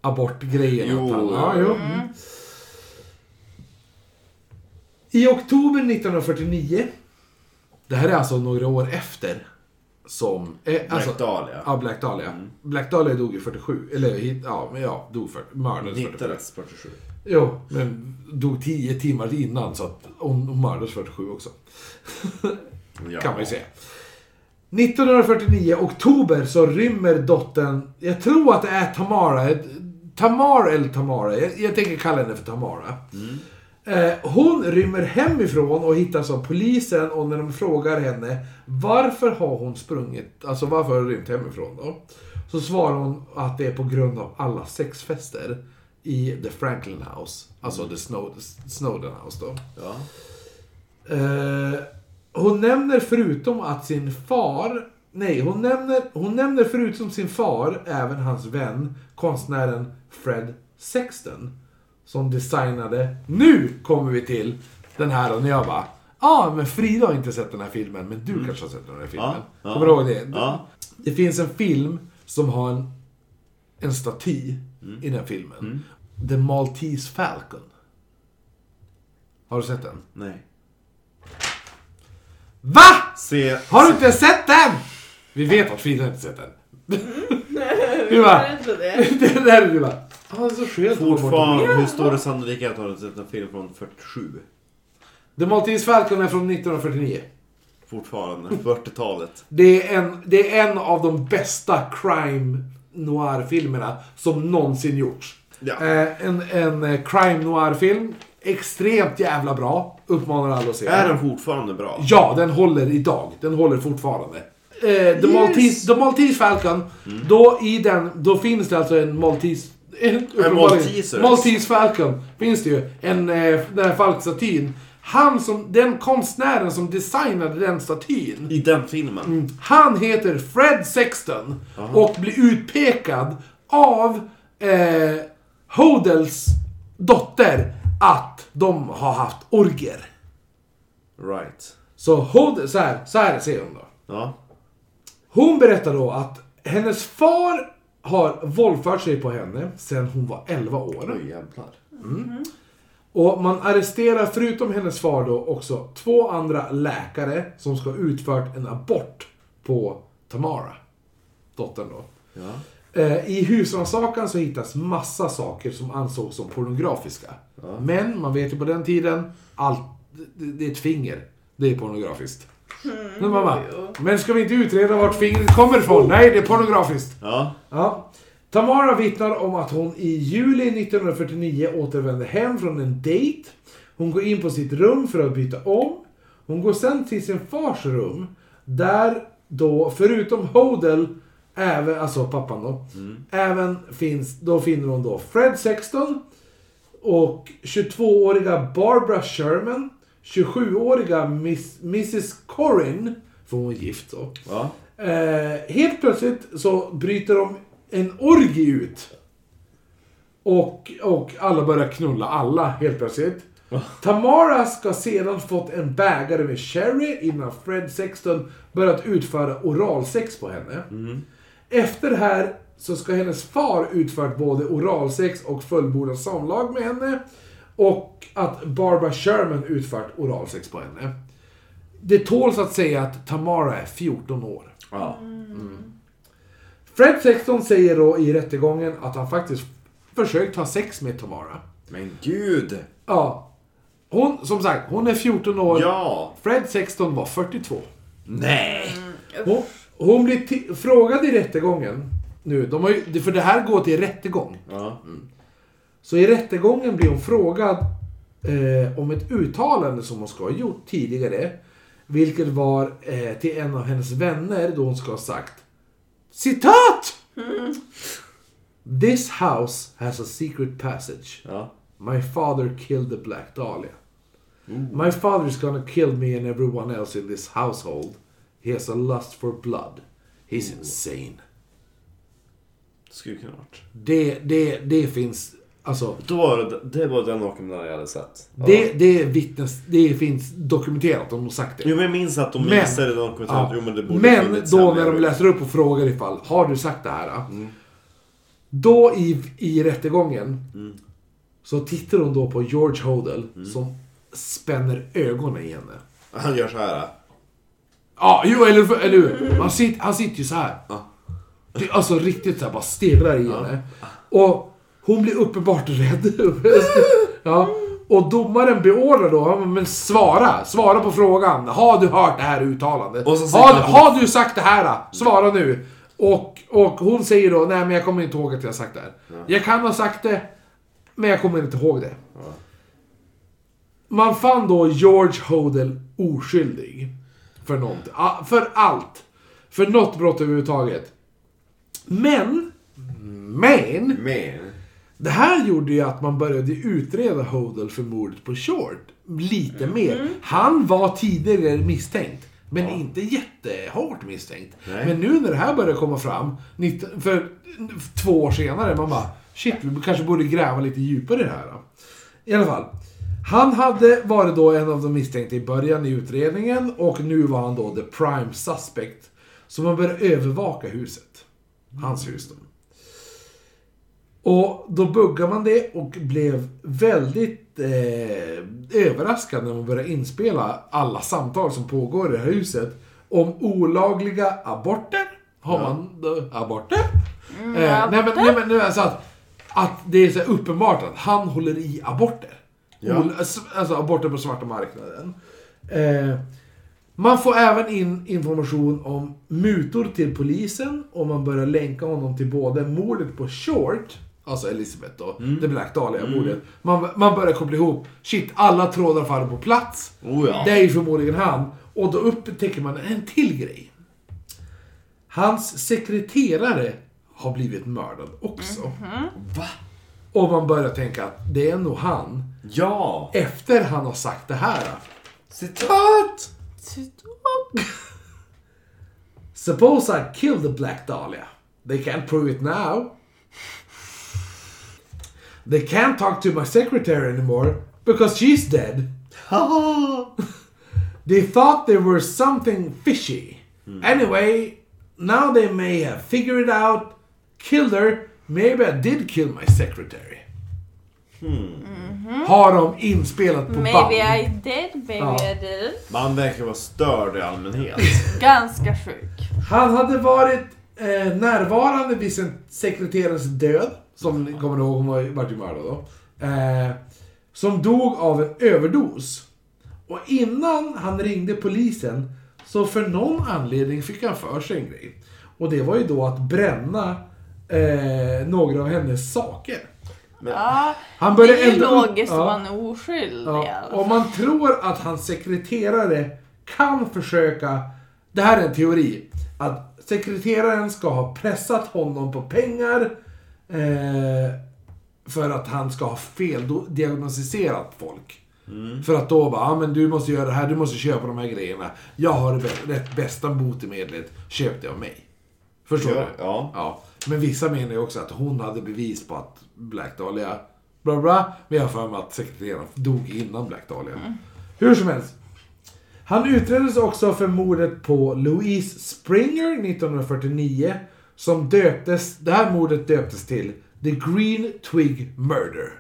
Speaker 2: abortgrejen.
Speaker 3: Jo.
Speaker 2: att han- Ja, jo. I oktober 1949, det här är alltså några år efter som... Eh, alltså,
Speaker 3: Black Dahlia. Mm.
Speaker 2: Ja, Black Dahlia. Black Dahlia dog ju 47. Eller hit, ja, men ja, dog 40. Mördades 47.
Speaker 3: Hittades 47.
Speaker 2: Jo, men dog 10 timmar innan så att hon hon mördades 47 också.
Speaker 3: Ja.
Speaker 2: Kan man ju säga. 1949, oktober, så rymmer dottern, jag tror att det är Tamara, Tamar eller Tamara, jag, jag tänker kalla henne för Tamara. Eh, hon rymmer hemifrån och hittas av polisen och när de frågar henne varför har hon sprungit, alltså varför har hon rymt hemifrån då? Så svarar hon att det är på grund av alla sexfester i The Franklin House, alltså The Snow, Snowden House då.
Speaker 3: Ja.
Speaker 2: Eh, hon nämner förutom att sin far... Nej, hon nämner, hon nämner förutom sin far även hans vän, konstnären Fred Sexton. Som designade... Nu kommer vi till den här och när jag bara... Ja, ah, men Frida har inte sett den här filmen, men du kanske har sett den här filmen.
Speaker 3: Mm. ja.
Speaker 2: Kommer du ihåg det?
Speaker 3: Ja.
Speaker 2: Det finns en film som har en, en staty
Speaker 3: Mm.
Speaker 2: i den här filmen. The Maltese Falcon. Har du sett den?
Speaker 3: Nej.
Speaker 2: VA?
Speaker 3: Se...
Speaker 2: Har du inte sett den? Vi vet att Frida inte sett den. Du bara, det där är du bara. Han är så skönt att vara borta.
Speaker 3: Fortfarande, hur stor är sannolikheten att du har sett en film från 47?
Speaker 2: The Maltese Falcon är från 1949.
Speaker 3: Fortfarande,
Speaker 2: Mm.
Speaker 3: 40-talet.
Speaker 2: Det är en, det är en av de bästa crime noir-filmerna som någonsin gjorts.
Speaker 3: Ja.
Speaker 2: Eh, en, en eh, crime noir-film. Extremt jävla bra. Uppmanar alla att se
Speaker 3: Är den fortfarande bra?
Speaker 2: Ja, den håller idag. Den håller fortfarande. Eh, the, Maltese, the Maltese Falcon, då, i den, då finns det alltså en Maltese... [LAUGHS] En, uppenbarligen-
Speaker 3: Malteser.
Speaker 2: Maltese Falcon finns det ju. En, eh, den här falkstatyn. Han som, den konstnären som designade den statyn.
Speaker 3: I den filmen?
Speaker 2: Mm. Han heter Fred Sexton och blir utpekad av eh, Hodels dotter att de har haft orger.
Speaker 3: Right.
Speaker 2: Så hon, så här, så här ser hon då.
Speaker 3: Ja.
Speaker 2: Hon berättar då att hennes far har våldfört sig på henne sedan hon var 11 år.
Speaker 3: Oj jävlar.
Speaker 2: Och man arresterar förutom hennes far då också två andra läkare som ska ha utfört en abort på Tamara. Dottern då.
Speaker 3: Ja.
Speaker 2: Eh, I husrannsakan så hittas massa saker som ansågs som pornografiska. Men man vet ju på den tiden, allt, det- det är ett finger. Det är pornografiskt. Men, mamma, men ska vi inte utreda vart fingret kommer ifrån? Nej, det är pornografiskt.
Speaker 3: Ja.
Speaker 2: Ja. Tamara vittnar om att hon i juli 1949 återvände hem från en dejt. Hon går in på sitt rum för att byta om. Hon går sen till sin fars rum. Där då, förutom Hodel, även, alltså pappan då, även finns, då finner hon då Fred Sexton och 22-åriga Barbara Sherman, 27-åriga Miss, Mrs Corin, för hon är gift då.
Speaker 3: Ja.
Speaker 2: Eh, helt plötsligt så bryter de en orgie ut. Och, och alla börjar knulla alla helt plötsligt. Tamara ska sedan fått en bägare med sherry innan Fred Sexton börjat utföra oralsex på henne. Efter det här så ska hennes far utfört både oralsex och fullbordat samlag med henne. Och att Barbara Sherman utfört oralsex på henne. Det tåls att säga att Tamara är 14 år.
Speaker 3: Ja.
Speaker 2: Fred Sexton säger då i rättegången att han faktiskt försökt ha sex med Tamara.
Speaker 3: Men gud!
Speaker 2: Ja. Hon, som sagt, hon är 14 år.
Speaker 3: Ja!
Speaker 2: Fred Sexton var 42.
Speaker 3: Nej!
Speaker 2: Hon, hon blir ti- frågad i rättegången nu, de har ju, för det här går till rättegång.
Speaker 3: Ja. mm,
Speaker 2: Så i rättegången blir hon frågad eh, om ett uttalande som hon ska ha gjort tidigare. Vilket var eh, till en av hennes vänner då hon ska ha sagt Citat! This house has a secret passage.
Speaker 3: Ja.
Speaker 2: My father killed the Black Dahlia. My father is gonna kill me and everyone else in this household. He has a lust for blood. He's insane.
Speaker 3: Det skulle kunna varit.
Speaker 2: Det, det, det finns, alltså.
Speaker 3: Då var det, det var den dokumentären jag hade sett. Ja.
Speaker 2: Det, det, är vittnes, det finns dokumenterat om de sagt det.
Speaker 3: Jo men jag minns att de
Speaker 2: Men-
Speaker 3: visade den dokumentären.
Speaker 2: Ja.
Speaker 3: Jo men det borde
Speaker 2: Men
Speaker 3: funnits Mm.
Speaker 2: då
Speaker 3: hemliga
Speaker 2: när de
Speaker 3: bevis. [LAUGHS]
Speaker 2: läser upp och frågar ifall, har du sagt det här? Då i, i rättegången
Speaker 3: Mm.
Speaker 2: så tittar hon då på George Hodel som spänner ögonen i henne.
Speaker 3: Han gör så här.
Speaker 2: Ja, jo eller, eller hur? Han sitter, han sitter ju så här. Det, alltså riktigt så här, bara stirrar i henne. Och hon blir uppenbart rädd. [LAUGHS] ja. Och domaren beordrar då, ja, men svara, svara på frågan. Har du hört det här uttalandet?
Speaker 10: Och så säger
Speaker 2: har,
Speaker 10: han-
Speaker 2: har du sagt det här? Svara nu. Och, och hon säger då, nej men jag kommer inte ihåg att jag har sagt det här. Jag kan ha sagt det, men jag kommer inte ihåg det. Man fann då George Hodel oskyldig. För något, a- för allt. För något brott överhuvudtaget. Men, men.
Speaker 3: Men.
Speaker 2: Det här gjorde ju att man började utreda Hodel för mordet på Short. Lite mer. Han var tidigare misstänkt. Men inte jättehårt misstänkt. Men nu när det här började komma fram, 19, för två år senare, man bara shit, vi kanske borde gräva lite djupare i det här. då." I alla fall. Han hade varit då en av de misstänkta i början i utredningen och nu var han då the prime suspect. Så man började övervaka huset. Hans hus då. Och då buggade man det och blev väldigt eh, överraskad när man började inspela alla samtal som pågår i det här huset. Om olagliga aborter. Har man då, aborter? eh, nej men, nej, men nu är det så att, att det är så här uppenbart att han håller i aborter. Ol- alltså aborter på svarta marknaden. Eh, man får även in information om mutor till polisen och man börjar länka honom till både mordet på Short, alltså Elisabeth då,
Speaker 10: Mm.
Speaker 2: det Black Dahlia-mordet. Man, man börjar koppla ihop, shit, alla trådar faller på plats.
Speaker 10: Oh ja.
Speaker 2: Det är ju förmodligen han. Och då upptäcker man en till grej. Hans sekreterare har blivit mördad också.
Speaker 10: Va?
Speaker 2: Och man börjar tänka att det är nog han,
Speaker 10: Ja!
Speaker 2: efter han har sagt det här.
Speaker 10: Citat!
Speaker 2: Suppose I kill the Black Dahlia. They can't prove it now. They can't talk to my secretary anymore because she's dead. they thought there was something fishy. Anyway, now they may have figured it out, killed her. Maybe I did kill my secretary. Har de inspelat på band.
Speaker 1: Mm-hmm. Maybe I did, maybe
Speaker 2: Ja.
Speaker 1: I did.
Speaker 3: Man verkar vara störd i allmänhet.
Speaker 1: Ganska sjuk.
Speaker 2: Han hade varit eh, närvarande vid sin sekreterarens död, som ni kommer ihåg, hon var ju- vart ju mördad då. Eh, som dog av en överdos. Och innan han ringde polisen så för någon anledning fick han för sig en grej. Och det var ju då att bränna eh, några av hennes saker.
Speaker 1: Ja,
Speaker 2: Han
Speaker 1: det
Speaker 2: började
Speaker 1: är ju
Speaker 2: elda upp-
Speaker 1: logiskt
Speaker 2: ja.
Speaker 1: om man är oskyldig.
Speaker 2: Ja,
Speaker 1: alltså.
Speaker 2: om man tror att hans sekreterare kan försöka, det här är en teori, att sekreteraren ska ha pressat honom på pengar eh, för att han ska ha feldiagnostiserat folk.
Speaker 3: Mm.
Speaker 2: För att då bara, ja men du måste göra det här, du måste köpa de här grejerna. Jag har det bä- rätt bästa botemedlet, köp det av mig. Förstår
Speaker 3: Ja,
Speaker 2: du?
Speaker 3: ja.
Speaker 2: ja. Men vissa menar ju också att hon hade bevis på att Black Dahlia, bla bla. Men jag har för mig att sekreteraren dog innan Black Dahlia.
Speaker 3: Mm.
Speaker 2: Hur som helst. Han utreddes också för mordet på Louise Springer 1949. Som döptes, det här mordet döptes till The Green Twig Murder.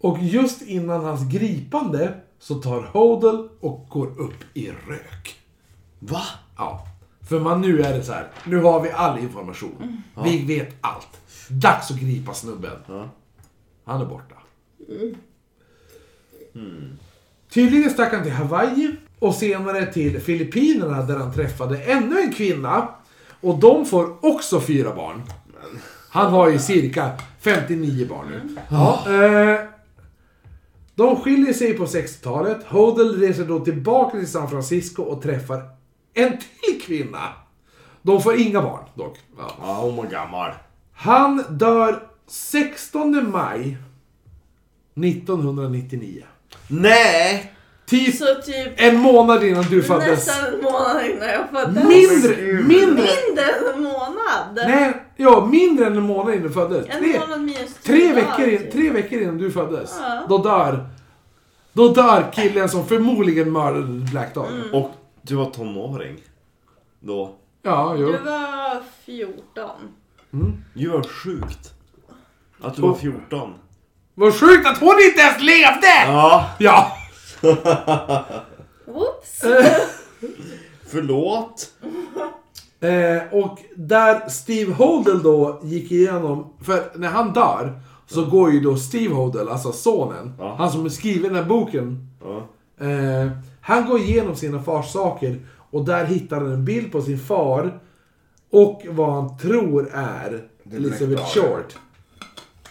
Speaker 2: Och just innan hans gripande så tar Hodel och går upp i rök.
Speaker 10: Va?
Speaker 2: Ja. För man nu är det så här. nu har vi all information. Vi vet allt. Dags att gripa snubben. Han är borta. Hmm. Tydligen stack han till Hawaii och senare till Filippinerna där han träffade ännu en kvinna. Och de får också fyra barn. Han har ju cirka 59 barn nu. Ja, eh, de skiljer sig på 60-talet. Hodel reser då tillbaka till San Francisco och träffar en till kvinna. De får inga barn dock. Ja.
Speaker 3: Ja, hon var gammal.
Speaker 2: Han dör 16 maj 1999.
Speaker 10: Nej!
Speaker 2: Typ
Speaker 1: Så typ
Speaker 2: en månad innan du föddes.
Speaker 1: nästan en månad innan jag föddes.
Speaker 2: Mindre, mindre,
Speaker 1: Mindre än en månad!
Speaker 2: nej, ja, mindre än en månad innan du föddes.
Speaker 1: en
Speaker 2: Tre,
Speaker 1: månad minus
Speaker 2: tre,
Speaker 1: tio dagar,
Speaker 2: veckor in,
Speaker 1: typ.
Speaker 2: tre veckor innan du föddes.
Speaker 1: Ja.
Speaker 2: Då dör, då dör killen som förmodligen mördade Black Dahlia.
Speaker 1: Mm.
Speaker 3: Och du var tonåring. Då.
Speaker 2: Ja, jo.
Speaker 1: Du var 14.
Speaker 3: Det var sjukt. Att du var 14.
Speaker 2: Vad sjukt att hon inte ens levde!
Speaker 3: Ja.
Speaker 2: Ja.
Speaker 1: Whoops!
Speaker 11: Förlåt.
Speaker 2: Eh, och där Steve Hodel då gick igenom, för när han dör så går ju då Steve Hodel, alltså sonen, han som skriver den här boken. Eh, han går igenom sina fars saker och där hittar han en bild på sin far och vad han tror är Elizabeth Short.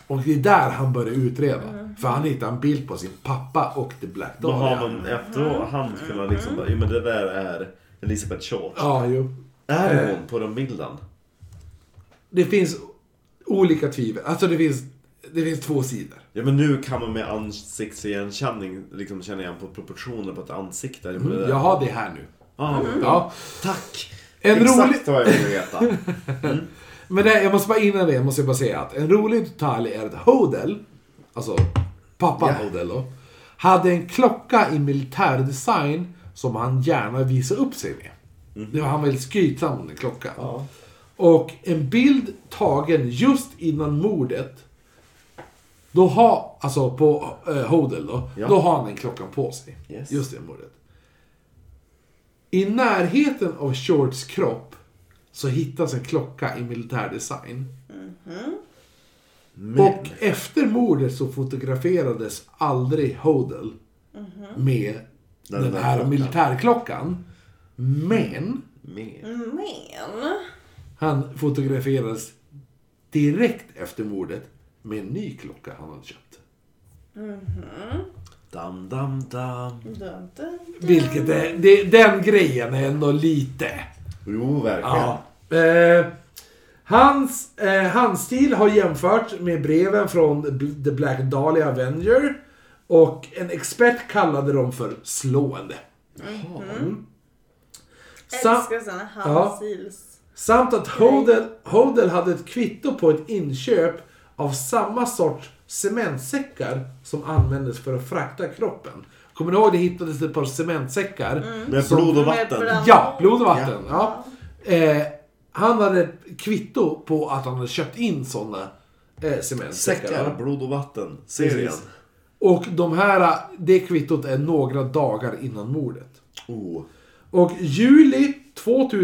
Speaker 2: Och det är där han börjar utreda. För han hittar en bild på sin pappa och The Black
Speaker 3: Då har
Speaker 2: Dahlia.
Speaker 3: man efterhand kunnat liksom bara, jo men det där är Elisabeth Short.
Speaker 2: Ja, jo.
Speaker 3: Är
Speaker 2: Eh.
Speaker 3: hon på den bilden?
Speaker 2: Det finns olika tvivel. Alltså det finns, det finns två sidor.
Speaker 3: Ja men nu kan man med ansiktsigenkänning liksom känna igen på proportioner på ett ansikte. Jo, men det där-
Speaker 2: Jag har det här nu.
Speaker 3: Ah,
Speaker 2: Ja.
Speaker 3: Tack!
Speaker 2: En rolig...
Speaker 11: Exakt vad jag vill veta.
Speaker 2: Men det, jag måste bara innan det måste jag bara säga att en rolig detalj är att Hodel, alltså pappa Hodel då, hade en klocka i militärdesign som han gärna visade upp sig med. Det var han väldigt skrytsam om den klockan. Och en bild tagen just innan mordet, då har, alltså på eh, Hodel då, då har han den klockan på sig.
Speaker 3: Yes.
Speaker 2: Just det mordet. I närheten av Shorts kropp så hittas en klocka i militärdesign.
Speaker 3: Mm-hmm.
Speaker 2: Och efter mordet så fotograferades aldrig Hodel med den,
Speaker 3: Mm-hmm. där
Speaker 2: här
Speaker 3: klockan.
Speaker 2: militärklockan. Men
Speaker 3: Mer.
Speaker 1: Men...
Speaker 2: han fotograferades direkt efter mordet med en ny klocka han hade köpt.
Speaker 3: Mm. Dam, dam, dam.
Speaker 1: Dun, dun.
Speaker 2: Vilket är, det, den grejen är ändå lite...
Speaker 11: Jo, verkligen.
Speaker 2: Ja. Eh, hans eh, handstil har jämförts med breven från B- The Black Dahlia Avenger. Och en expert kallade dem för slående. Mm. Sam,
Speaker 1: Älskar såna halvsils.
Speaker 2: samt att Hodel, Hodel hade ett kvitto på ett inköp av samma sorts cementsäckar som användes för att frakta kroppen. Kommer ni ihåg det hittades ett par cementsäckar?
Speaker 3: Med blod och vatten.
Speaker 1: Med
Speaker 2: Ja, blod och vatten. Ja. Eh, han hade ett kvitto på att han hade köpt in sådana eh, cementsäckar.
Speaker 3: Säckar,
Speaker 2: va?
Speaker 3: blod och vatten. Serien.
Speaker 2: Precis. Och de här, det kvittot är några dagar innan mordet.
Speaker 3: Oh.
Speaker 2: Och juli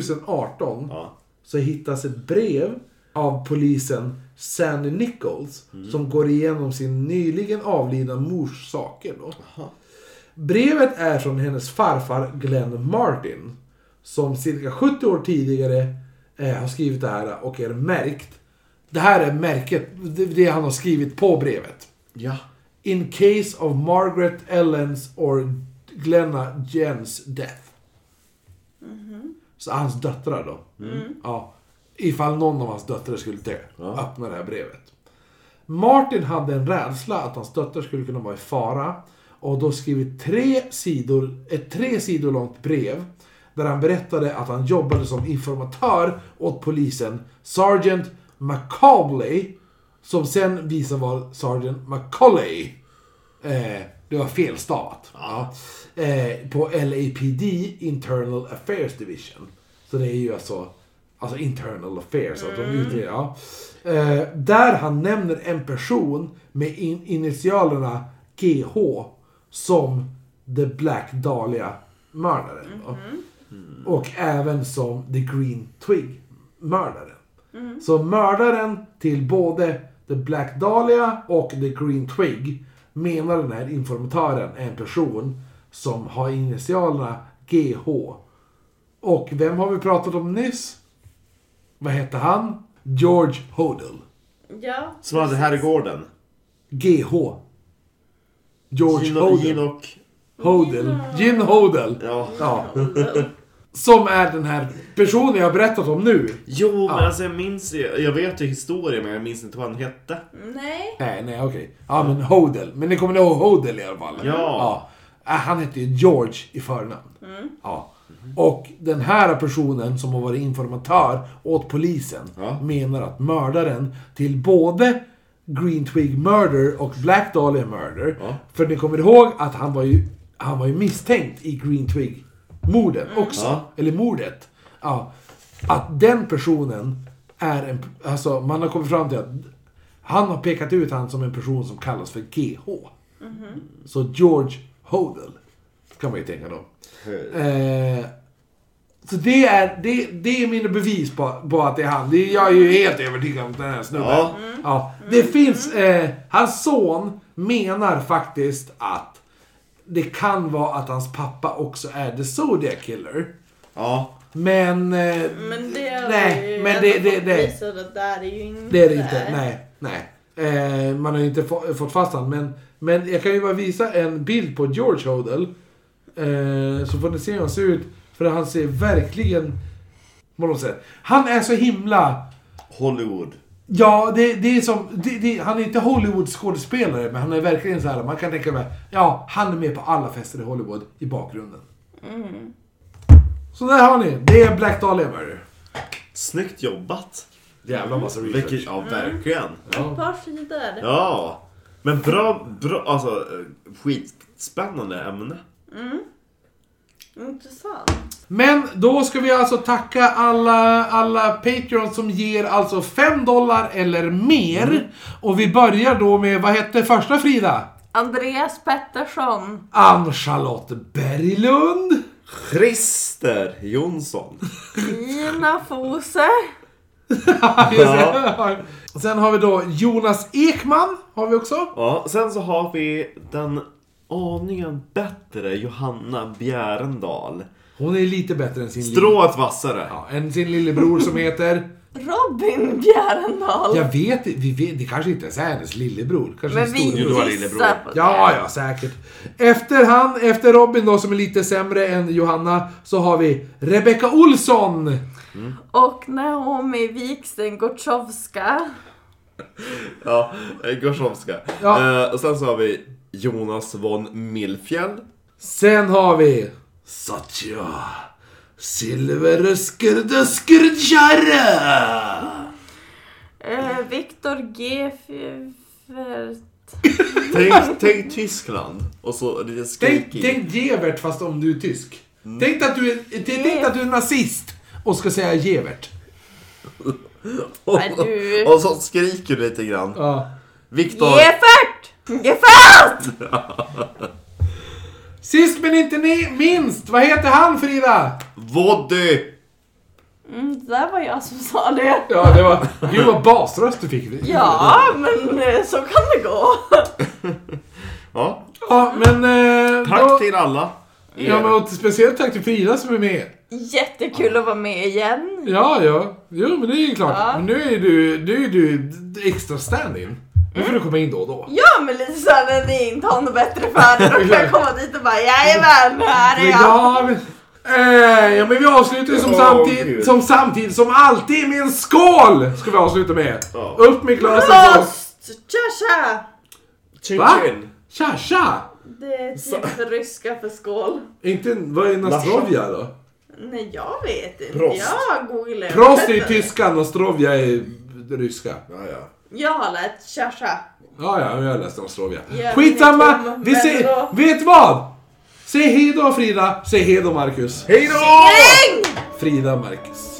Speaker 2: 2018
Speaker 3: Ja.
Speaker 2: så hittas ett brev av polisen Sandy Nichols som går igenom sin nyligen avlidna mors saker. Då. Brevet är från hennes farfar Glenn Martin som cirka 70 år tidigare eh, har skrivit det här och är märkt. Det här är märket, det, det han har skrivit på brevet.
Speaker 11: Ja.
Speaker 2: In case of Margaret Ellens or Glenna Jens death. Så hans döttrar då. Ja, ifall någon av hans döttrar skulle dö. Öppna det här brevet. Martin hade en rädsla att hans döttrar skulle kunna vara i fara. Och då skrivit tre sidor, ett tre sidor långt brev. Där han berättade att han jobbade som informatör åt polisen Sergeant McCauley. Som sen visade vara Sergeant McCauley. Eh, det var felstavat. Ja. Eh, på LAPD Internal Affairs Division. Så det är ju alltså, alltså internal affairs. Att de utreder, ja. eh, där han nämner en person med in initialerna GH som The Black Dahlia-mördaren. va? Och även som The Green Twig-mördaren. Så mördaren till både The Black Dahlia och The Green Twig menar den här informatören är en person som har initialerna GH. Och vem har vi pratat om nyss? Vad hette han? George Hodel.
Speaker 1: Ja.
Speaker 3: Som hade herrgården.
Speaker 2: GH. George
Speaker 3: Gin och... Gin
Speaker 2: Hodel.
Speaker 3: och...
Speaker 2: Hodel. Gin Hodel.
Speaker 3: Ja.
Speaker 2: Ja. Som är den här personen jag har berättat om nu.
Speaker 3: Jo, men alltså jag minns ju, jag vet ju historien men jag minns inte vad han hette.
Speaker 1: Nej.
Speaker 2: Nej, nej, okej. Ja, men Hodel. Men ni kommer ihåg Hodel i alla fall?
Speaker 3: Ja.
Speaker 2: Äh, Han hette ju George i förnamn. Ja. Och den här personen som har varit informatör åt polisen menar att mördaren till både Green Twig Murder och Black Dahlia Murder. För ni kommer ihåg att han var ju, han var ju misstänkt i Green Twig-morden också. Eller mordet. Ja. Att den personen är en... Alltså man har kommit fram till att han har pekat ut han som en person som kallas för GH. Så George Hodel. Kan man ju tänka då. Eh, Så det är, det, det är mina bevis på, på att det är han. Det, jag är ju helt övertygad om att den här snubben.
Speaker 3: Ja.
Speaker 2: Ja, det finns... Eh, hans son menar faktiskt att det kan vara att hans pappa också är the Zodiac Killer.
Speaker 3: Ja.
Speaker 2: Men... Eh,
Speaker 1: Men det är
Speaker 2: Nej,
Speaker 1: ju
Speaker 2: men det- det- det-
Speaker 1: att det är ju inte.
Speaker 2: det är det inte. Nej, nej. Eh, man har ju inte få, fått fast han, men, men jag kan ju bara visa en bild på George Hodel. Eh, så får ni se hur han ser ut. För han ser verkligen... På något sätt. Han är så himla...
Speaker 3: Hollywood.
Speaker 2: Ja, det, det är som... Det, det, han är inte Hollywood-skådespelare, men han är verkligen så här. Man kan tänka mig, ja, han är med på alla fester i Hollywood i bakgrunden. Så där har ni. Det är Black Dahliamer.
Speaker 3: Snyggt jobbat.
Speaker 2: Jävla massa research.
Speaker 3: Vilket, ja, verkligen.
Speaker 1: Ett par sidor.
Speaker 3: Ja. Men bra, bra, alltså eh, skitspännande ämne.
Speaker 1: Intressant.
Speaker 2: Men då ska vi alltså tacka alla, alla Patreons som ger alltså 5 dollar eller mer.
Speaker 1: Mm.
Speaker 2: Och vi börjar då med, vad hette första Frida?
Speaker 1: Andreas Pettersson.
Speaker 2: Ann-Charlotte Berglund.
Speaker 3: Christer Jonsson.
Speaker 1: Ina Fose.
Speaker 2: [LAUGHS] Ja. Sen har vi då Jonas Ekman, har vi också.
Speaker 3: Ja, sen så har vi den aningen bättre Johanna Bjärendal.
Speaker 2: Hon är lite bättre än sin, lille,
Speaker 3: Strået vassare.
Speaker 2: ja, än sin
Speaker 1: [LAUGHS]
Speaker 2: lillebror som heter...
Speaker 1: Robin Bjärendal.
Speaker 2: Jag vet vi vet, det kanske inte ens är hennes lillebror. Kanske
Speaker 1: Men
Speaker 2: en
Speaker 1: vi
Speaker 2: storebror.
Speaker 1: gissar på det.
Speaker 2: Ja, ja, säkert. Efter han, efter Robin då som är lite sämre än Johanna, så har vi Rebecca Olsson.
Speaker 1: Och Naomi Wiksten Gotchowska.
Speaker 3: Ja, eh, Gorsowska.
Speaker 2: Ja.
Speaker 3: Eh, och sen så har vi Jonas von Milfjäll.
Speaker 2: Sen har vi Satya Silverskurdeskurdjare.
Speaker 1: Eh, Viktor G. Fevert.
Speaker 3: Tänk, tänk Tyskland. Och så lite
Speaker 2: Tänk,
Speaker 3: skrikig.
Speaker 2: tänk Gevert fast om du är tysk. Tänk, att du är, tänk att du är nazist och ska säga Gevert.
Speaker 3: Och,
Speaker 1: Nej, du-
Speaker 2: [LAUGHS]
Speaker 3: och så skriker du lite grann.
Speaker 2: Ja.
Speaker 3: Viktor.
Speaker 1: Gefert! Gefert!
Speaker 2: Sist men inte ni- minst, vad heter han Frida?
Speaker 3: Voddy.
Speaker 1: Mm, det där var jag som sa det.
Speaker 2: Ja, det var... Gud vad basröst du fick.
Speaker 1: Ja, men eh, så kan det gå.
Speaker 3: Ja,
Speaker 2: Ja, men... Eh,
Speaker 3: tack
Speaker 2: då-
Speaker 3: till alla.
Speaker 2: Ja, men och speciellt tack till Frida som är med.
Speaker 1: Jättekul att vara med igen.
Speaker 2: Ja, ja. Jo, men det är ju klart.
Speaker 1: Ja.
Speaker 2: Men nu är du, nu är du extra stand-in. Nu
Speaker 1: Mm.
Speaker 2: får du komma in då och då.
Speaker 1: Ja, men lite så här när ni inte har något bättre för er, då kan
Speaker 2: [LAUGHS]
Speaker 1: jag komma dit och bara jajamän, här är jag.
Speaker 2: Ja, men, eh, ja, men vi avslutar ju som,
Speaker 3: Åh,
Speaker 2: samtid,
Speaker 3: Gud.
Speaker 2: som samtidigt, som alltid med en skål! Ska vi avsluta med.
Speaker 3: Ja.
Speaker 2: Upp med glasen. alltså, så-
Speaker 1: Prost! Tja tja!
Speaker 3: Chin
Speaker 2: Va?
Speaker 3: chin.
Speaker 2: Tja, tja!
Speaker 1: Det är typ för ryska för skål.
Speaker 2: Inte, en- vad är Nastrovja då?
Speaker 1: Nej, jag vet inte.
Speaker 3: Prost.
Speaker 1: Jag googlar.
Speaker 2: Prost är ju tyska, Nastrovja är ryska.
Speaker 3: Ja, ja.
Speaker 1: Jag har lärt tja tja.
Speaker 2: Ja, ja, jag läste Nastrovja.
Speaker 1: Ja, men
Speaker 2: Skitsamma!
Speaker 1: kom,
Speaker 2: Vi
Speaker 1: men
Speaker 2: säger,
Speaker 1: då-
Speaker 2: vet du vad? Säg hej då Frida, säg hej då Marcus.
Speaker 3: Hej då!
Speaker 2: Frida Marcus.